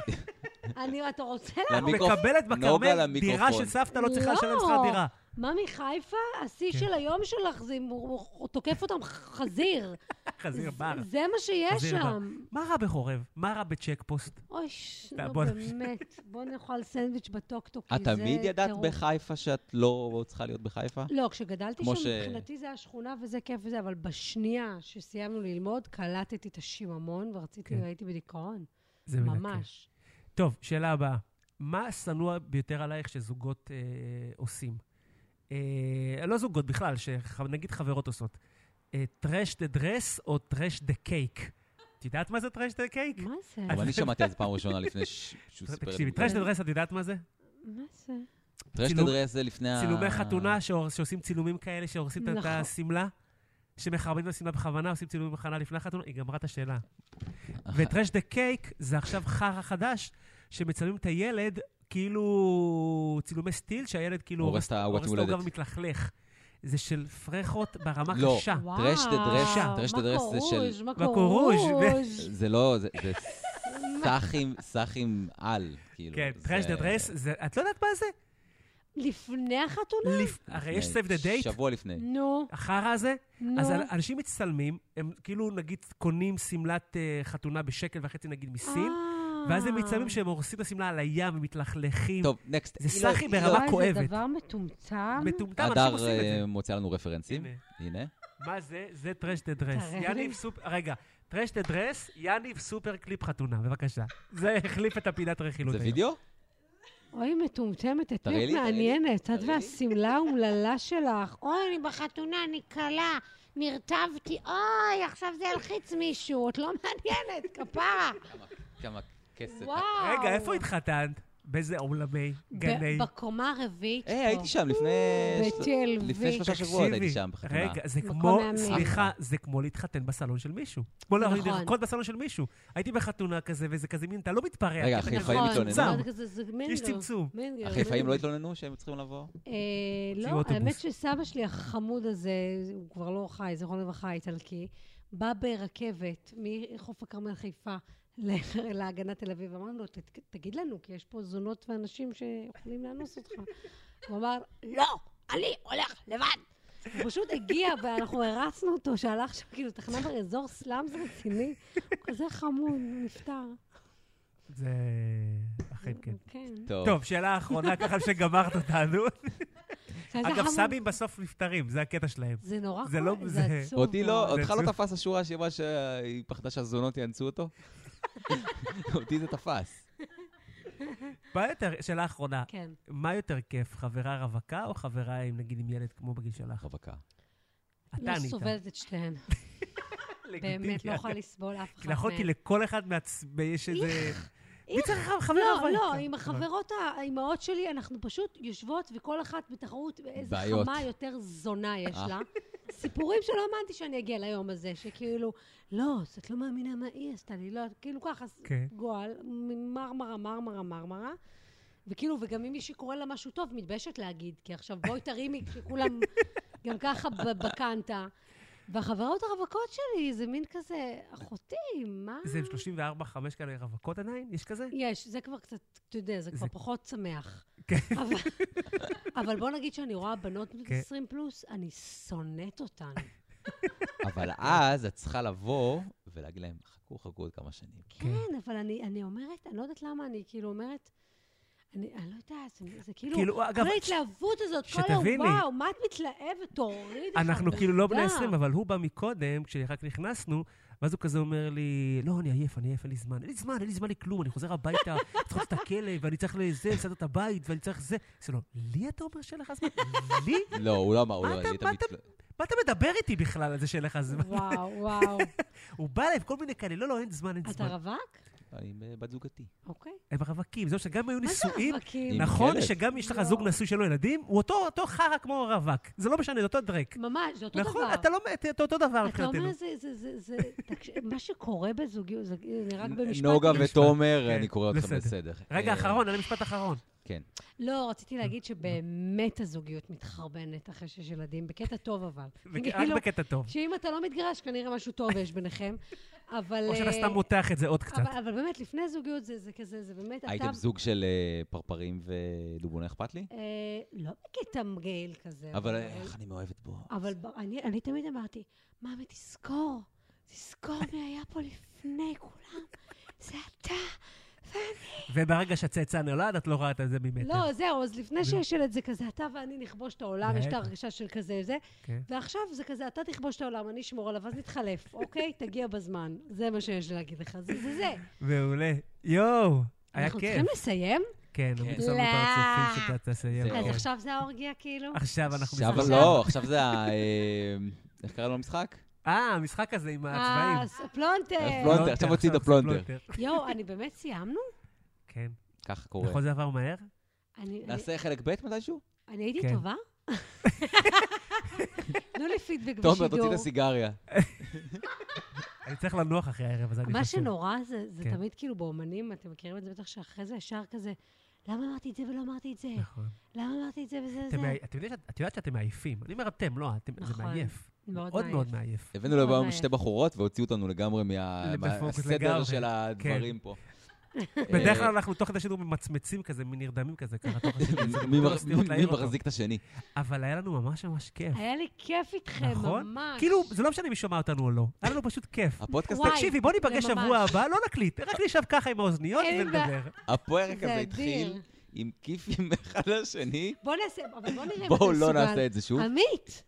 S3: אני, אתה רוצה
S2: לא.
S3: לה...
S1: למיקרופ-
S2: מקבלת
S1: נוגה
S2: בכרמל
S1: למיקרופון.
S2: דירה של סבתא, לא צריכה
S3: לא.
S2: לשלם שכר דירה.
S3: מה מחיפה? השיא
S2: כן.
S3: של היום שלך, זה אם הוא הוא תוקף אותם חזיר.
S2: חזיר בר.
S3: זה מה שיש
S2: חזיר בר.
S3: שם.
S2: מה רע בחורב? מה רע בצ'ק פוסט?
S3: אוי, נו
S2: בוא-
S3: באמת, בוא נאכל סנדוויץ' בטוקטוק, כי
S1: את
S3: זה
S1: אה, תמיד ידעת
S3: טירוף.
S1: בחיפה שאת לא צריכה להיות בחיפה?
S3: לא, כשגדלתי שם,
S1: כמו ש-
S3: מבחינתי זה היה שכונה וזה כיף וזה, אבל בשנייה שסיימנו ללמוד, קלטתי את השיממון ורציתי,
S2: כן.
S3: הייתי בדיכאון.
S2: זה מנקה.
S3: ממש.
S2: טוב, שאלה הבאה. מה השנוא ביותר עלייך שזוגות אה, עושים? אה, לא זוגות בכלל, שח- נגיד חברות עושות. אה, טרש דה דרס או טרש דה קייק? את יודעת מה זה טרש דה קייק?
S3: מה זה?
S2: אה.
S1: אבל אני שמעתי על זה פעם ראשונה לפני ש- שהוא סיפר לי.
S2: תקשיבי, טרש דה דרס, את יודעת מה זה?
S3: מה זה?
S1: טרשת
S2: צילום-
S1: אדרס זה לפני ה...
S2: צילומי חתונה שהור- שעושים צילומים כאלה, שהורסים את- את
S3: נכון.
S2: השמלה, שמחרבנים את השמלה בכוונה, עושים צילומים בכוונה לפני החתונה, היא גמרה את השאלה. וטרש דה קייק זה עכשיו חרא חדש, שמצלמים את הילד, כאילו צילומי סטיל, שהילד כאילו
S1: הורס את העוגת
S2: את העוגה
S1: הולדת.
S2: ומתלכלך. זה של פרחות ברמה
S1: לא.
S2: קשה.
S3: וואו,
S1: טרש דה דרס,
S2: אה,
S3: מה
S1: טרש דה דרס זה של-
S3: קורוז', מה
S2: בקורוז',
S3: קורוז'?
S1: זה לא, זה זה סאחים, סאחים על, כאילו.
S2: כן,
S1: זה-
S2: טרש דה דרס, זה- את לא יודעת מה זה?
S3: לפני החתונה?
S2: לפ- הרי יש סייב דה דייט,
S1: שבוע לפני.
S2: Mm.
S3: נו,
S2: החרא הזה,
S3: נו.
S2: אז אנשים מצטלמים, הם כאילו נגיד קונים שמלת אה, חתונה בשקל וחצי נגיד
S3: אה.
S2: מסין, ואז הם מצלמים שהם הורסים את השמלה על הים ומתלכלכים.
S1: טוב, נקסט.
S2: זה סאחי ברמה
S3: וואי, זה
S2: כואבת.
S3: דבר מטומטם.
S2: מטומטם, אנשים
S1: הדר
S2: עושים את
S1: אה,
S2: זה.
S1: מוצא לנו רפרנסים. הנה.
S2: מה זה? זה טרש דה דרס.
S3: תראה לי.
S2: יניב סופר... רגע, טרש דה דרס, יניב סופר קליפ חתונה, בבקשה. זה החליף את הפינת רכילות
S1: זה
S2: היום.
S1: וידאו?
S3: אוי, מטומטמת, את
S1: תראי
S3: מי
S1: לי,
S3: את
S1: תראי לי,
S3: מעניינת? את
S1: תראי לי.
S3: והשמלה האומללה שלך. אוי, אני בחתונה, אני כלה, נרטבתי, אוי, עכשיו זה ילחיץ מישהו, את לא מעניינת, כפרה.
S1: כמה כסף.
S3: וואו.
S2: רגע, איפה התחתנת? באיזה עולמי? גני?
S3: ב- בקומה הרביעית פה.
S1: היי, אה, הייתי שם לפני...
S3: ב-TLV.
S1: לפני שלושה
S2: תקשיבי,
S1: שבועות הייתי שם בחתונה.
S2: רגע, זה
S3: מקום
S2: כמו,
S3: מהמם.
S2: סליחה, זה כמו להתחתן בסלון של מישהו. כמו להוריד
S3: נכון.
S2: לרקוד בסלון של מישהו. הייתי בחתונה כזה, וזה כזה מין, אתה לא מתפרע.
S1: רגע,
S2: כי אתה
S1: החיפאים
S2: כזה
S3: נכון,
S1: התלוננו?
S2: צמצם.
S3: מאוד כזה, זה מנגל.
S2: יש צמצום.
S3: מנגל,
S1: החיפאים
S3: מנגל.
S1: לא התלוננו שהם צריכים לבוא?
S3: אה,
S2: שיהיו
S3: לא,
S2: אוטובוס.
S3: האמת שסבא שלי החמוד הזה, הוא כבר לא חי, זיכרונו לברכה, איטלקי, בא ברכבת מחוף הכרמל חיפה ל- להגנת תל אביב, אמרנו לו, "ת- תגיד לנו, כי יש פה זונות ואנשים שיכולים לאנוס אותך. הוא אמר, לא, אני הולך לבד. הוא פשוט הגיע, ואנחנו הרצנו אותו, שהלך שם, כאילו, תחנה באזור סלאמס רציני, הוא כזה חמוד, הוא נפטר.
S2: זה... אכן כן.
S3: כן.
S1: טוב.
S2: טוב, שאלה אחרונה, ככה שגמרת אותנו.
S3: זה
S2: אגב,
S3: חמוד.
S2: סבים בסוף נפטרים, זה הקטע שלהם.
S3: זה נורא
S2: זה לא-
S3: כואב,
S2: זה-
S3: זה עצוב.
S1: אותי לא,
S3: מאוד.
S1: אותך
S2: זה-
S1: לא תפס השורה שהיא אמרה שהיא פחדה שהזונות יאנסו אותו? אותי זה תפס.
S2: מה יותר, שאלה אחרונה,
S3: כן.
S2: מה יותר כיף, חברה רווקה או חברה עם, נגיד, עם ילד כמו בגיל שלך?
S1: רווקה.
S2: אתה
S3: לא
S2: ענית.
S3: סובלת את שתיהן.
S2: לגיטימי,
S3: באמת, לא
S2: אגב.
S3: יכולה לסבול אף אחת
S2: כי יכולתי לכל אחד מעצ... יש איזה... מי
S3: איך.
S2: צריך חבר- חברה
S3: לא,
S2: רווקה?
S3: לא, עם החברות, האימהות שלי, אנחנו פשוט יושבות, וכל אחת בתחרות איזה
S1: בעיות.
S3: חמה יותר זונה יש
S1: אה.
S3: לה. סיפורים שלא האמנתי שאני אגיע ליום הזה, שכאילו, לא, אז את לא מאמינה מה היא עשתה לי, לא, כאילו ככה, אז
S2: כן.
S3: גועל, מ- מרמרה, מרמרה, מרמרה. וכאילו, וגם אם מישהי קורא לה משהו טוב, מתביישת להגיד, כי עכשיו בואי תרימי, כשכולם גם ככה ב- בקנטה. והחברות הרווקות שלי, זה מין כזה, אחותי, מה?
S2: זה עם 34, 5 כאלה רווקות עדיין? יש כזה?
S3: יש, זה כבר קצת, אתה יודע, זה כבר
S2: זה-
S3: פחות שמח.
S2: כן.
S3: אבל- אבל בוא נגיד שאני רואה בנות בנות
S2: כן.
S3: 20 פלוס, אני שונאת אותן.
S1: אבל אז את צריכה לבוא ולהגיד להם, חכו, חכו עוד כמה שנים.
S2: כן.
S3: כן, אבל אני אני אומרת, אני לא יודעת למה, אני כאילו אומרת, אני אני לא יודעת, זה- זה כאילו...
S2: כאילו, אגב,
S3: כל ההתלהבות הזאת, כל
S2: שתביני.
S3: היום, וואו, מה את מתלהבת? תוריד לך.
S2: אנחנו כאילו לא בני
S3: תודה."
S2: 20, אבל הוא בא מקודם, כשרק נכנסנו, ואז הוא כזה אומר לי, לא, אני עייף, אני עייף, אין לי זמן. אין לי זמן, אין לי זמן לכלום, אני חוזר הביתה, צריך לעשות את הכלב, ואני צריך לזה, לסדר את הבית, ואני צריך זה. אמרתי לו, לי אתה אומר שאין לך זמן? לי?
S1: לא, הוא לא אמר, הוא
S2: מה
S1: לא...
S2: אתה-
S1: אני את
S2: מה אתה-
S1: המתל-
S2: מה אתה מדבר איתי בכלל על זה שאין לך זמן?
S3: וואו, וואו.
S2: הוא בא אליי, כל מיני כאלה, לא, לא, אין זמן, אין
S3: אתה
S2: זמן.
S3: רווק?
S1: אני עם אה, בת זוגתי.
S3: אוקיי.
S2: הם רווקים, זה שגם היו
S3: מה זה
S2: נישואים,
S3: רווקים?
S1: עם
S2: נכון
S1: כלב.
S2: שגם יש לך
S3: לא.
S2: זוג נשוי שלו ילדים, הוא אותו אותו חרא כמו רווק. זה לא משנה, זה אותו דרק.
S3: ממש, זה אותו דבר.
S2: נכון, אתה לא מת, אתה אותו דבר
S3: אתה
S2: מבחינתנו.
S3: אומר, זה, זה, זה, זה, תקש- מה שקורה בזוגיות, זה זה רק במשפט.
S1: נוגה
S2: במשפט.
S1: ותומר,
S2: כן,
S1: אני קורא אתכם
S2: בסדר.
S1: לסדר.
S2: רגע,
S1: אה,
S2: אחרון, על המשפט האחרון.
S1: כן.
S3: לא, רציתי להגיד שבאמת הזוגיות מתחרבנת אחרי שיש ילדים, בקטע טוב אבל.
S2: רק
S3: כאילו,
S2: בקטע טוב.
S3: שאם אתה לא מתגרש, כנראה משהו טוב יש ביניכם, אבל...
S2: או שאתה
S3: אה,
S2: סתם מותח את זה עוד קצת.
S3: אבל, אבל באמת, לפני זוגיות זה, זה כזה, זה באמת,
S1: הייתם
S3: אתה...
S1: זוג של אה, פרפרים ודובונה, אכפת לי?
S3: אה, לא בקטע מגעיל כזה.
S1: אבל אה, איך אני מאוהבת בו.
S3: אבל ב- אני, אני תמיד אמרתי, מאמי, תזכור, תזכור מי היה פה לפני כולם, זה אתה.
S2: וברגע שהצאצא נולד, את לא רואה את זה ממטר.
S3: לא, זהו, אז לפני
S2: זה-
S3: שיש ילד זה כזה, אתה ואני נכבוש את העולם, יש את
S2: בטח.
S3: ההרגשה של כזה זה,
S2: כן.
S3: ועכשיו זה כזה, אתה תכבוש את העולם, אני אשמור עליו, אז נתחלף, אוקיי? תגיע בזמן. זה מה שיש לי להגיד לך, זה זה זה.
S2: מעולה. יואו, היה
S3: אנחנו
S2: כיף.
S3: צריכים לסיים?
S2: כן,
S1: כן.
S2: אני שם את הצופים שאתה תסיים.
S1: זהו.
S3: אז
S1: כן.
S3: עכשיו זה האורגיה, כאילו?
S2: עכשיו אנחנו
S1: עכשיו
S3: מסתכלים.
S1: לא, עכשיו זה ה... אה, איך קראנו למשחק?
S2: אה, המשחק הזה עם
S3: אה,
S2: הצבעים.
S3: ס- פלונטר.
S1: פלונטר, עכשיו הוציא את
S2: זה
S1: הפלונטר.
S3: יואו, אני באמת סיימנו?
S2: כן.
S1: ככה קורה.
S2: נכון, זה עבר מהר?
S3: אני- אני-
S1: נעשה חלק ב' מתישהו?
S3: אני הייתי
S2: כן.
S3: טובה? תנו לי פידבק
S1: תומר, תוציא
S3: בשידור.
S1: את הסיגריה.
S2: אני צריך לנוח אחרי הערב הזה, אני חושב.
S3: מה שנורא זה, זה
S2: כן.
S3: תמיד כאילו באומנים, אתם מכירים את זה בטח שאחרי זה ישר כזה, למה אמרתי את זה ולא אמרתי את זה?
S2: נכון.
S3: למה אמרתי את זה וזה
S2: אתם
S3: וזה?
S2: מאי- אתם יודעים שאת- את יודעת שאתם מעייפים. אני אומר אתם, לא, אתם- זה
S3: נכון.
S2: מעייף.
S3: מאוד
S2: מאוד מאוד
S3: מעייף.
S2: מעייף.
S1: הבאנו לבם
S3: מעייף.
S1: שתי בחורות והוציאו אותנו לגמרי מה-
S2: לפוקוס
S1: מהסדר
S2: לגמרי. כן.
S1: של הדברים פה. אה,
S2: בדרך כלל אנחנו תוך כדי שידור ממצמצים כזה, מין נרדמים כזה, ככה תוך כדי שידור. זה
S1: מי
S2: לא
S1: מח-
S2: סתירות
S1: מי
S2: לעיר אותו.
S1: מחזיק את השני?
S2: אבל היה לנו ממש ממש כיף.
S3: היה לי כיף איתכם,
S2: נכון?
S3: ממש.
S2: כאילו, זה לא משנה מי שומע אותנו או לא. היה לנו פשוט כיף.
S1: הפודקאסט
S3: וואי.
S2: תקשיבי, בוא ניפגש
S3: זה ממש.
S2: שבוע הבא, לא נקליט, רק נשב ככה עם האוזניות
S3: אין לי בעיה.
S2: ונדבר.
S1: הפרק
S3: זה
S1: הזה
S3: אדיר.
S1: התחיל עם כיפים אחד לשני.
S3: בוא נעשה, אבל בוא נראה אם אתה מסוגל.
S1: בואו לא נעשה את זה שוב.
S3: עמית,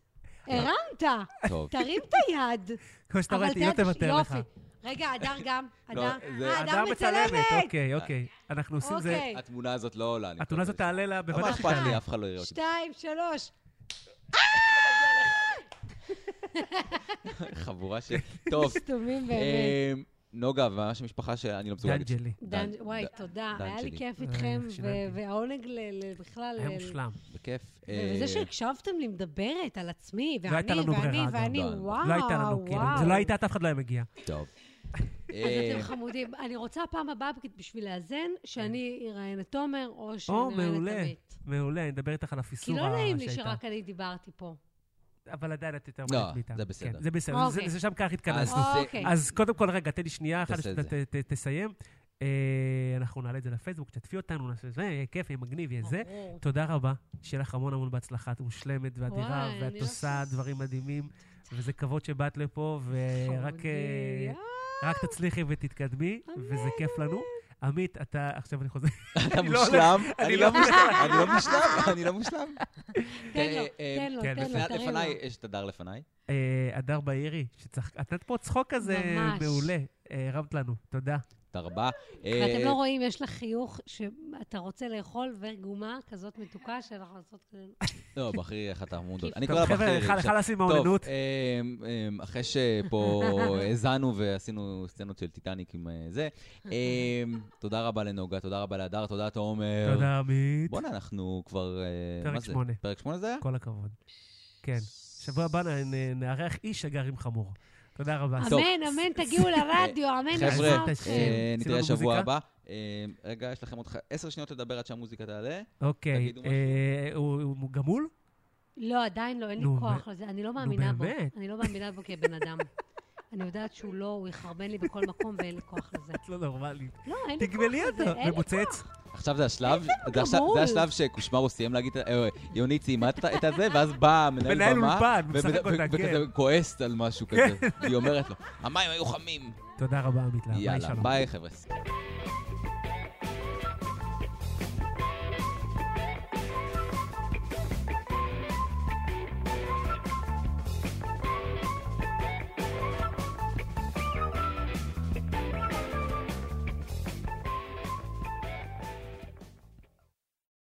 S2: לא.
S3: הרמת,
S1: טוב.
S3: תרים את היד.
S2: כמו שאתה רואה,
S3: אבל
S2: היא לא
S3: תן-
S2: תוותר לך.
S3: יופי. רגע, הדר גם.
S1: לא,
S3: הדר,
S1: זה-
S3: אה, הדר מצלמת.
S2: אוקיי, אוקיי. אנחנו עושים זה.
S3: אוקיי.
S1: התמונה הזאת לא עולה. אני
S2: התמונה
S1: מקווה.
S2: הזאת תעלה לה,
S1: אבל מה
S2: בוודאי
S1: אכפת
S2: שתעלה.
S1: לי, אף אחד לא יראה אותי.
S3: שתיים, שלוש.
S1: חבורה ש... טוב.
S3: סתומים באמת.
S1: אה, נוגה, ממש המשפחה שאני לא מסוגל
S2: דן
S1: להגיד.
S2: ג'לי.
S3: דן,
S1: דן-
S3: וואי,
S1: ד-
S3: תודה.
S1: דן
S3: היה לי
S1: שלי.
S3: כיף
S2: אה,
S3: איתכם, ו-
S2: שיננתי.
S3: והעונג ל- ל- בכלל...
S2: היה
S3: ל-
S2: מושלם.
S1: בכיף.
S3: וזה
S1: אה,
S3: שהקשבתם לי מדברת על עצמי,
S2: לא הייתה
S3: ואני,
S2: לנו
S3: ואני,
S2: ברירה,
S3: ואני,
S1: אגב. לא
S3: וואו,
S2: לא הייתה לנו, כאילו, אם זה לא
S3: וואו.
S2: הייתה, את אף אחד לא היה מגיע.
S1: טוב.
S3: אז
S1: אה,
S3: אתם חמודים. אני רוצה פעם הבאה, בשביל לאזן, שאני אראיין את תומר, או
S2: אה. או,
S3: שנראיין את
S2: מעולה.
S3: עמית.
S2: מעולה, אני מדבר איתך על
S3: כי
S2: הפיסור
S3: לא
S2: ה-
S3: נעים לי
S2: שהייתה.
S3: שרק אני דיברתי פה.
S2: אבל עדיין את יותר
S1: לא,
S2: מעט מאיתנו.
S1: זה בסדר.
S2: כן, זה בסדר, זה-
S3: אוקיי.
S2: זה שם כך
S1: אז
S2: התכנסנו.
S3: אה,
S1: זה-
S3: אוקיי.
S2: אז קודם כל, רגע, תן לי שנייה אחת
S1: תעשה את
S2: שאתה
S1: זה.
S2: ת- ת- תסיים. אה, אנחנו נעלה את זה לפייסבוק, תשתפי אותנו, נעשה זה, יהיה כיף, יהיה מגניב, יהיה
S1: אוקיי.
S2: זה.
S3: ברור.
S2: תודה רבה, שיהיה לך המון המון בהצלחה, את מושלמת ואדירה,
S3: וואי,
S2: ואת
S3: אני
S2: עושה
S3: לא-
S2: דברים מדהימים, וזה כבוד שבאת לפה, ורק אה,
S3: חמודי.
S2: רק תצליחי ותתקדמי, וזה כיף לנו. עמית, אתה, עכשיו אני חוזר.
S1: אתה
S2: אני לא הולך-
S1: מושלם, אני
S2: אני
S1: לא
S2: לא-
S1: מושלם, אני לא מושלם, אני לא מושלם.
S3: תן לו,
S1: אה, אה,
S3: תן לו,
S2: כן,
S3: תן לו,
S1: לפני-
S3: תרים
S1: לפניי,
S3: לו.
S1: יש את הדר לפניי.
S2: אה, הדר בהירי, שצחק, את נתת פה צחוק כזה
S3: ממש.
S2: מעולה, אה, הרמת לנו, תודה.
S1: תודה רבה.
S3: ואתם
S1: אה,
S3: לא רואים, יש לך חיוך שאתה רוצה לאכול וגומה כזאת מתוקה שאנחנו עושות כזה...
S1: לא, בחרירי איך אתה מונדות. אני
S2: טוב,
S1: קורא לה
S2: חבר'ה,
S1: בחרירי.
S2: אחד
S1: עכשיו.
S2: אחד לשים
S1: טוב,
S2: מהאוננות.
S1: אמ, אמ, אחרי שפה האזנו ועשינו סצנות של טיטניק עם אה, זה, אמ, תודה רבה לנוגה, תודה רבה להדר, תודה תומר.
S2: תודה, עמית.
S1: אה, בואנה, אנחנו כבר... אה,
S2: פרק
S1: מה זה?
S2: שמונה.
S1: פרק שמונה זה היה?
S2: כל הכבוד. כן. שבוע הבא נ- נ- נארח איש שגר עם חמור. תודה רבה.
S1: טוב.
S3: אמן, אמן, תגיעו לרדיו, אמן.
S1: חבר'ה,
S3: נשמע
S1: אה,
S2: אתם.
S1: אה,
S2: עשינו
S1: נתראה
S2: לנו
S1: שבוע
S2: מוזיקה?
S1: הבא. אה, רגע, יש לכם עוד ח- עשר שניות לדבר עד שהמוזיקה תעלה.
S2: אוקיי,
S1: תגידו
S2: אה, הוא הוא גמול?
S3: לא, עדיין לא, אין לי
S2: נו,
S3: כוח לזה. אני לא מאמינה בו.
S2: באמת.
S3: אני לא מאמינה בו כבן אדם. אני יודעת שהוא לא, הוא יחרבן לי בכל מקום ואין לי כוח לזה.
S2: את לא נורמלית.
S3: לא, אין לי כוח לזה.
S2: תגמלי אותו.
S3: אין לי
S2: ומוצץ.
S1: עכשיו זה השלב, זה השלב-
S3: גמור.
S1: זה השלב שקושמרו סיים להגיד, אה, יוני ציימה את- את הזה, ואז בא מנהל
S2: מנהל
S1: במה,
S2: אולפן,
S1: ומד-
S2: משחק
S1: ו-
S2: אותה,
S1: וכזה כועסת על
S2: כן.
S1: משהו כזה. היא אומרת לו, המים היו חמים.
S2: תודה רבה, עמית. להב. ביי,
S1: יאללה,
S2: כן, שלום.
S1: ביי חבר'ה.